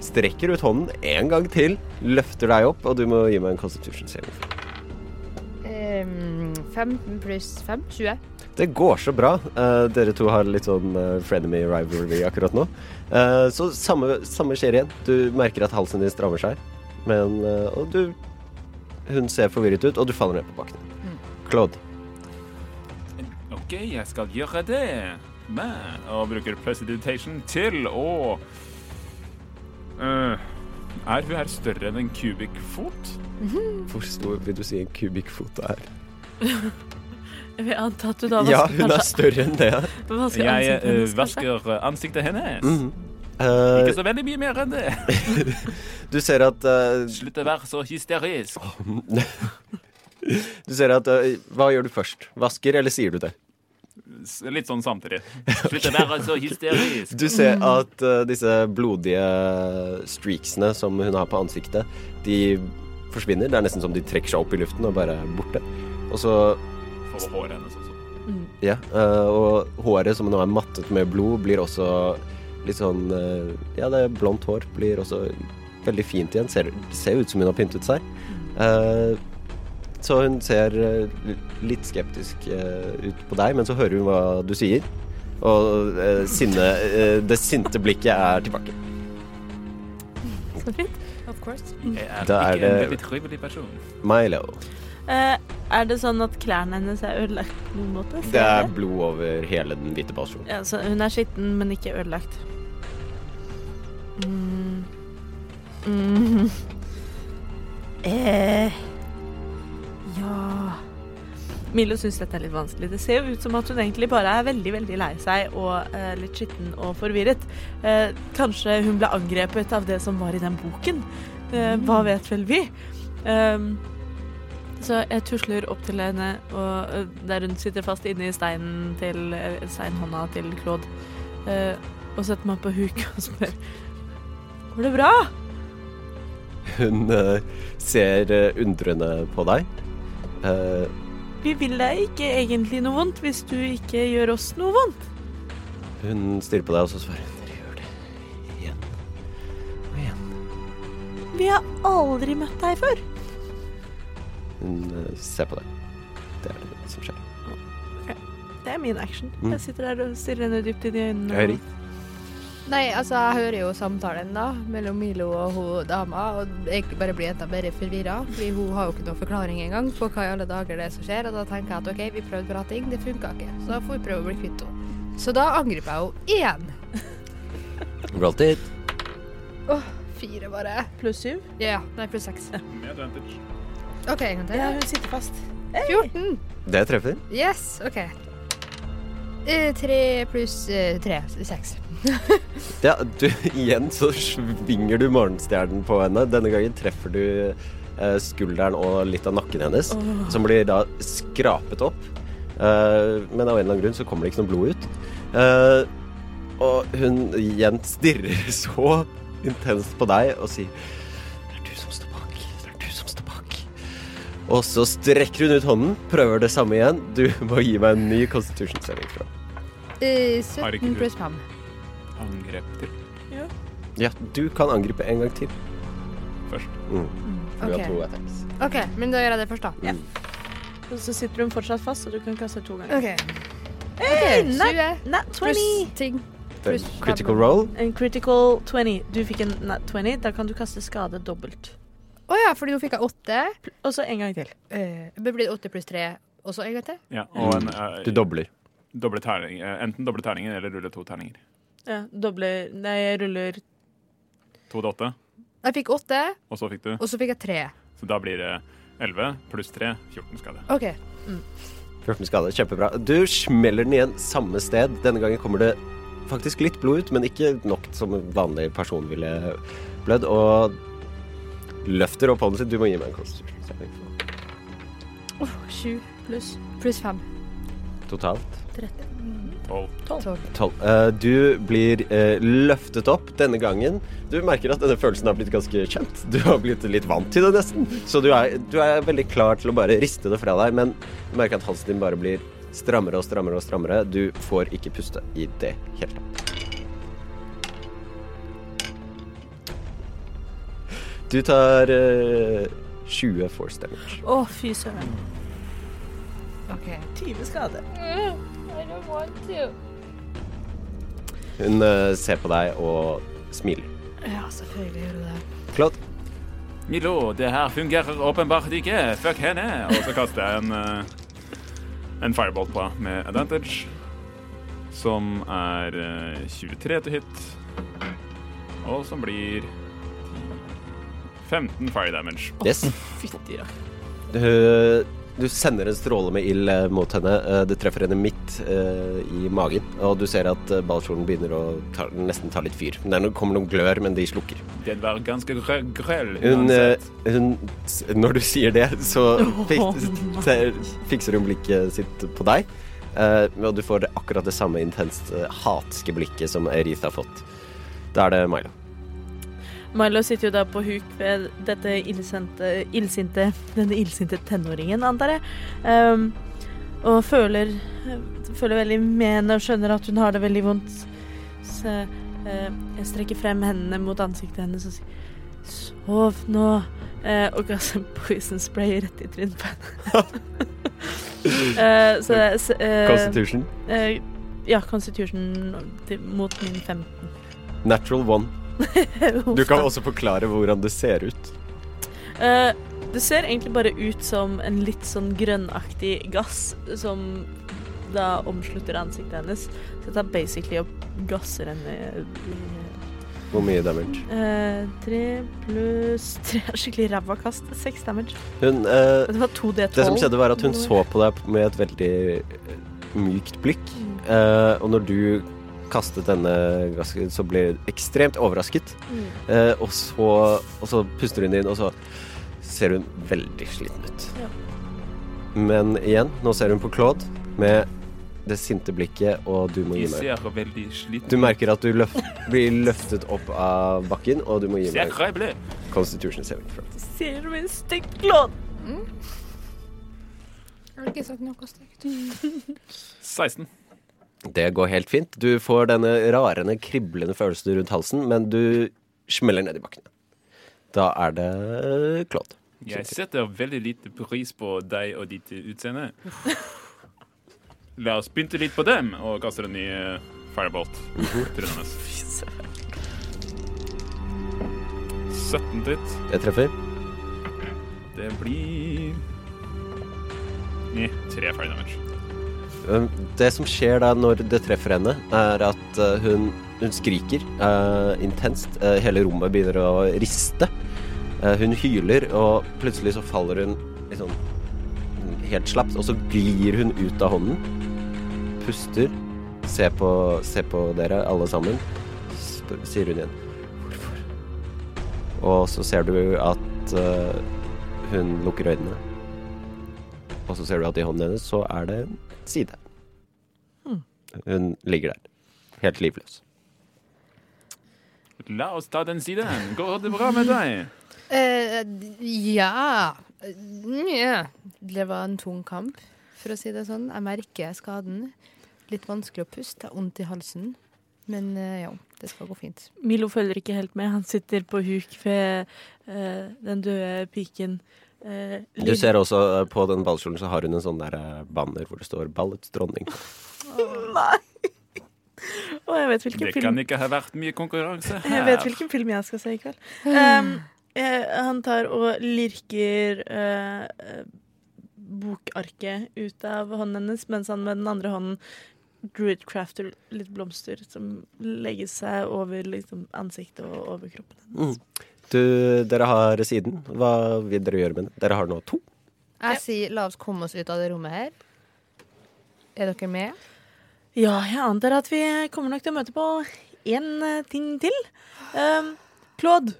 B: Strekker ut hånden en gang til, løfter deg opp, og du må gi meg en constitution saving.
D: Ehm, 15 pluss 5, 20.
B: Det går så bra. Eh, dere to har litt sånn eh, frenemy rivalry akkurat nå. Eh, så samme, samme skjer igjen. Du merker at halsen din strammer seg. Men eh, Og du Hun ser forvirret ut, og du faller ned på bakken.
E: Mm.
B: Claude.
C: OK, jeg skal gjøre det. Men Og bruker presidentation til å Eh, Er hun her større enn en kubikkfot?
B: Hvor stor vil du si en kubikkfot er?
E: Jeg antar at du da
B: Ja,
E: vasker
B: hun er
E: kanskje
B: større enn det.
E: vasker
C: Jeg
E: ansiktet
C: eh,
E: hennes, kanskje?
C: vasker ansiktet hennes.
B: Eh,
C: Ikke så veldig mye mer enn det.
B: du ser at eh,
C: Slutt å være så hysterisk.
B: Du ser at eh, Hva gjør du først? Vasker, eller sier du det?
C: S- Litt sånn samtidig. Slutt å være så hysterisk.
B: Du ser at eh, disse blodige streaksene som hun har på ansiktet, de forsvinner. Det er nesten som de trekker seg opp i luften og bare er borte. Og så
C: For håret hennes også.
B: Ja. eh, og håret som nå er mattet med blod, blir også litt sånn eh, Ja, det er blondt hår. Blir også veldig fint igjen. Ser, ser ut som hun har pyntet seg. Eh, så hun ser eh, li- litt skeptisk eh, ut på deg, men så hører hun hva du sier. Og eh, sinne, eh, det sinte blikket er tilbake.
E: Så fint.
D: Of course.
C: Jeg er
B: Da er
C: ikke en
B: det-
C: veldig trivelig person.
B: Milo.
E: Eh, er det sånn at klærne hennes er ødelagt på noen måte? Ser
B: Det er
E: jeg
B: blod over hele den hvite balsjonen.
E: Ja, så Altså, hun er skitten, men ikke ødelagt. Mm. Mm. Eh. Ja Milo syns dette er litt vanskelig. Det ser jo ut som at hun egentlig bare er veldig veldig lei seg og eh, litt skitten og forvirret. Eh, kanskje hun ble angrepet av det som var i den boken. Eh, hva vet vel vi? Ehm, så jeg tusler opp til henne, og eh, der hun sitter fast inne i steinen til eh, steinhånda til Claude, eh, og setter meg på huk og spør Går det bra?
B: Hun eh, ser eh, undrende på deg. Eh,
E: Vi vil deg ikke egentlig noe vondt hvis du ikke gjør oss noe vondt.
B: Hun stirrer på deg, og så svarer hun Dere gjør det igjen og igjen.
E: Vi har aldri møtt deg før.
B: Hun eh, ser på deg. Det er det som skjer.
E: Det er min action.
B: Mm.
E: Jeg sitter der og stirrer henne dypt inn i øynene.
B: Jeg hører
D: Nei, altså, jeg hører jo samtalen da, mellom Milo og hun dama, og jeg bare blir enda mer forvirra, fordi hun har jo ikke noen forklaring engang på hva i alle dager det er som skjer, og da tenker jeg at OK, vi prøvde bra ting, det funka ikke, så da får vi prøve å bli kvitt henne. Så da angriper jeg henne igjen.
B: Roll it.
D: Fire, bare.
E: Pluss syv.
D: Ja, nei, pluss seks.
C: Med advantage.
D: OK, en gang til.
E: Ja, hun sitter fast.
D: 14.
B: Det treffer.
D: Yes, OK. Eh, Tre pluss eh, tre. Seks.
B: Ja, du, igjen så svinger du morgenstjernen på henne. Denne gangen treffer du eh, skulderen og litt av nakken hennes, som blir da skrapet opp. Eh, men av en eller annen grunn så kommer det ikke noe blod ut. Eh, og hun igjen stirrer så intenst på deg og sier Det er du som står bak. Det er du som står bak. Og så strekker hun ut hånden, prøver det samme igjen. Du må gi meg en ny constitution-sending. tror jeg.
D: Eh,
C: Har ikke
D: 17
C: du-
D: pluss fem.
C: Angrep til
B: Ja, du kan angripe en gang til.
C: først.
B: Mm. Du
D: OK,
B: har to attacks.
D: Ok, men da gjør jeg det først, da.
E: Og så sitter hun fortsatt fast, så du kan kaste to ganger.
D: OK.
E: Hey,
D: Ok,
E: nat,
D: 20
E: nat 20!
D: pluss ting.
B: Det er
D: Pluss
B: Critical
D: fem.
B: roll.
E: En critical 20. Du fikk en nat 20. Da kan du kaste skade dobbelt.
D: Å ja, fordi nå fikk jeg åtte.
E: Og så en gang til.
D: Eh, Det blir åtte pluss tre og så en gang til.
C: Ja, og en, eh,
B: Mm. Du dobler.
C: doble terning, eh, enten doble terninger eller rulle to terninger.
E: Ja, dobler Nei, jeg ruller
C: To til åtte,
D: Jeg fikk åtte,
C: og så fikk du.
D: og så fikk jeg tre.
C: Så da blir det 11 pluss 3, 14 skade.
D: OK.
B: 14 skade. Kjempebra. Du smeller den igjen samme sted. Denne gangen kommer det faktisk litt blod ut, men ikke nok som en vanlig person ville blødd. Og løfter opp hånden sin. Du må gi meg en konstitusjonsregning.
D: Åh, Sju
E: pluss
D: pluss fem.
B: Totalt
E: 13.
C: 12.
D: Tolv.
B: 12. Eh, du blir eh, løftet opp denne gangen. Du merker at denne følelsen har blitt ganske kjent. Du har blitt litt vant til det, nesten. Så du er, du er veldig klar til å bare riste det fra deg, men du merker at halsen din bare blir strammere og strammere og strammere. Du får ikke puste i det hele tatt. Du tar eh, 20 force damage.
E: Å, fy søren.
D: OK.
E: 20 skade.
B: Hun eh, ser på deg og smiler.
D: Ja, selvfølgelig gjør du det.
B: Klart.
C: Milo, det her fungerer åpenbart ikke. Fuck henne. Og så kaster jeg en, eh, en firebolt på henne med advantage, som er eh, 23 til hit, og som blir 15 fire damage.
B: Yes.
E: Fytti rakker.
B: Du, du sender en stråle med ild eh, mot henne. Eh, Det treffer henne midt eh, i magen. Og du ser at eh, ballkjolen begynner å ta, nesten ta litt fyr. Det er no, kommer noen glør, men de slukker.
C: Den var ganske grø grøll
B: Hun, eh,
C: uansett.
B: hun s- Når du sier det, så fik,
E: Åh,
B: ser- fikser hun blikket sitt på deg. eh, og du får det akkurat det samme intenst eh, hatske blikket som Erith har fått. Da er det Milo.
E: Milo sitter jo da på huk ved dette illsinte, illsinte denne illsinte tenåringen, antar jeg. Ehm, og føler, føler veldig med henne og skjønner at hun har det veldig vondt. Så eh, jeg strekker frem hendene mot ansiktet hennes og sier Sov nå. Eh, og kaster en poison spray rett i trynet på henne. Eh, så jeg s- eh,
B: Constitution.
E: eh, ja, Constitution til- mot min 15.
B: Natural one. Du kan også forklare hvordan det ser ut.
E: Eh, det ser egentlig bare ut som en litt sånn grønnaktig gass som da omslutter ansiktet hennes. Så det tar basically og gasser henne.
B: Hvor mye damage?
E: Eh, tre pluss tre er skikkelig ræva kast. Seks damage.
B: Hun eh,
E: Det var to D12.
B: Det som skjedde var at hun så på deg med et veldig eh, mykt blikk. Eh, og når du kastet denne gasken, så ble hun ekstremt overrasket.
E: Mm.
B: Eh, og, så, og så puster hun inn, og så ser hun veldig sliten ut.
E: Ja.
B: Men igjen, nå ser hun på Claude med det sinte blikket, og du må
C: De
B: gi meg
C: ser veldig sliten
B: Du merker at du løf blir løftet opp av bakken, og du må gi meg
C: Ser jeg
B: Constitution saving throw.
E: Ser du min stygt glåd?
D: Har du ikke sagt noe stygt?
C: 16.
B: det går helt fint. Du får denne rarende, kriblende følelsen rundt halsen, men du smeller ned i bakken. Da er det eh, Claude.
C: Jeg setter veldig lite pris på deg og ditt utseende. La oss pynte litt på dem, og kaster en ny eh, firebolt til den hennes. 17 til hit.
B: Jeg treffer.
C: Det blir Nei, tre fire damage.
B: Um, Det som skjer da når det treffer henne, er at uh, hun, hun skriker eh, intenst. Eh, hele rommet begynner å riste. Eh, hun hyler, og plutselig så faller hun liksom helt slapt, og så glir hun ut av hånden. Puster. Se på, se på dere, alle sammen. Spør, sier hun igjen. Hvorfor? Og så ser du at eh, hun lukker øynene. Og så ser du at i hånden hennes så er det en side. Hun ligger der, helt livløs.
C: La oss ta den siden. Går det bra med deg?
D: Eh, ja Nja. Det var en tung kamp, for å si det sånn. Jeg merker skaden. Litt vanskelig å puste. Jeg har vondt i halsen. Men eh, jo, det skal gå fint.
E: Milo følger ikke helt med. Han sitter på huk ved eh, den døde piken. eh,
B: Du ser også eh, på den ballkjolen så har hun en sånn der eh, banner hvor det står 'Ballets dronning'.
E: Å, jeg vet hvilken
C: Det kan
E: film
C: ikke ha vært mye konkurranse her.
E: Jeg vet hvilken film jeg skal se i kveld. Ehm, jeg, han tar og lirker eh, eh, bokarket ut av hånden hennes, mens han med den andre hånden druidcrafter litt blomster som legger seg over liksom, ansiktet og over kroppen hennes.
B: Du, dere har siden. Hva vil dere gjøre med den? Dere har nå to.
D: Jeg sier la oss komme oss ut av det rommet her. Er dere med?
E: Ja, jeg antar at vi kommer nok til å møte på én eh, ting til. Ehm, Claude,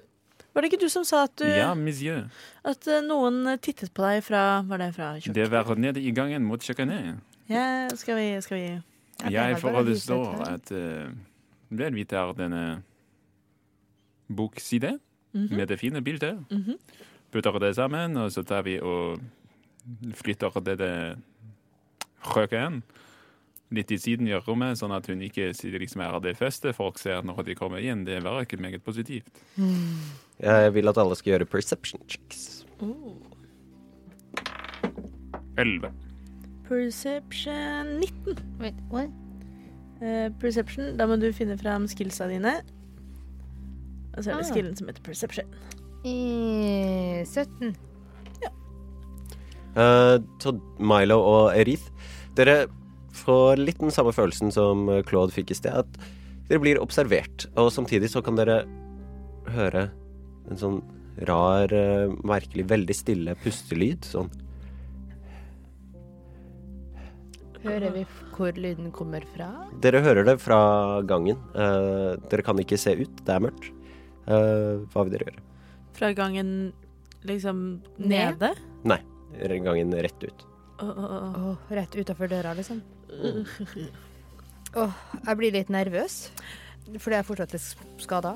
E: var det ikke du som sa at, du,
C: Ja, monsieur.
E: at eh, noen tittet på deg fra Var det fra kjøkkenet?
C: Det var nede i gangen mot kjøkkenet.
E: Ja, skal vi, skal vi
C: Jeg
D: det var bare lyset
C: forestår
D: her.
C: at eh, vel, vi tar denne bokside
D: Mhm.
C: med det fine bildet, putter det sammen, og så tar vi og flytter denne røken litt til siden i rommet, sånn at hun ikke sier liksom er det første folk ser når de kommer inn. Det var ikke meget positivt.
B: Jeg vil at alle skal gjøre perception checks.
E: Oh,
C: Elleve.
E: Perception 19.
D: Wait, what?
E: Eh, perception, da må du finne fram skillsa dine. Og så er det
D: Ah.
E: skillen som heter perception.
D: Eh, 17.
B: Eh, Så Milo og Erith, dere får litt den samme følelsen som eh, Claude fikk i sted, at dere blir observert. Og samtidig så kan dere høre en sånn rar, eh, merkelig, veldig stille pustelyd. Sånn.
D: Hører vi f- hvor lyden kommer fra?
B: Dere hører det fra gangen. Eh, dere kan ikke se ut, det er mørkt. Eh, hva vil dere gjøre?
E: Fra gangen liksom
D: Ned?
E: nede.
B: Nei, gangen rett ut.
E: Å, å, å.
D: Åh, rett utafor døra, liksom. Åh, jeg blir litt nervøs. Fordi jeg fortsatt er skada.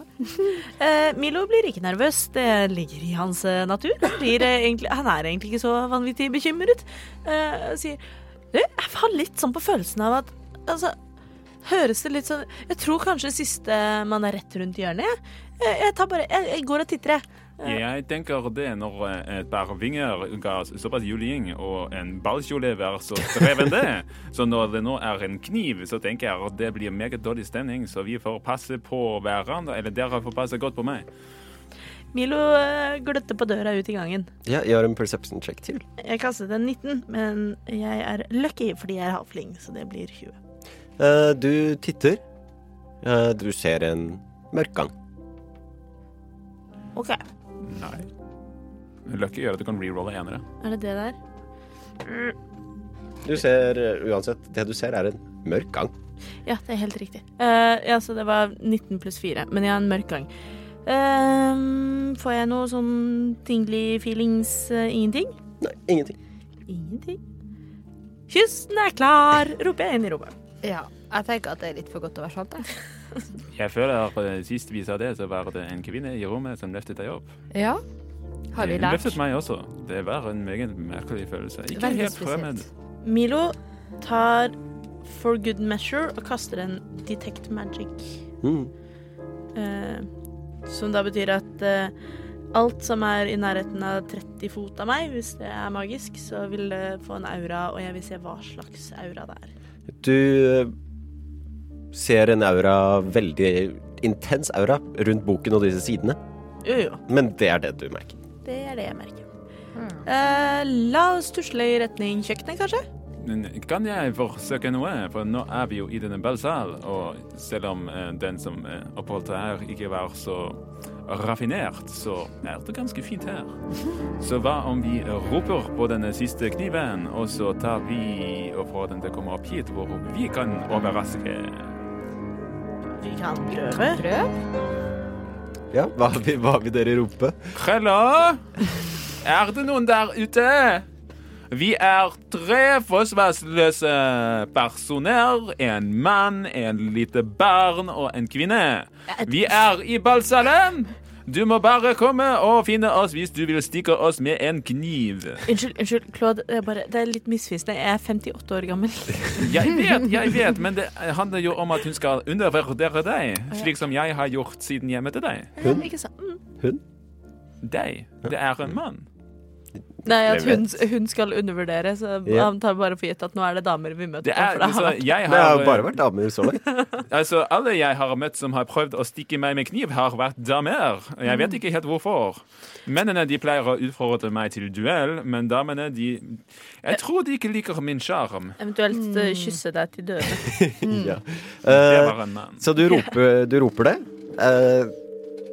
E: Eh, Milo blir ikke nervøs. Det ligger i hans eh, natur. Han, blir, eh, egentlig, han er egentlig ikke så vanvittig bekymret. Eh, og sier Du, jeg har litt sånn på følelsen av at Altså, høres det litt sånn Jeg tror kanskje siste man er rett rundt hjørnet, jeg. Jeg, jeg tar bare Jeg, jeg går og titter, jeg.
C: Jeg tenker det når eh, et par vinger ga s- såpass juling, og en ballkjole var så strevende. Så når det nå er en kniv, så tenker jeg at det blir meget dårlig stemning, så vi får passe på hverandre. Eller dere får passe godt på meg.
E: Milo eh, gløtter på døra ut i gangen.
B: Ja, jeg har en perception check til.
E: Jeg kastet en 19, men jeg er lucky fordi jeg er halfling, så det blir 20.
B: Eh, du titter. Eh, du ser en mørk gang.
E: OK.
C: Nei. Lucky gjør at du kan rerolle enere.
E: Er det det der?
B: Du ser eh, uansett Det du ser, er en mørk gang.
E: Ja, det er helt riktig. Eh, ja, så det var 19 pluss 4, men jeg har en mørk gang. Ehm, får jeg noe sånn tingly feelings? eh, ingenting?
B: Nei, ingenting.
E: Ingenting. Kysten er klar, roper jeg inn i rommet.
D: Ja, jeg tenker at det er litt for godt til å være sant. Jeg.
C: Jeg føler eh, Sist vi sa det, så var det en kvinne i rommet som løftet deg opp.
D: Ja. Har vi
C: Hun
D: lært?
C: løftet meg også. Det var en meget merkelig følelse. Ikke
D: Veldig
C: helt
D: spesielt.
C: fremmed.
E: Milo tar for good measure og kaster en detect magic.
B: Mm.
E: Eh, som da betyr at eh, alt som er i nærheten av 30 fot av meg, hvis det er magisk, så vil det få en aura, og jeg vil se hva slags aura det er.
B: Du eh, ser en aura, veldig intens aura, rundt boken og disse sidene.
E: Jo, jo.
B: Men det er det du merker.
E: Det er det jeg merker. Eh, la oss tusle i retning kjøkkenet, kanskje?
C: Men Kan jeg forsøke noe? For nå er vi jo i denne ballsal, og selv om eh, den som eh, oppholdt seg her, ikke var så raffinert, så er det ganske fint her. Så hva om vi roper på denne siste kniven, og så tar vi og får den til å komme opp hit, hvor vi kan overraske?
E: Vi kan prøve.
D: Prøv.
B: Ja, hva, vil- hva vil dere rope?
C: Krølla! Er det noen der ute? Vi er tre forsvarsløse personer. En mann, en lite barn og en kvinne. Vi er i ballsalen. Du må bare komme og finne oss hvis du vil stikke oss med en kniv.
E: Unnskyld, unnskyld, Claude. Det er, bare, det er litt misvisende. Jeg er 58 år gammel.
C: Jeg vet, jeg vet, men det handler jo om at hun skal undervurdere deg, slik som jeg har gjort siden jeg møtte deg.
B: Hun?
E: Ikke sant? Mm.
C: Deg. Det er en mann.
E: Nei, at
B: Jeg
E: hun, hun skal undervurdere, så
B: Ja.
E: han tar bare for gitt at nå er det damer vi møter.
C: Det er,
E: for det har
C: altså, jeg
E: vært-
B: Det har jo
C: har
B: bare vært damer så langt.
C: Altså, Alle jeg har møtt som har prøvd å stikke meg med kniv, har vært damer. Jeg vet ikke helt hvorfor. Mennene de pleier å utfordre meg til duell, men damene de Jeg tror de ikke liker min sjarm.
E: Eventuelt eh, kysse deg til døde.
B: ja.
C: Det
B: Eh,
C: var en mann.
B: så du roper, du roper det. Eh,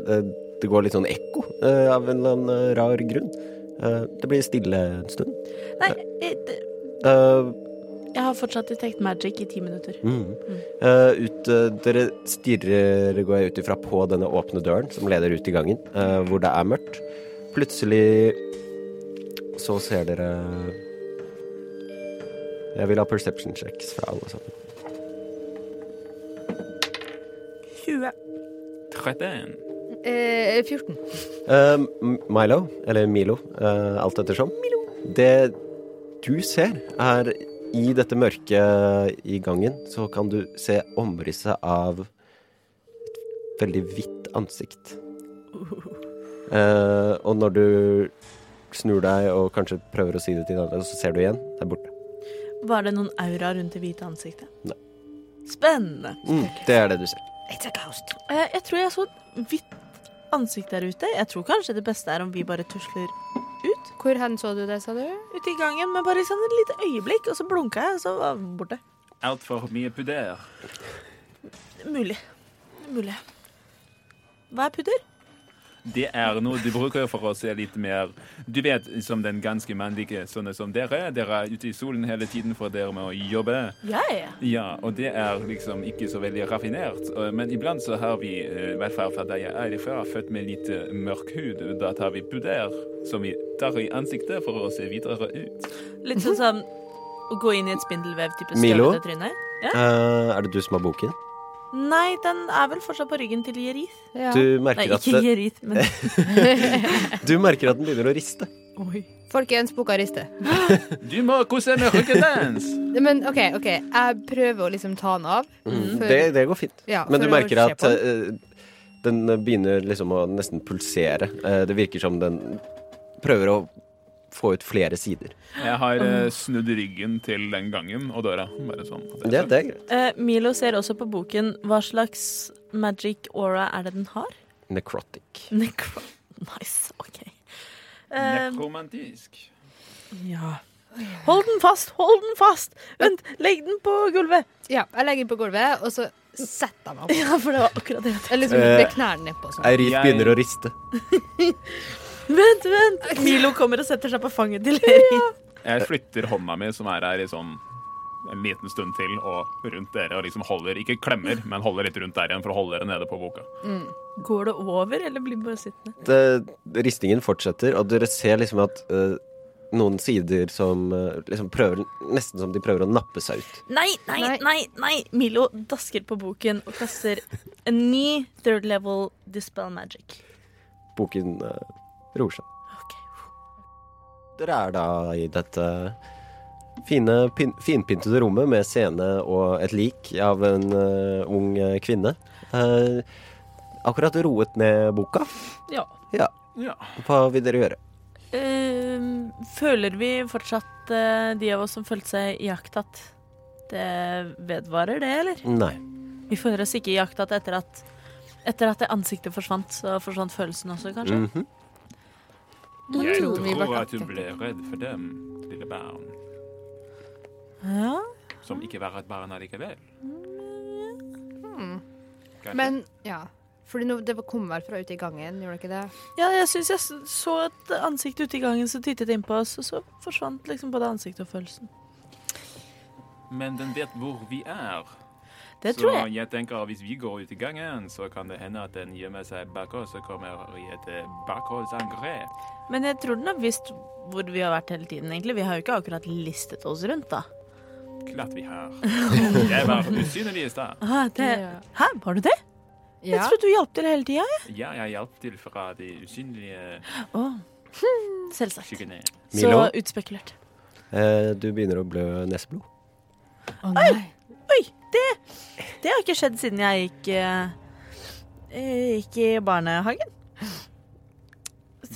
B: eh, det går litt sånn ekko eh, av en eller annen eh, rar grunn. Eh, det blir stille en stund.
E: Nei, jeg, det-
B: Eh,
E: jeg har fortsatt Detect Magic i ti minutter.
B: Mm. Eh, ut, eh, dere stirrer, går jeg ut ifra, på denne åpne døren som leder ut i gangen, eh, hvor det er mørkt. Plutselig så ser dere Jeg vil ha perception checks fra alle sammen.
E: 20.
C: 31.
D: Eh, 14.
B: Eh, M- Milo, eller Milo, eh, alt ettersom. Det du ser, er i dette mørket i gangen, så kan du se omrisset av et veldig hvitt ansikt. Eh, og når du snur deg og kanskje prøver å si det til alle, så ser du igjen der borte.
E: Var det noen aura rundt det hvite ansiktet?
B: Nei.
E: Spennende.
B: Mm, det er det du ser.
D: It's a ghost.
E: Eh, Jeg tror jeg så et hvitt ansikt der ute. Jeg tror kanskje det beste er om vi bare tusler ut.
D: Hvor hen så du det, sa du?
E: Ute i gangen, men bare sånn et lite øyeblikk, og så blunka jeg, og så var den borte.
C: Altfor mye puder.
E: Mulig. Mulig. Hva er pudder?
C: Det er noe du bruker for å se litt mer Du vet, som den ganske mannlige sånne som dere. Dere er ute i solen hele tiden, for dere må jobbe.
E: Ja, ja.
C: Ja, og det er liksom ikke så veldig raffinert. eh, Men iblant så har vi, eh, i hvert fall fra der jeg er ifra, født med litt eh, mørk hud. Da tar vi puder, som vi tar i ansiktet for å se videre ut.
E: Litt sånn som å gå inn i et spindelvev-type
B: Milo?
E: støvete tryne. Ja.
B: Eh, er det du som har boken?
E: Nei, den er vel fortsatt på ryggen til Jerith.
D: Ja.
B: Du merker,
E: Nei,
B: at
E: ikke
B: det,
E: Jerith, men
B: du merker at den begynner å riste.
E: Oi.
D: Folkens, boka rister.
C: Du må kose med ryggen dens!
D: Men OK, ok, jeg prøver å liksom ta den av. For-
B: Mm. Det, det går fint.
D: ja,
B: Men
D: for
B: du
D: å
B: merker
D: se
B: at
D: på den.
B: eh, den begynner liksom å nesten pulsere. Eh, det virker som den prøver å få ut flere sider.
C: Jeg har eh, snudd ryggen til den gangen og døra. Bare sånn. at jeg
B: Ja,
C: ser.
B: det er greit.
E: Eh, Milo ser også på boken hva slags magic aura er det den har.
B: Necrotic.
E: Necro... Nice, OK. Eh,
C: Nekromantisk.
E: ja. Hold den fast, hold den fast! Vent, legg den på gulvet!
D: Ja, jeg legger den på gulvet, og så setter jeg meg opp.
E: Ja, for det var akkurat det jeg
D: Jeg liksom
B: Eh,
D: med knærne nedpå. Sånn.
B: Eirith
C: Jeg-
B: begynner å riste.
E: tenkte. Vent, vent! Milo kommer og setter seg på fanget til Erin.
C: Jeg flytter hånda mi, som er her i sånn en liten stund til, og rundt dere, og liksom holder, ikke klemmer, men holder litt rundt der igjen for å holde dere nede på boka.
E: Går det over, eller blir den bare sittende?
B: Det, ristingen fortsetter, og dere ser liksom at eh, noen sider som eh, liksom prøver Nesten som de prøver å nappe seg ut.
E: Nei, nei,
D: Nei.
E: nei! nei Milo dasker på boken og kaster en ny third level dispel magic.
B: Boken eh, roer seg.
E: Ok.
B: Dere er da i dette Fine, pin, finpyntede rommet med scene og et lik av en eh, ung eh, kvinne. Eh, akkurat roet ned boka.
E: Ja.
B: Ja,
C: Ja.
B: hva vil dere gjøre?
E: Ehm, føler vi fortsatt eh, de av oss som følte seg iakttatt? Det vedvarer det, eller?
B: Nei.
E: Vi føler oss ikke iakttatt etter at etter at det ansiktet forsvant, så forsvant følelsen også, kanskje.
B: Mhm.
D: Jeg
C: Jeg
D: tror vi ble
C: tror at du
D: tatt.
C: ble redd for dem, lille barn,
E: Ja.
C: som ikke var et barn allikevel. Kanskje.
D: Men ja. Fordi nå, det kom vel fra ute i gangen, gjorde det ikke det?
E: ja, jeg syns jeg s- så et ansikt ute i gangen som tittet inn på oss, og så forsvant liksom både ansiktet og følelsen.
C: Men den vet hvor vi er.
E: Det
C: så
E: tror jeg.
C: tenker at hvis vi går ut i gangen, så kan det hende at den gjemmer seg bak oss og kommer i et eh, bakholdsangrep.
E: Men jeg tror den har visst hvor vi har vært hele tiden, egentlig. Vi har jo ikke akkurat listet oss rundt, da.
C: Klart vi har. Jeg var usynlig i stad.
E: Ah, det...
D: Ja.
E: Hæ, var du det? Jeg
D: Ja.
E: trodde du hjalp til hele tida. jeg.
C: Ja, jeg hjalp til fra de usynlige
E: Å. Selvsagt.
C: skyggene.
E: Så
B: Milo?
E: utspekulert.
B: Eh, du begynner å blø neseblod.
D: Å nei.
E: Oi, det, det har ikke skjedd siden jeg gikk eh, eh, Gikk i barnehagen.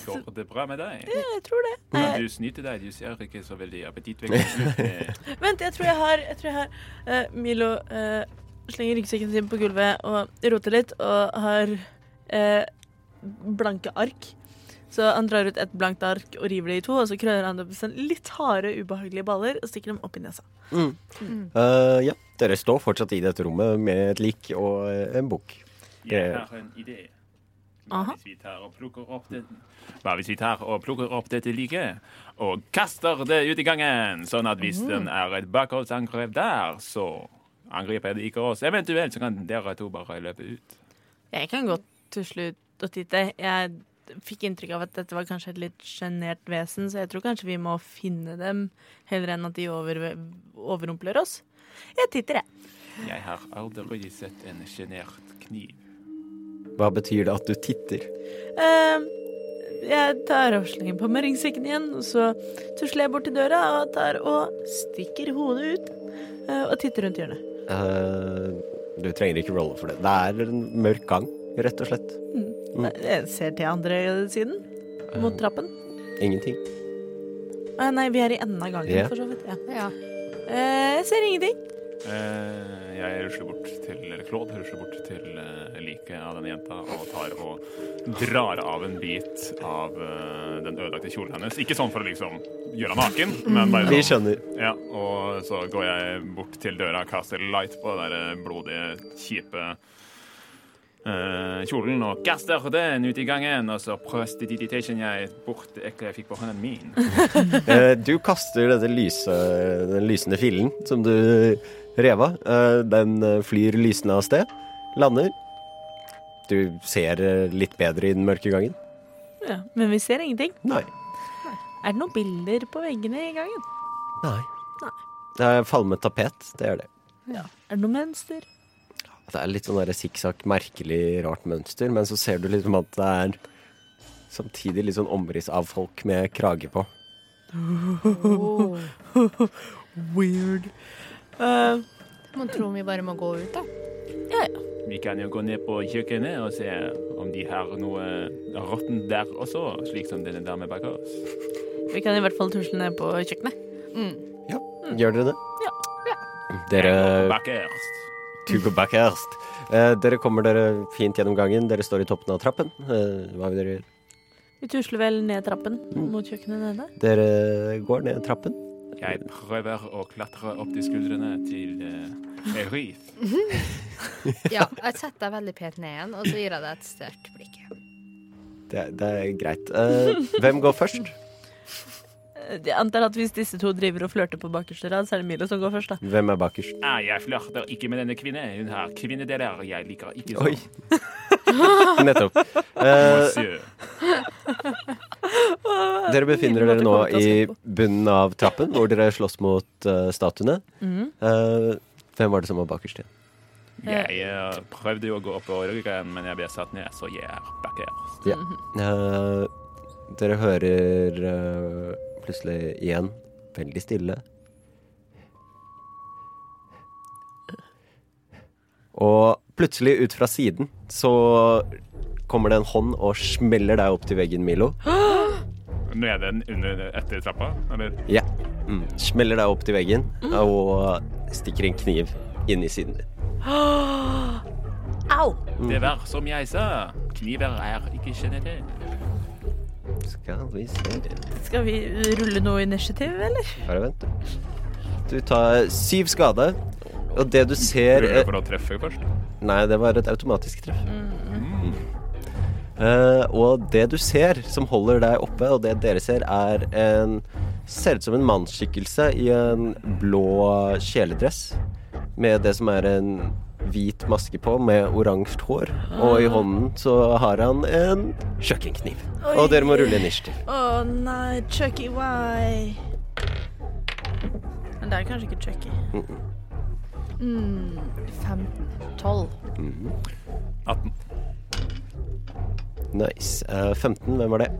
C: Går det bra med deg?
E: Ja, jeg tror det. Nei,
C: Kan du snyte deg? Du ser ikke så veldig appetittvekkende ut. Eh,
E: vent, jeg tror jeg har, jeg tror jeg har eh, Milo eh, slenger ryggsekken sin på gulvet og roter litt og har eh, blanke ark. Så han drar ut et blankt ark og river det i to, og så krøller han det på sånn litt harde, ubehagelige baller og stikker dem opp i nesa.
B: Eh, ja, dere står fortsatt i dette rommet med et lik og eh, en bok.
C: Jeg har en idé. Hva
E: Aha.
C: hvis vi tar og plukker opp det Hva hvis vi tar og plukker opp dette liket og kaster det ut i gangen, sånn at hvis den er et bakholdsangrep der, så angriper det ikke oss. Eventuelt så kan dere to bare løpe ut.
E: Jeg kan godt tusle ut og titte. Jeg fikk inntrykk av at dette var kanskje et litt sjenert vesen, så jeg tror kanskje vi må finne dem heller enn at de over, overrumpler oss. Jeg titter, jeg.
C: Jeg har aldri sett en sjenert kniv.
B: Hva betyr det at du titter?
E: Eh, jeg tar avsløringen på meg ryggsekken igjen, og så tusler jeg bort til døra og tar og stikker hodet ut eh, og titter rundt hjørnet.
B: Eh, du trenger ikke rolle for det. Det er en mørk gang, rett og slett. Mm. Eh.
E: Jeg ser til andre siden, mot trappen.
B: Ingenting.
E: Eh, nei, vi er i enden av gangen,
B: Ja.
E: for så vidt. Ja.
D: Ja.
E: Eh, jeg ser ingenting.
C: Eh, jeg rusler bort til eller Claude rusler bort til eh, liket av denne jenta og tar og drar av en bit av eh, den ødelagte kjolen hennes. Ikke sånn for å liksom gjøre henne naken, men bare
B: Vi
C: sånn.
B: skjønner.
C: Ja, og så går jeg bort til døra og kaster light på den der blodige, kjipe eh, kjolen og kaster den ut i gangen, og så prøstiditation jeg bort det ekle jeg fikk på hånden min.
B: Eh, du kaster dette lyse, den lysende fillen som du rev av. Eh, den eh, flyr lysende av sted. Lander. Du ser eh, litt bedre i den mørke gangen.
E: Ja, men vi ser ingenting.
B: Nei.
E: Er det noen bilder på veggene i gangen?
B: Nei.
E: Nei.
B: Det er falmet tapet, det er det.
E: Er det noe mønster?
B: Det er litt sånn der sikksakk, merkelig, rart mønster, men så ser du liksom at det er samtidig litt sånn omriss av folk med krage på.
D: Oh.
E: Weird. Eh,
D: Man tror vi bare må gå ut, da.
C: Vi kan jo gå ned på kjøkkenet og se om de har noe råttent der også, slik som denne dame bak oss.
E: vi kan i hvert fall tusle ned på kjøkkenet.
D: Mm.
B: Gjør dere det?
E: Mm. Ja.
B: Dere
C: Bakerst.
B: To go back erst. Eh, dere kommer dere fint gjennom gangen. Dere står i toppen av trappen. Eh, hva vil dere gjøre?
E: Vi tusler vel ned trappen
B: Mm.
E: mot kjøkkenet nede.
B: Dere går ned trappen.
C: Jeg prøver å klatre opp til skuldrene til uh, Erith.
D: Ja, jeg setter deg veldig pent ned igjen, og så gir jeg deg et sterkt blikk.
B: Det, det er greit. Eh, hvem går først?
E: Eh, Jeg antar at hvis disse to driver og flørter på bakerste rad, så er det Milo som går først, da.
B: Hvem er bakerst?
C: Ah, jeg flørter ikke med denne kvinne. Hun har kvinnedeler. Jeg liker ikke
B: Oi.
C: sånn.
B: Nettopp. Eh,
C: Monsieur.
B: dere befinner
E: Milo
B: dere nå
E: måtte komme til
B: i
E: å se
B: bunnen av trappen, hvor dere slåss mot eh, statuene. Eh, hvem var det som var bakerst igjen?
C: Jeg eh, prøvde jo å gå opp på ryggen, men jeg ble satt ned, så jeg er bakerst.
B: Ja. Eh, dere hører eh, plutselig igjen, veldig stille, Og plutselig, ut fra siden, så kommer det en hånd og smeller deg opp til veggen, Milo.
C: Nede under, etter trappa? Eller?
B: Ja. Mm. Smeller deg opp til veggen og stikker en kniv inn i siden din.
E: Au!
B: Mm.
C: Det var som jeg sa. Kniver er ikke generelt.
B: Skal vi se
E: Skal vi rulle noe initiativ, eller?
B: Bare vent, du. Du tar syv skade, og det du ser
C: Ruller for å treffe først.
B: Nei, det var et automatisk treff. Mm. Eh, og det du ser som holder deg oppe, og det dere ser, er en Ser ut som en mannsskikkelse i en blå kjeledress. Med det som er en hvit maske på, med oransje hår. Og i hånden så har han en kjøkkenkniv. Og dere må rulle initiativ.
E: Å nei, Chucky, why? Men det er kanskje ikke Chucky.
D: Mm, 15.
E: 12.
C: 18.
B: Nice. Eh, 15, hvem var det?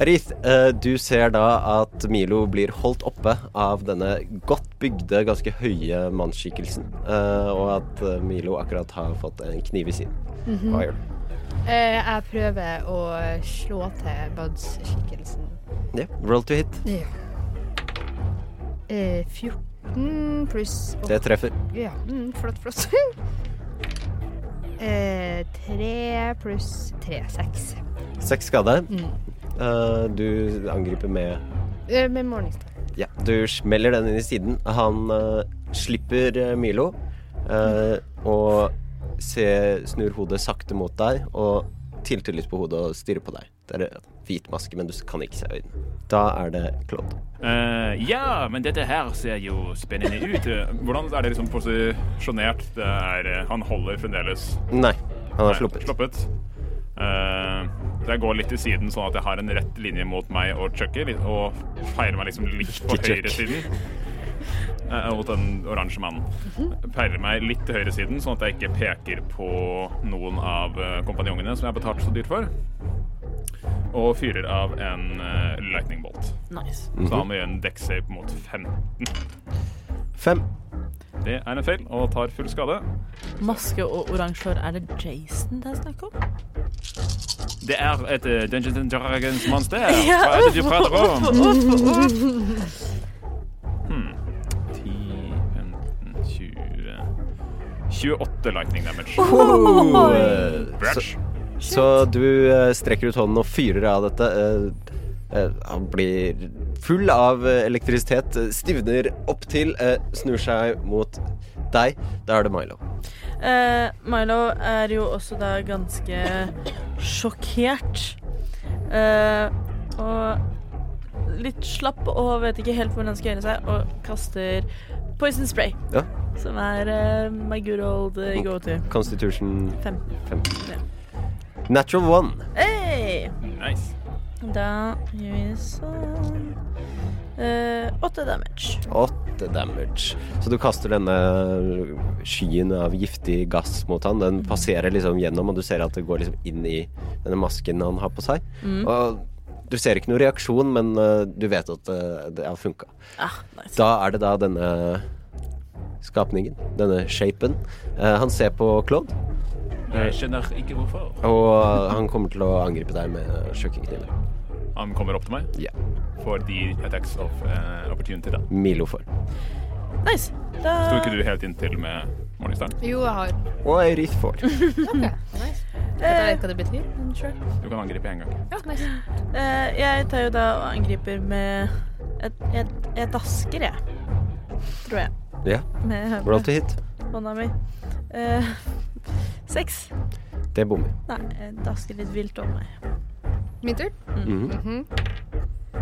B: Arith, eh, du ser da at Milo blir holdt oppe av denne godt bygde, ganske høye mannsskikkelsen. eh, og at eh, Milo akkurat har fått en kniv i siden. Hva gjør du?
D: Eh, jeg prøver å slå til Buds-skikkelsen.
B: Ja, roll to hit.
D: Ja. Eh, 14 pluss åtte.
B: Det treffer.
D: Ja, mm, flott, flott. eh, 3 pluss 3, 6.
B: Seks skade.
D: Mm.
B: Eh, du angriper med
D: Eh, med morningstar.
B: Ja, du smeller den inn i siden. Han eh, slipper eh, Milo eh, og ser, snur hodet sakte mot deg og tilter litt på hodet og stirrer på deg. Det er en hvit maske, men du kan ikke se øynene. Da er det Claude.
C: Eh, ja, men dette her ser jo spennende ut. Hvordan er det liksom posisjonert? Det er, eh, han holder fremdeles
B: Nei, han har
C: Nei,
B: sluppet.
C: Eh, så jeg går litt til siden, sånn at jeg har en rett linje mot meg og Chucky, litt- og feirer meg liksom litt på
B: Ikke Chuck.
C: høyresiden. Eh, mot den oransje mannen.
B: Mhm.
C: Feirer meg litt til høyresiden, sånn at jeg ikke peker på noen av eh, kompanjongene som jeg har betalt så dyrt for. Og fyrer av en eh, lightning bolt.
E: Nice.
C: Så han må gjøre en dekksave mot 15.
B: Fem.
C: Det er en feil, og tar full skade.
E: Maske og oransje hår, er det Jason det er snakk om?
C: Det er et eh, Dungeons and Dragons monster.
E: Ja,
C: Hva er det du prater om?
E: Uff, uff, uff.
C: Hmm. 10, 15, 20 28 lightning damage.
B: Wow! Så,
C: Brash.
B: Eh, så du eh, strekker ut hånden og fyrer av dette. eh, eh, han blir full av eh, elektrisitet, eh, stivner opp til, eh, snur seg mot deg. Da er det Milo.
E: Eh, Milo er jo også da ganske sjokkert. Eh, og litt slapp og vet ikke helt hvor han skal gjøre seg, og kaster poison spray.
B: Ja.
E: Som er eh, my good old eh, go to.
B: Constitution
E: Fem.
B: 5.
E: Ja.
B: Natural one.
E: Hey!
C: Nice.
E: Da gjør vi sånn Eh, Åtte damage.
B: Åtte damage. Så du kaster denne skyen av giftig gass mot han. Den passerer liksom gjennom, og du ser at det går liksom inn i denne masken han har på seg. Og du ser ikke noen reaksjon, men eh, du vet at eh, det har funka.
E: Ah, nice.
B: Da er det da denne skapningen, denne shapen. Eh, han ser på Claude,
C: Jeg skjønner ikke hvorfor.
B: og han kommer til å angripe deg med kjøkkenkniven.
C: Han kommer opp til meg
B: Ja.
C: for de attacks of eh, opportunity. da.
B: Milo får.
E: nice. Da
C: Sto ikke du helt inntil med morgenstjernen?
D: Jo, jeg har.
B: Og Eirith får.
D: Ok, nice. Jeg vet ikke hva det betyr, men sure.
C: Du kan angripe én gang.
D: Ja, nice.
E: Eh, jeg tar jo da og angriper med Jeg, jeg, jeg dasker, jeg. Tror jeg.
B: Ja.
E: Med,
B: Roll
E: med
B: to hit.
E: hånda mi. Eh, seks.
B: Det bommer.
E: Nei, jeg dasker litt vilt om meg.
D: Min tur.
B: Mhm.
D: Mhm.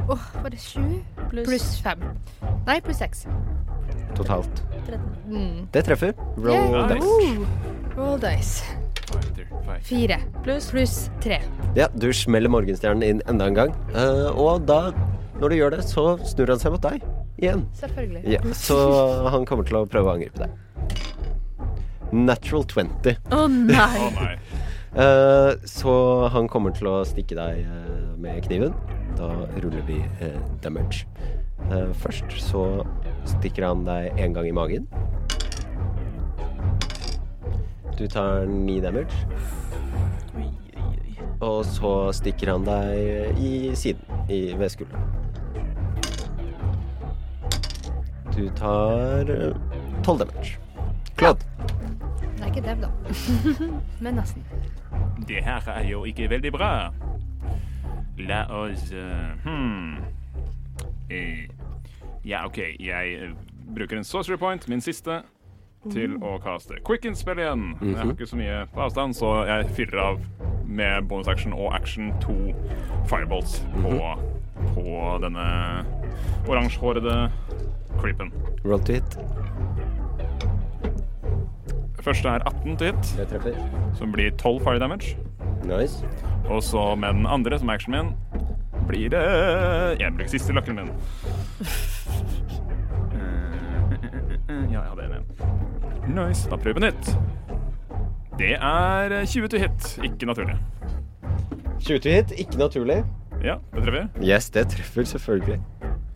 D: Åh, var det 7?
E: Pluss
D: Pluss 5. Nei, pluss 6.
B: Totalt.
E: 13.
D: Mm.
B: Det treffer. Roll
C: Yeah.
B: damage.
D: Woo! Roll dice.
C: Fighter,
D: 4 pluss pluss 3.
B: Ja, du smeller morgenstjernen inn enda en gang. eh, og da, når du gjør det, så snur han seg mot deg igjen.
D: Selvfølgelig.
B: Ja, så han kommer til å prøve å angripe deg. Natural 20.
E: Å
C: Å
E: nei!
C: nei.
B: Eh, så han kommer til å stikke deg eh, med kniven. Da ruller vi eh, damage. Eh, først så stikker han deg én gang i magen. Du tar ni damage. Og så stikker han deg eh, i siden, i, ved skulderen. Du tar eh, tolv damage. Claude.
D: Det er ikke dev, da. Men nesten.
C: Det her er jo ikke veldig bra. La oss eh, hmm. Eh, Ja, OK. Jeg eh, bruker en sorcery point, min siste, til å kaste quicken-spill igjen. Jeg har ikke så mye på avstand, så jeg fyrer av med bonus action og action to fireballs på, på denne oransjehårede creepen.
B: Roll to hit.
C: Første er 18 til hit,
B: Det treffer.
C: som blir 12 fire damage.
B: Nice.
C: Og så med den andre, som er actionen min, blir det Jeg bruker siste løkken min. Eh, Ja, jeg hadde en igjen. Nice. Da prøver vi på nytt. Det er 20 to hit. Ikke naturlig.
B: 20 to hit. Ikke naturlig.
C: Ja, det treffer.
B: Yes, det treffer selvfølgelig.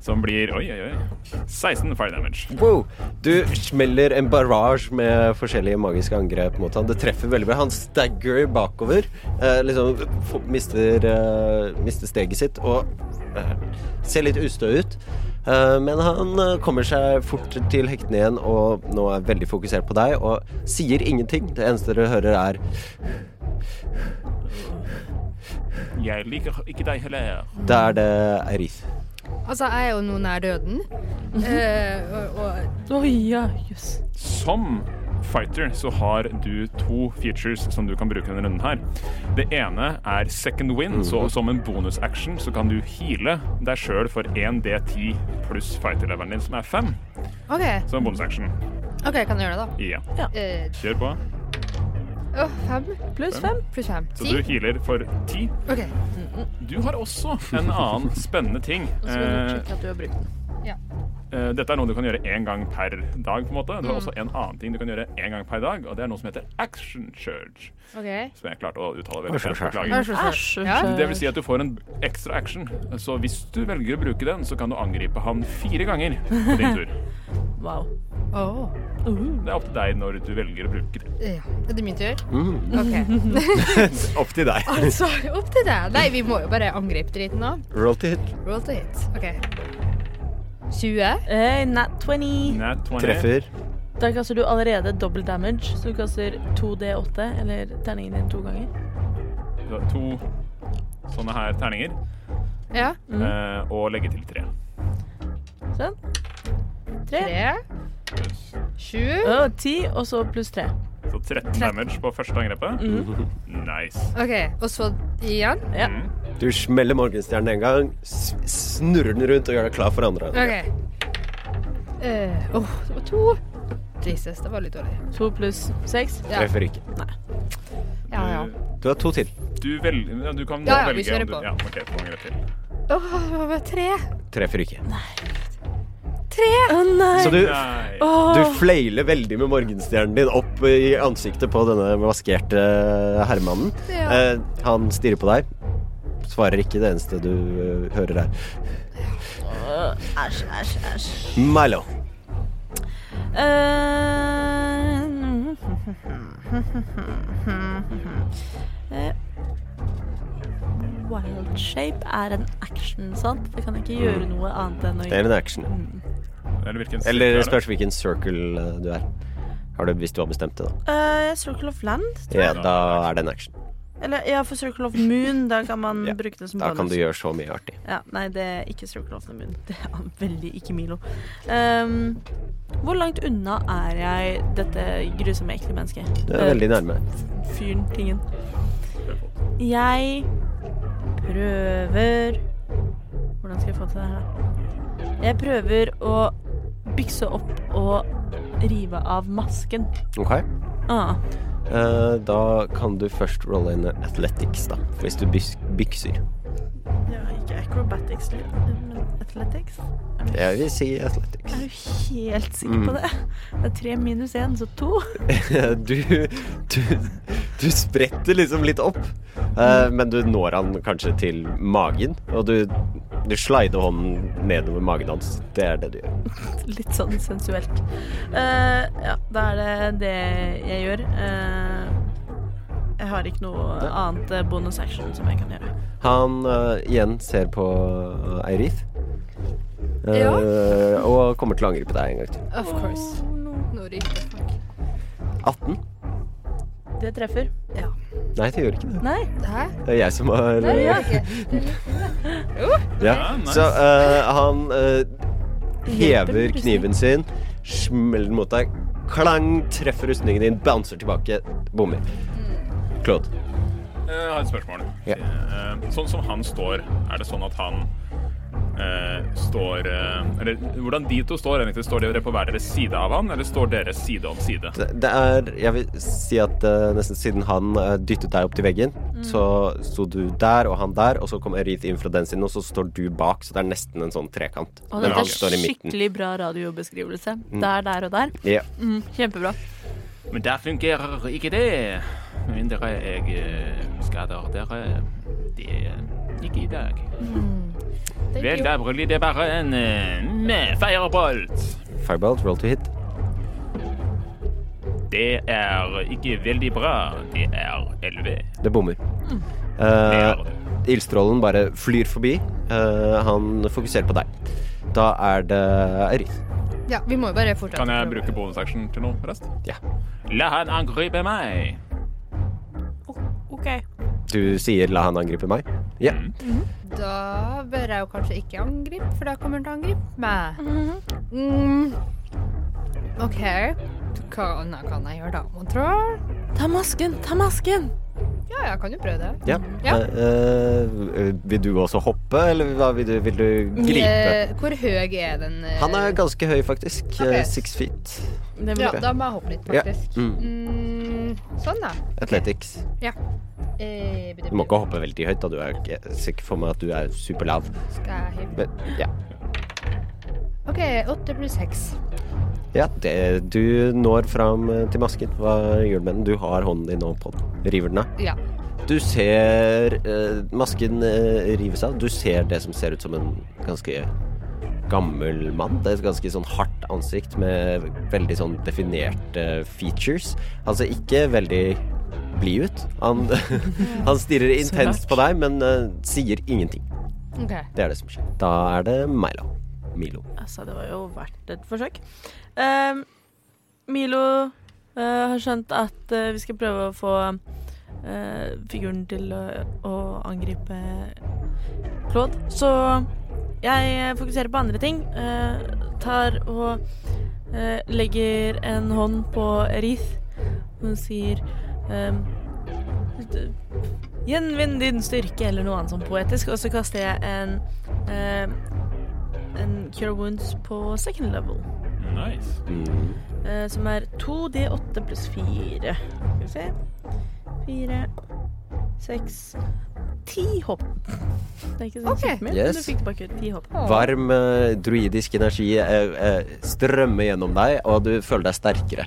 C: Som blir oi, oi, oi. 16 fire damage.
B: Wow! Du smeller en barrage med forskjellige magiske angrep mot han. Det treffer veldig bra. Han stagger bakover. Eh, liksom f- mister, eh, mister steget sitt og eh, ser litt ustø ut. Eh, men han eh, kommer seg fort til hektene igjen og nå er veldig fokusert på deg og sier ingenting. Det eneste dere hører, er
C: Jeg liker ikke deg heller.
B: Da er det Eirith.
D: Altså, jeg er jo nå nær døden. Eh, og, og
E: Oi, ja, jøss.
C: Som fighter så har du to features som du kan bruke denne runden her. Det ene er second win, så som en bonusaction så kan du heale deg sjøl for 1D10 pluss fighterleveren din, som er 5,
D: OK,
C: som en bonusaction.
D: ok, jeg kan gjøre det, da.
C: Ja.
D: Eh,
C: Kjør på.
D: Å, fem
E: Pluss fem.
D: pluss fem.
C: Så
D: Ti?
C: du healer for 10.
D: OK.
C: Du har også en annen spennende ting.
E: Og så vil du
C: Eh,
E: sjekke at du har brukt den.
C: Eh, Dette er noe du kan gjøre én gang per dag. på en måte. Du har også en annen ting du kan gjøre én gang per dag, og det er noe som heter action charge.
D: ok.
C: Som jeg klarte å uttale veldig fint. Beklager.
D: Vær så
E: Æsj,
D: snill. Ja.
E: æsj.
C: Det vil si at du får en ekstra action. Så hvis du velger å bruke den, så kan du angripe han fire ganger på din tur.
E: Wow.
D: Åh.
C: Det er opp til deg når du velger å bruke det.
D: Ja. Er det min tur?
C: Mm.
D: OK.
B: Opp til deg.
D: Altså, opp til deg. Nei, vi må jo bare angripe driten nå.
B: Roll to hit.
D: Roll to hit. OK. 20.
E: Eh, nat 20.
C: Nat 20.
B: Treffer.
E: Da kaster du allerede dobbelt damage, så du kaster 2D8, eller terningen din to ganger.
C: Du har To sånne her terninger,
D: Ja.
C: eh, og legge til tre.
E: Sånn. Tre.
D: 3,
C: Pluss.
D: 7
E: Og ti, og så pluss tre.
C: Så 13 damage på første angrepet.
D: Mm.
C: Nice.
D: OK, og så igjen.
E: Ja.
B: Du smeller morgenstjernen en gang, s- snurrer den rundt og gjør deg klar for andre.
D: OK. Eh, Åh, det var to. Jesus, det var litt dårlig.
E: To pluss seks.
D: Ja,
B: Treffer ikke.
D: ja. ja.
B: Du har to til.
C: Du, vel, ja, du kan
D: Ja, ja, vi
C: velge
D: kjører
C: om du,
D: på.
C: ja, ok, to angrep til.
D: Åh, det var bare tre.
B: Treffer ikke.
D: Tre!
E: Å nei!
B: Så du,
C: Nei.
B: du flailer veldig med morgenstjernen din opp i ansiktet på denne maskerte herremannen.
D: Ja.
B: Eh, han stirrer på deg. Svarer ikke det eneste du eh, hører her.
E: Æsj, æsj, æsj.
B: Milo.
E: Eh, eh, Wild shape er en action, sant? Det kan ikke gjøre noe annet enn å Mm.
B: Det er en action.
C: Eller hvilken
B: Eller
C: cirkel er det?
B: spørs hvilken circle eh, du er. Har du, hvis du har bestemt det, da.
E: Eh, Circle of Land?
B: Ja, da er det en action.
E: Eller ja, for Circle of Moon, da kan man
B: Ja,
E: bruke det som
B: Da
E: bonus.
B: kan du gjøre så mye artig.
E: Ja, nei, det er ikke Circle of the Moon. Det er veldig ikke Milo. Ehm, hvor langt unna er jeg dette grusomme, ekle mennesket?
B: Det er veldig nærme.
E: Eh, Fyren, tingen. Jeg prøver Hvordan skal jeg få til det her, da? Jeg prøver å bykse opp og rive av masken.
B: Ok.
E: Ah,
B: Eh, da kan du først rolle inn athletics, da. Hvis du bys- bykser.
E: det var ikke acrobatics, men athletics.
B: Jeg vil si athletics.
E: Er du helt sikker
B: Mm.
E: på det? Det er tre minus én, så to.
B: du, du, du spretter liksom litt opp, eh, men du når han kanskje til magen. Og du, du slider hånden nedover magen hans. Det er det du gjør.
E: Litt sånn sensuelt. Eh, ja, da er det det jeg gjør. Eh, har ikke noe annet eh, bonus action som jeg kan gjøre.
B: Han eh, igjen ser på eh, Eirith. Eh,
D: Ja.
B: Og kommer til å angripe deg en gang til.
D: Of course. Nå ryker det. Fuck.
B: 18?
E: Det treffer.
D: Ja.
B: Nei, det gjør ikke det.
E: Nei.
D: Hæ?
B: Det er jeg som har
D: Nei,
B: eh,
D: ja. ok.
B: Ja.
C: Ja, nice.
B: Så eh, han eh,
E: Hjelper
B: hever
E: rustning.
B: kniven sin, smeller den mot deg, klang, treffer rustningen din, bouncer tilbake, bommer.
E: Mm.
B: Claude.
C: Jeg har et spørsmål.
B: Ja.
C: Eh, Sånn som han står, er det sånn at han eh, står eh, Eller hvordan de to står egentlig? Står dere på hver deres side av han, eller står dere side om side?
B: Det det er Jeg vil si at eh, nesten siden han eh, dyttet deg opp til veggen,
E: Mm.
B: så sto du der og han der, og så kom Erith inn fra den siden, og så står du bak, så det er nesten en sånn trekant.
E: Og
B: Men
E: dette
B: han
E: er
B: står i midten. Mm.
E: skikkelig bra radiobeskrivelse. Der, der og der.
B: Ja.
E: Mm, kjempebra.
C: Men der fungerer ikke det. Med mindre jeg eh, skader dere. Det er ikke i dag.
D: Mm. Thank
C: Vel,
D: you.
C: da blir det bare en eh, med firebolt.
B: Firebolt, roll to hit.
C: Det er ikke veldig bra. Det er 11.
B: Det bommer. Eh, Ildstrålen bare flyr forbi. Eh, han fokuserer på deg. Da er det Erith.
D: Ja, vi må jo bare fortsette.
C: Kan jeg bruke bonusaction til noe, forresten?
B: Ja.
C: La han angripe meg.
E: OK.
B: Du sier 'la han angripe meg'? Ja.
D: Da bør jeg jo kanskje ikke angripe, for da kommer han til å angripe meg. mm. OK. Hva annet kan jeg gjøre da, mon tro?
E: Ta masken, ta masken!
D: Ja, jeg kan jo prøve det.
B: ja.
D: Ja.
B: Eh, eh, vil du også hoppe, eller hva vil du, vil du gripe?
D: Eh, Hvor høy er den? eh,
B: Han er ganske høy, faktisk.
D: Ok.
B: Eh, Six feet.
E: Det blir
D: Ja, da må jeg hoppe litt,
B: Ja.
D: faktisk.
B: Mm.
D: Mm, sånn, da.
B: Athletics.
D: Eh,
B: Du må ikke hoppe veldig høyt, da. Du er ikke sikker for meg at du er superlav.
D: Skal jeg hive?
B: Men ja.
D: OK, åtte pluss seks.
B: ja det, du når fram eh, til masken. Hva gjør du med den? Du har hånden din nå på den. River den av?
D: Ja.
B: Du ser eh, masken eh, rives av. Du ser det som ser ut som en ganske gammel mann. Det er et ganske sånn hardt ansikt med veldig sånn definerte features. Han ser ikke veldig blid ut. Han, han stirrer intenst på deg, men eh, sier ingenting.
D: OK.
B: Det er det som skjer. Da er det Milo. Milo.
E: Altså, det var jo verdt et forsøk. Ehm, Milo eh, har skjønt at eh, vi skal prøve å få eh, figuren til å, å angripe Claude. Så jeg fokuserer på andre ting. Eh, tar og eh, legger en hånd på Reith. Hun sier ehm, Gjenvinn din styrke, eller noe annet sånn poetisk. Og så kaster jeg en eh, en Cure Wounds på second level.
C: Nice.
B: Mm.
E: eh, som er 2D8 pluss 4. Skal vi se 4, 6 10 hopp. Det er ikke så
D: Ok.
E: kjempemye, men
B: Yes.
E: du fikk tilbake 10 hopp.
B: Varm eh, druidisk energi eh, eh, strømmer gjennom deg, og du føler deg sterkere.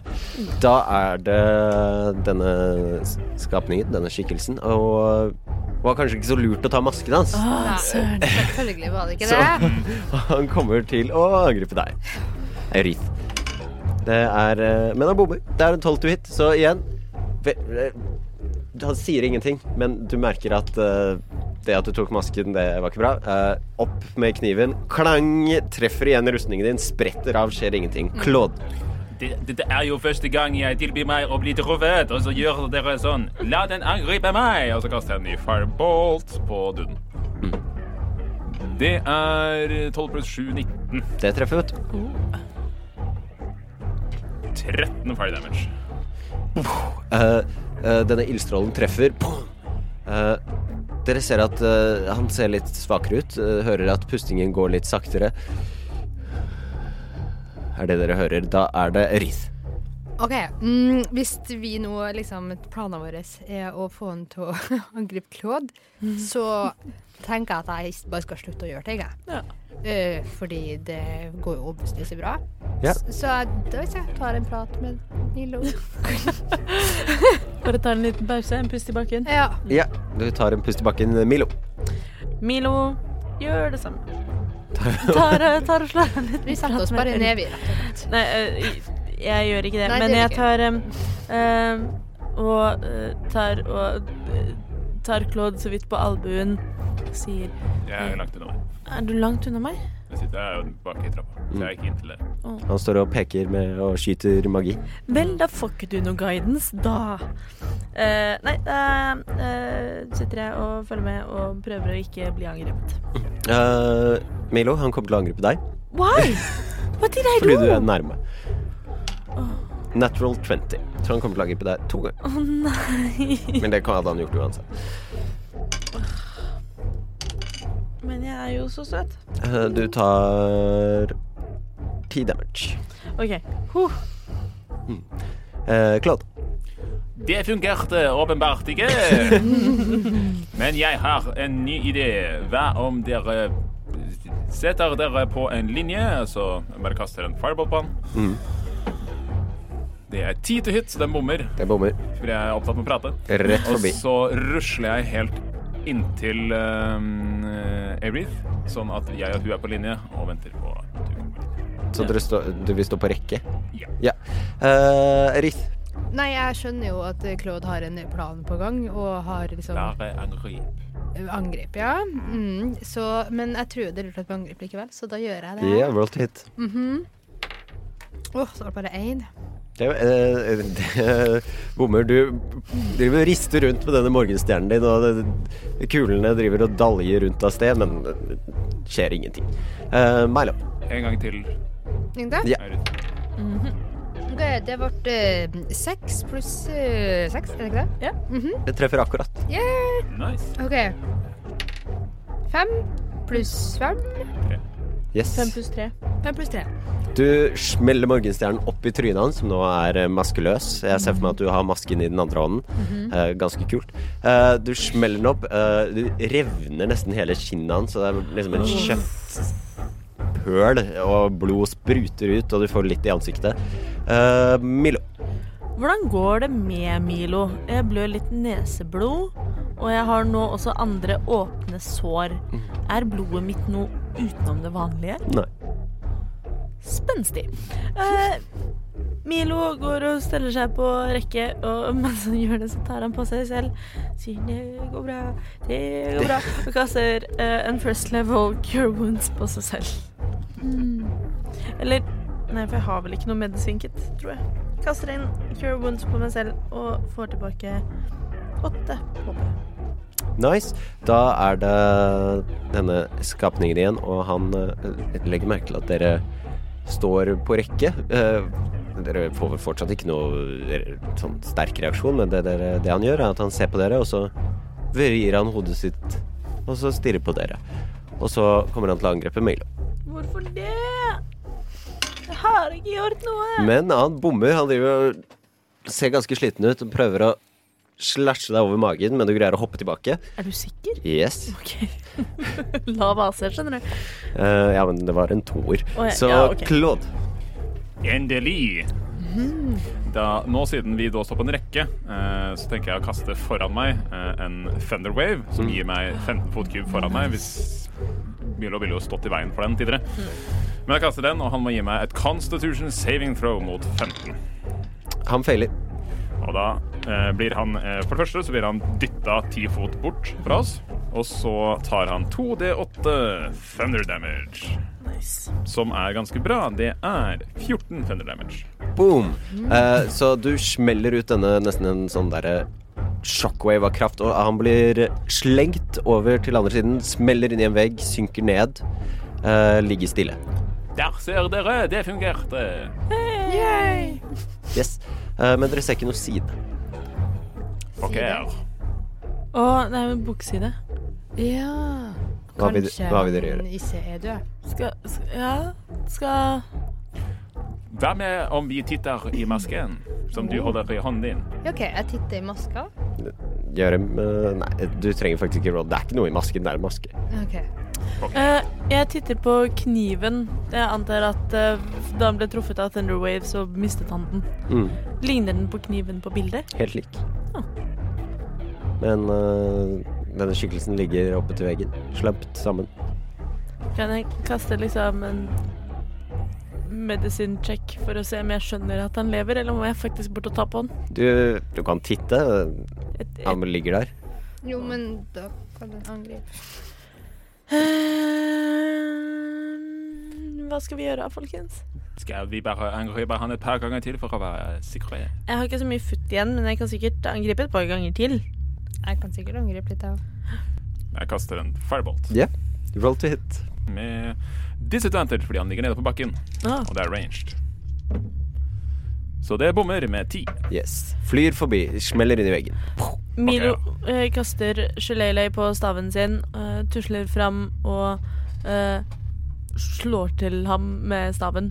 B: Da er det denne s- skapningen, denne skikkelsen, og var kanskje ikke så lurt å ta masken hans.
E: Å,
D: Nei.
E: Ah, søren.
D: Selvfølgelig var det ikke
B: Så
D: det.
B: han kommer til å angripe deg. Eirith. Det er eh, Men han bommer. Det er en 12 to hit, så igjen ve- eh, Han sier ingenting, men du merker at eh, det at du tok masken, det var ikke bra. Eh, opp med kniven. Klang! Treffer igjen rustningen din. Spretter av, skjer ingenting. Claude.
C: Det- Dette er jo første gang jeg tilbyr meg å bli truffet, og så gjør dere sånn. La den angripe meg! Og så kaster jeg en ny firebolt på Duden. Det er 12 pluss 7, 19.
B: Det treffer, vet du.
C: 13 fire damage.
B: Eh, eh, denne ildstrålen treffer. Boom! Eh, dere ser at eh, han ser litt svakere ut. eh, hører at pustingen går litt saktere. Er det dere hører? Da er det Rith.
D: OK. Mm, hvis vi nå liksom Planene våre er å få han til å angripe Claude, så tenker jeg at jeg ikke bare skal slutte å gjøre ting, jeg.
E: Ja.
D: Eh, fordi det går jo overbevisende så bra.
B: Ja.
D: S- Så jeg- da hvis jeg tar en prat med Nilo
E: Bare ta en liten pause, en pust i bakken.
D: Ja.
B: Ja, du tar en pust i bakken, Milo.
E: Milo gjør det samme. Tar, tar og slår en liten
D: Vi setter oss
E: prat
D: bare
E: med Erik.
D: ned, vi. rett og slett.
E: Nei, eh, jeg gjør ikke det.
D: Nei, det
E: men
D: gjør
E: jeg
D: ikke.
E: tar em, em, og eh, tar og eh, tar Claude så vidt på albuen og sier
C: Jeg er langt unna meg.
E: Er du langt unna meg?
C: Jeg sitter jeg er jo bak i trappa, så jeg er ikke inntil dere.
B: Han står og peker med og skyter magi.
E: Vel, da får ikke du noe guidance, da. Eh, nei, da eh, sitter jeg og følger med og prøver å ikke bli angrepet.
B: Eh, Milo, han kommer til å angripe deg
E: Why? What did I
B: fordi
E: do?
B: du er nærme. Natural 20. Så han kommer til å angripe deg to ganger.
E: Å nei.
B: Men det kan- hadde han gjort uansett.
E: Men jeg er jo så søt.
B: Eh, du tar ti damage.
E: OK. Huh.
B: Eh, Claude.
C: Det fungerte åpenbart ikke. Men jeg har en ny idé. Hva om dere setter dere på en linje, så jeg bare kaster en fireball på den? Det er ti til hit, så den bommer,
B: Jeg bommer.
C: for jeg er opptatt med å prate.
B: Rett
C: Og
B: forbi.
C: så rusler jeg helt inntil uh, Aerith, sånn at jeg og hun er på linje og venter på at hun kommer.
B: Så dere står- du vil stå på rekke?
C: Ja.
B: Ja. Eh, Rith.
D: Nei, jeg skjønner jo at Claude har en plan på gang, og har liksom
C: Der er Angrip.
D: angrep, ja. Mm, så, men jeg tror det er lurt at vi angriper likevel, så da gjør jeg det.
B: Ja, world hit.
D: Åh, så var det bare én.
B: Det, eh, det, bommer, du driver og rister rundt med denne morgenstjernen din, og det, kulene driver og daljer rundt av sted, men det skjer ingenting. Eh, Milo.
C: En gang til,
D: Ikke sant?
B: Ja.
C: Aerith.
D: Ok, det ble eh, seks pluss eh, seks, er det ikke det?
B: Det treffer akkurat.
D: Yeah!
C: Nice.
D: OK. Fem pluss fem.
B: Yes.
E: Fem pluss tre.
D: Fem pluss tre.
B: Du smeller morgenstjernen opp i trynet hans, som nå er eh, maskeløs. Jeg ser for meg at du har masken i den andre hånden. Eh, ganske kult. Eh, du smeller den opp. eh, du revner nesten hele kinnet hans, så det er liksom en kjøttpøl, og blod spruter ut, og du får litt i ansiktet. Eh, Milo.
E: Hvordan går det med Milo? Jeg blør litt neseblod, og jeg har nå også andre åpne sår. Er blodet mitt noe utenom det vanlige?
B: Nei.
E: Spenstig. Eh, Milo går og steller seg på rekke, og mens han gjør det, så tar han på seg selv. Sier 'det går bra, det går bra', og kaster eh, en first level cure wounds på seg selv. Eller Nei, for jeg har vel ikke noe medisinket, tror jeg. Kaster inn cure wounds på meg selv og får tilbake åtte HP.
B: Nice. Da er det denne skapningen igjen, og han eh, legger merke til at dere står på rekke. Eh, dere får vel fortsatt ikke noe eh, sånn sterk reaksjon, men det, dere, det han gjør, er at han ser på dere, og så vrir han hodet sitt og så stirrer på dere. Og så kommer han til å angripe Milo.
E: Hvorfor det? Jeg har ikke gjort noe.
B: Men han bommer. Han driver og ser ganske sliten ut og prøver å slashe deg over magen, men du greier å hoppe tilbake.
E: Er du sikker?
B: Yes.
E: OK. Lav AC, skjønner du.
B: Eh, ja, men det var en toer.
E: Å, ja,
B: Så
E: ja, ok.
B: Claude
C: Endelig! Da, nå siden vi da står på en rekke, eh, så tenker jeg å kaste foran meg eh, en Thunderwave, som gir meg 15 fot kub foran meg, hvis Milo ville jo stått i veien for den tidligere. Men jeg kaster den, og han må gi meg et Constitution saving throw mot 15.
B: Han feiler.
C: Og da eh, blir han, eh, for det første, så blir han dytta ti fot bort fra oss, og så tar han 2D8 Thunder Damage,
E: Nice.
C: som er ganske bra. Det er 14 Thunder Damage.
B: Boom! Eh, så du smeller ut denne nesten en sånn derre shockwave av kraft, og han blir slengt over til andre siden, smeller inn i en vegg, synker ned, eh, ligger stille.
C: Der ser dere, det fungerte!
B: Yes. Eh, men dere ser ikke noe side.
C: Ok, her.
E: Å, det er jo en bokside.
D: Ja.
B: Hva vil- hva vil dere gjøre?
D: han ikke er død.
E: Skal, skal Ja, skal
C: Hva med om vi titter i masken som du holder i hånden din?
D: Ja, OK, jeg titter i maska.
B: Gjør en eh, Nei, du trenger faktisk ikke råd. Det er ikke noe i masken, det er en maske.
D: OK.
E: Eh, Jeg titter på kniven. Jeg antar at eh, da han ble truffet av Thunderwave, så mistet han den.
B: Mm,
E: Ligner den på kniven på bildet?
B: helt lik.
E: Ah.
B: Men eh, denne skikkelsen ligger oppe til veggen, slemt sammen.
E: Kan jeg kaste liksom en medicine check for å se om jeg skjønner at han lever, eller må jeg faktisk bort og ta på han?
B: Du, du kan titte.
E: Et, et,
B: Han ligger der.
D: Jo, men da kan den angripe.
E: Eh, hva skal vi gjøre, folkens?
C: Skal vi bare angripe han et par ganger til for å være sikre?
E: Jeg har ikke så mye futt igjen, men jeg kan sikkert angripe et par ganger til.
D: Jeg kan sikkert angripe litt, jeg òg.
C: Jeg kaster en firebolt
B: Ja. Roll to hit.
C: med disadvantage fordi han ligger nede på bakken,
E: Ah,
C: og det er ranged. Så det bommer med ti.
B: Yes. Flyr forbi. Smeller inn i veggen.
E: Milo eh, kaster geléløy på staven sin, eh, tusler fram og eh, slår til ham med staven.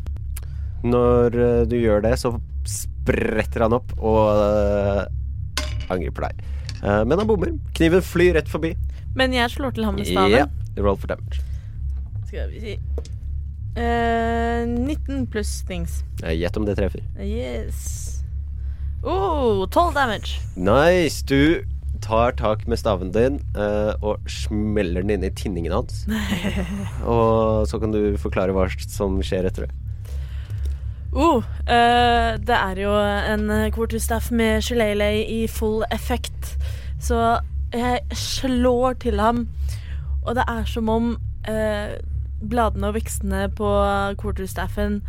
B: Når eh, du gjør det, så spretter han opp og eh, angriper deg. Eh, men han bommer. Kniven flyr rett forbi.
E: Men jeg slår til ham med staven.
B: Ja. Roll for damage.
E: Skal vi si Eh, 19 pluss stings.
B: Eh, Gjett om det treffer.
E: Yes. Oh, 12 damage.
B: Nice. Du tar tak med staven din eh, og smeller den inn i tinningen hans. og så kan du forklare hva som skjer etter det.
E: Oh, eh, det er jo en quarterstaff med gelélei i full effekt. Så jeg slår til ham, og det er som om eh, bladene og vekstene på quarterstaffen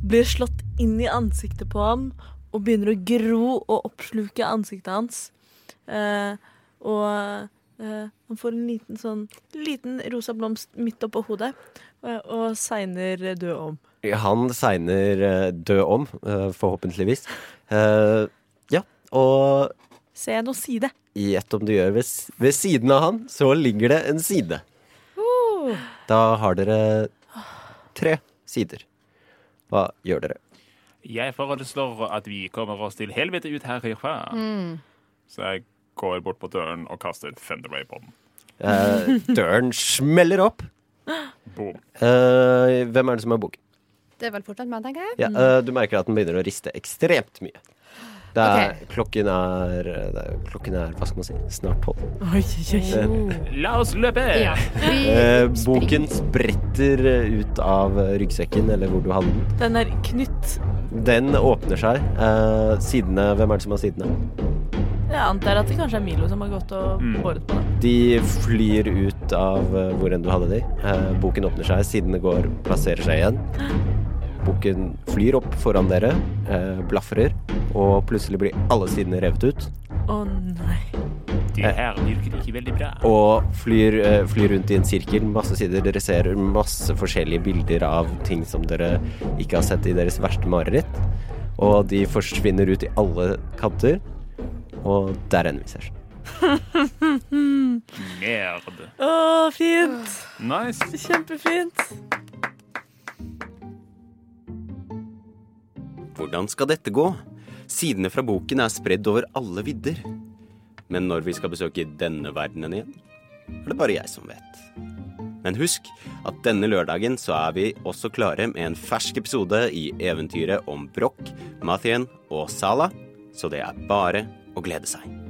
E: blir slått inn i ansiktet på ham og begynner å gro og oppsluke ansiktet hans. Eh, og eh, han får en liten sånn liten rosa blomst midt oppå hodet, og, og segner død om.
B: Han segner eh, død om, eh, forhåpentligvis. Eh, ja, og
E: Ser jeg noe side?
B: gjett om du gjør ved, s- ved siden av han, så ligger det en side. Da har dere tre sider. Hva gjør dere?
C: Jeg foreslår at vi kommer oss til helvete ut herifra. Så jeg går bort på døren og kaster Fender Ray på den.
B: Eh, døren smeller opp.
C: Boom.
B: Eh, hvem er det som har boken?
D: Det er vel fortsatt meg, tenker jeg.
B: Ja, eh, du merker at den begynner å riste ekstremt mye. Det er, klokken, er, eh, det er, klokken er Hva skal man si? Snart tolv.
E: Oi, oi, oi.
C: La oss løpe!
D: Ja. Vi
B: Eh,
D: springer.
B: boken spretter eh, ut av eh, ryggsekken, eller hvor du hadde den.
E: Den er knytt.
B: Den åpner seg. Eh, sidene Hvem er det som har sidene?
E: Jeg antar at det kanskje er Milo som har gått og
C: Mm.
E: båret på den.
B: De flyr ut av eh, hvor enn du hadde de. Eh, boken åpner seg, sidene går, plasserer seg igjen. Boken flyr opp foran dere, eh, blafrer, og plutselig blir alle sidene revet ut.
E: Å nei.
C: Det her virker ikke veldig bra.
B: Og flyr, eh, flyr rundt i en sirkel, masse sider. Dere ser masse forskjellige bilder av ting som dere ikke har sett i deres verste mareritt. Og de forsvinner ut i alle kanter, og der ender vi session.
C: Merd.
E: Å, fint.
C: Nice.
E: Kjempefint.
A: Hvordan skal dette gå? Sidene fra boken er spredd over alle vidder. Men når vi skal besøke denne verdenen igjen, er det bare jeg som vet. Men husk at denne lørdagen så er vi også klare med en fersk episode i eventyret om Broch, Mathien og Sala, så det er bare å glede seg.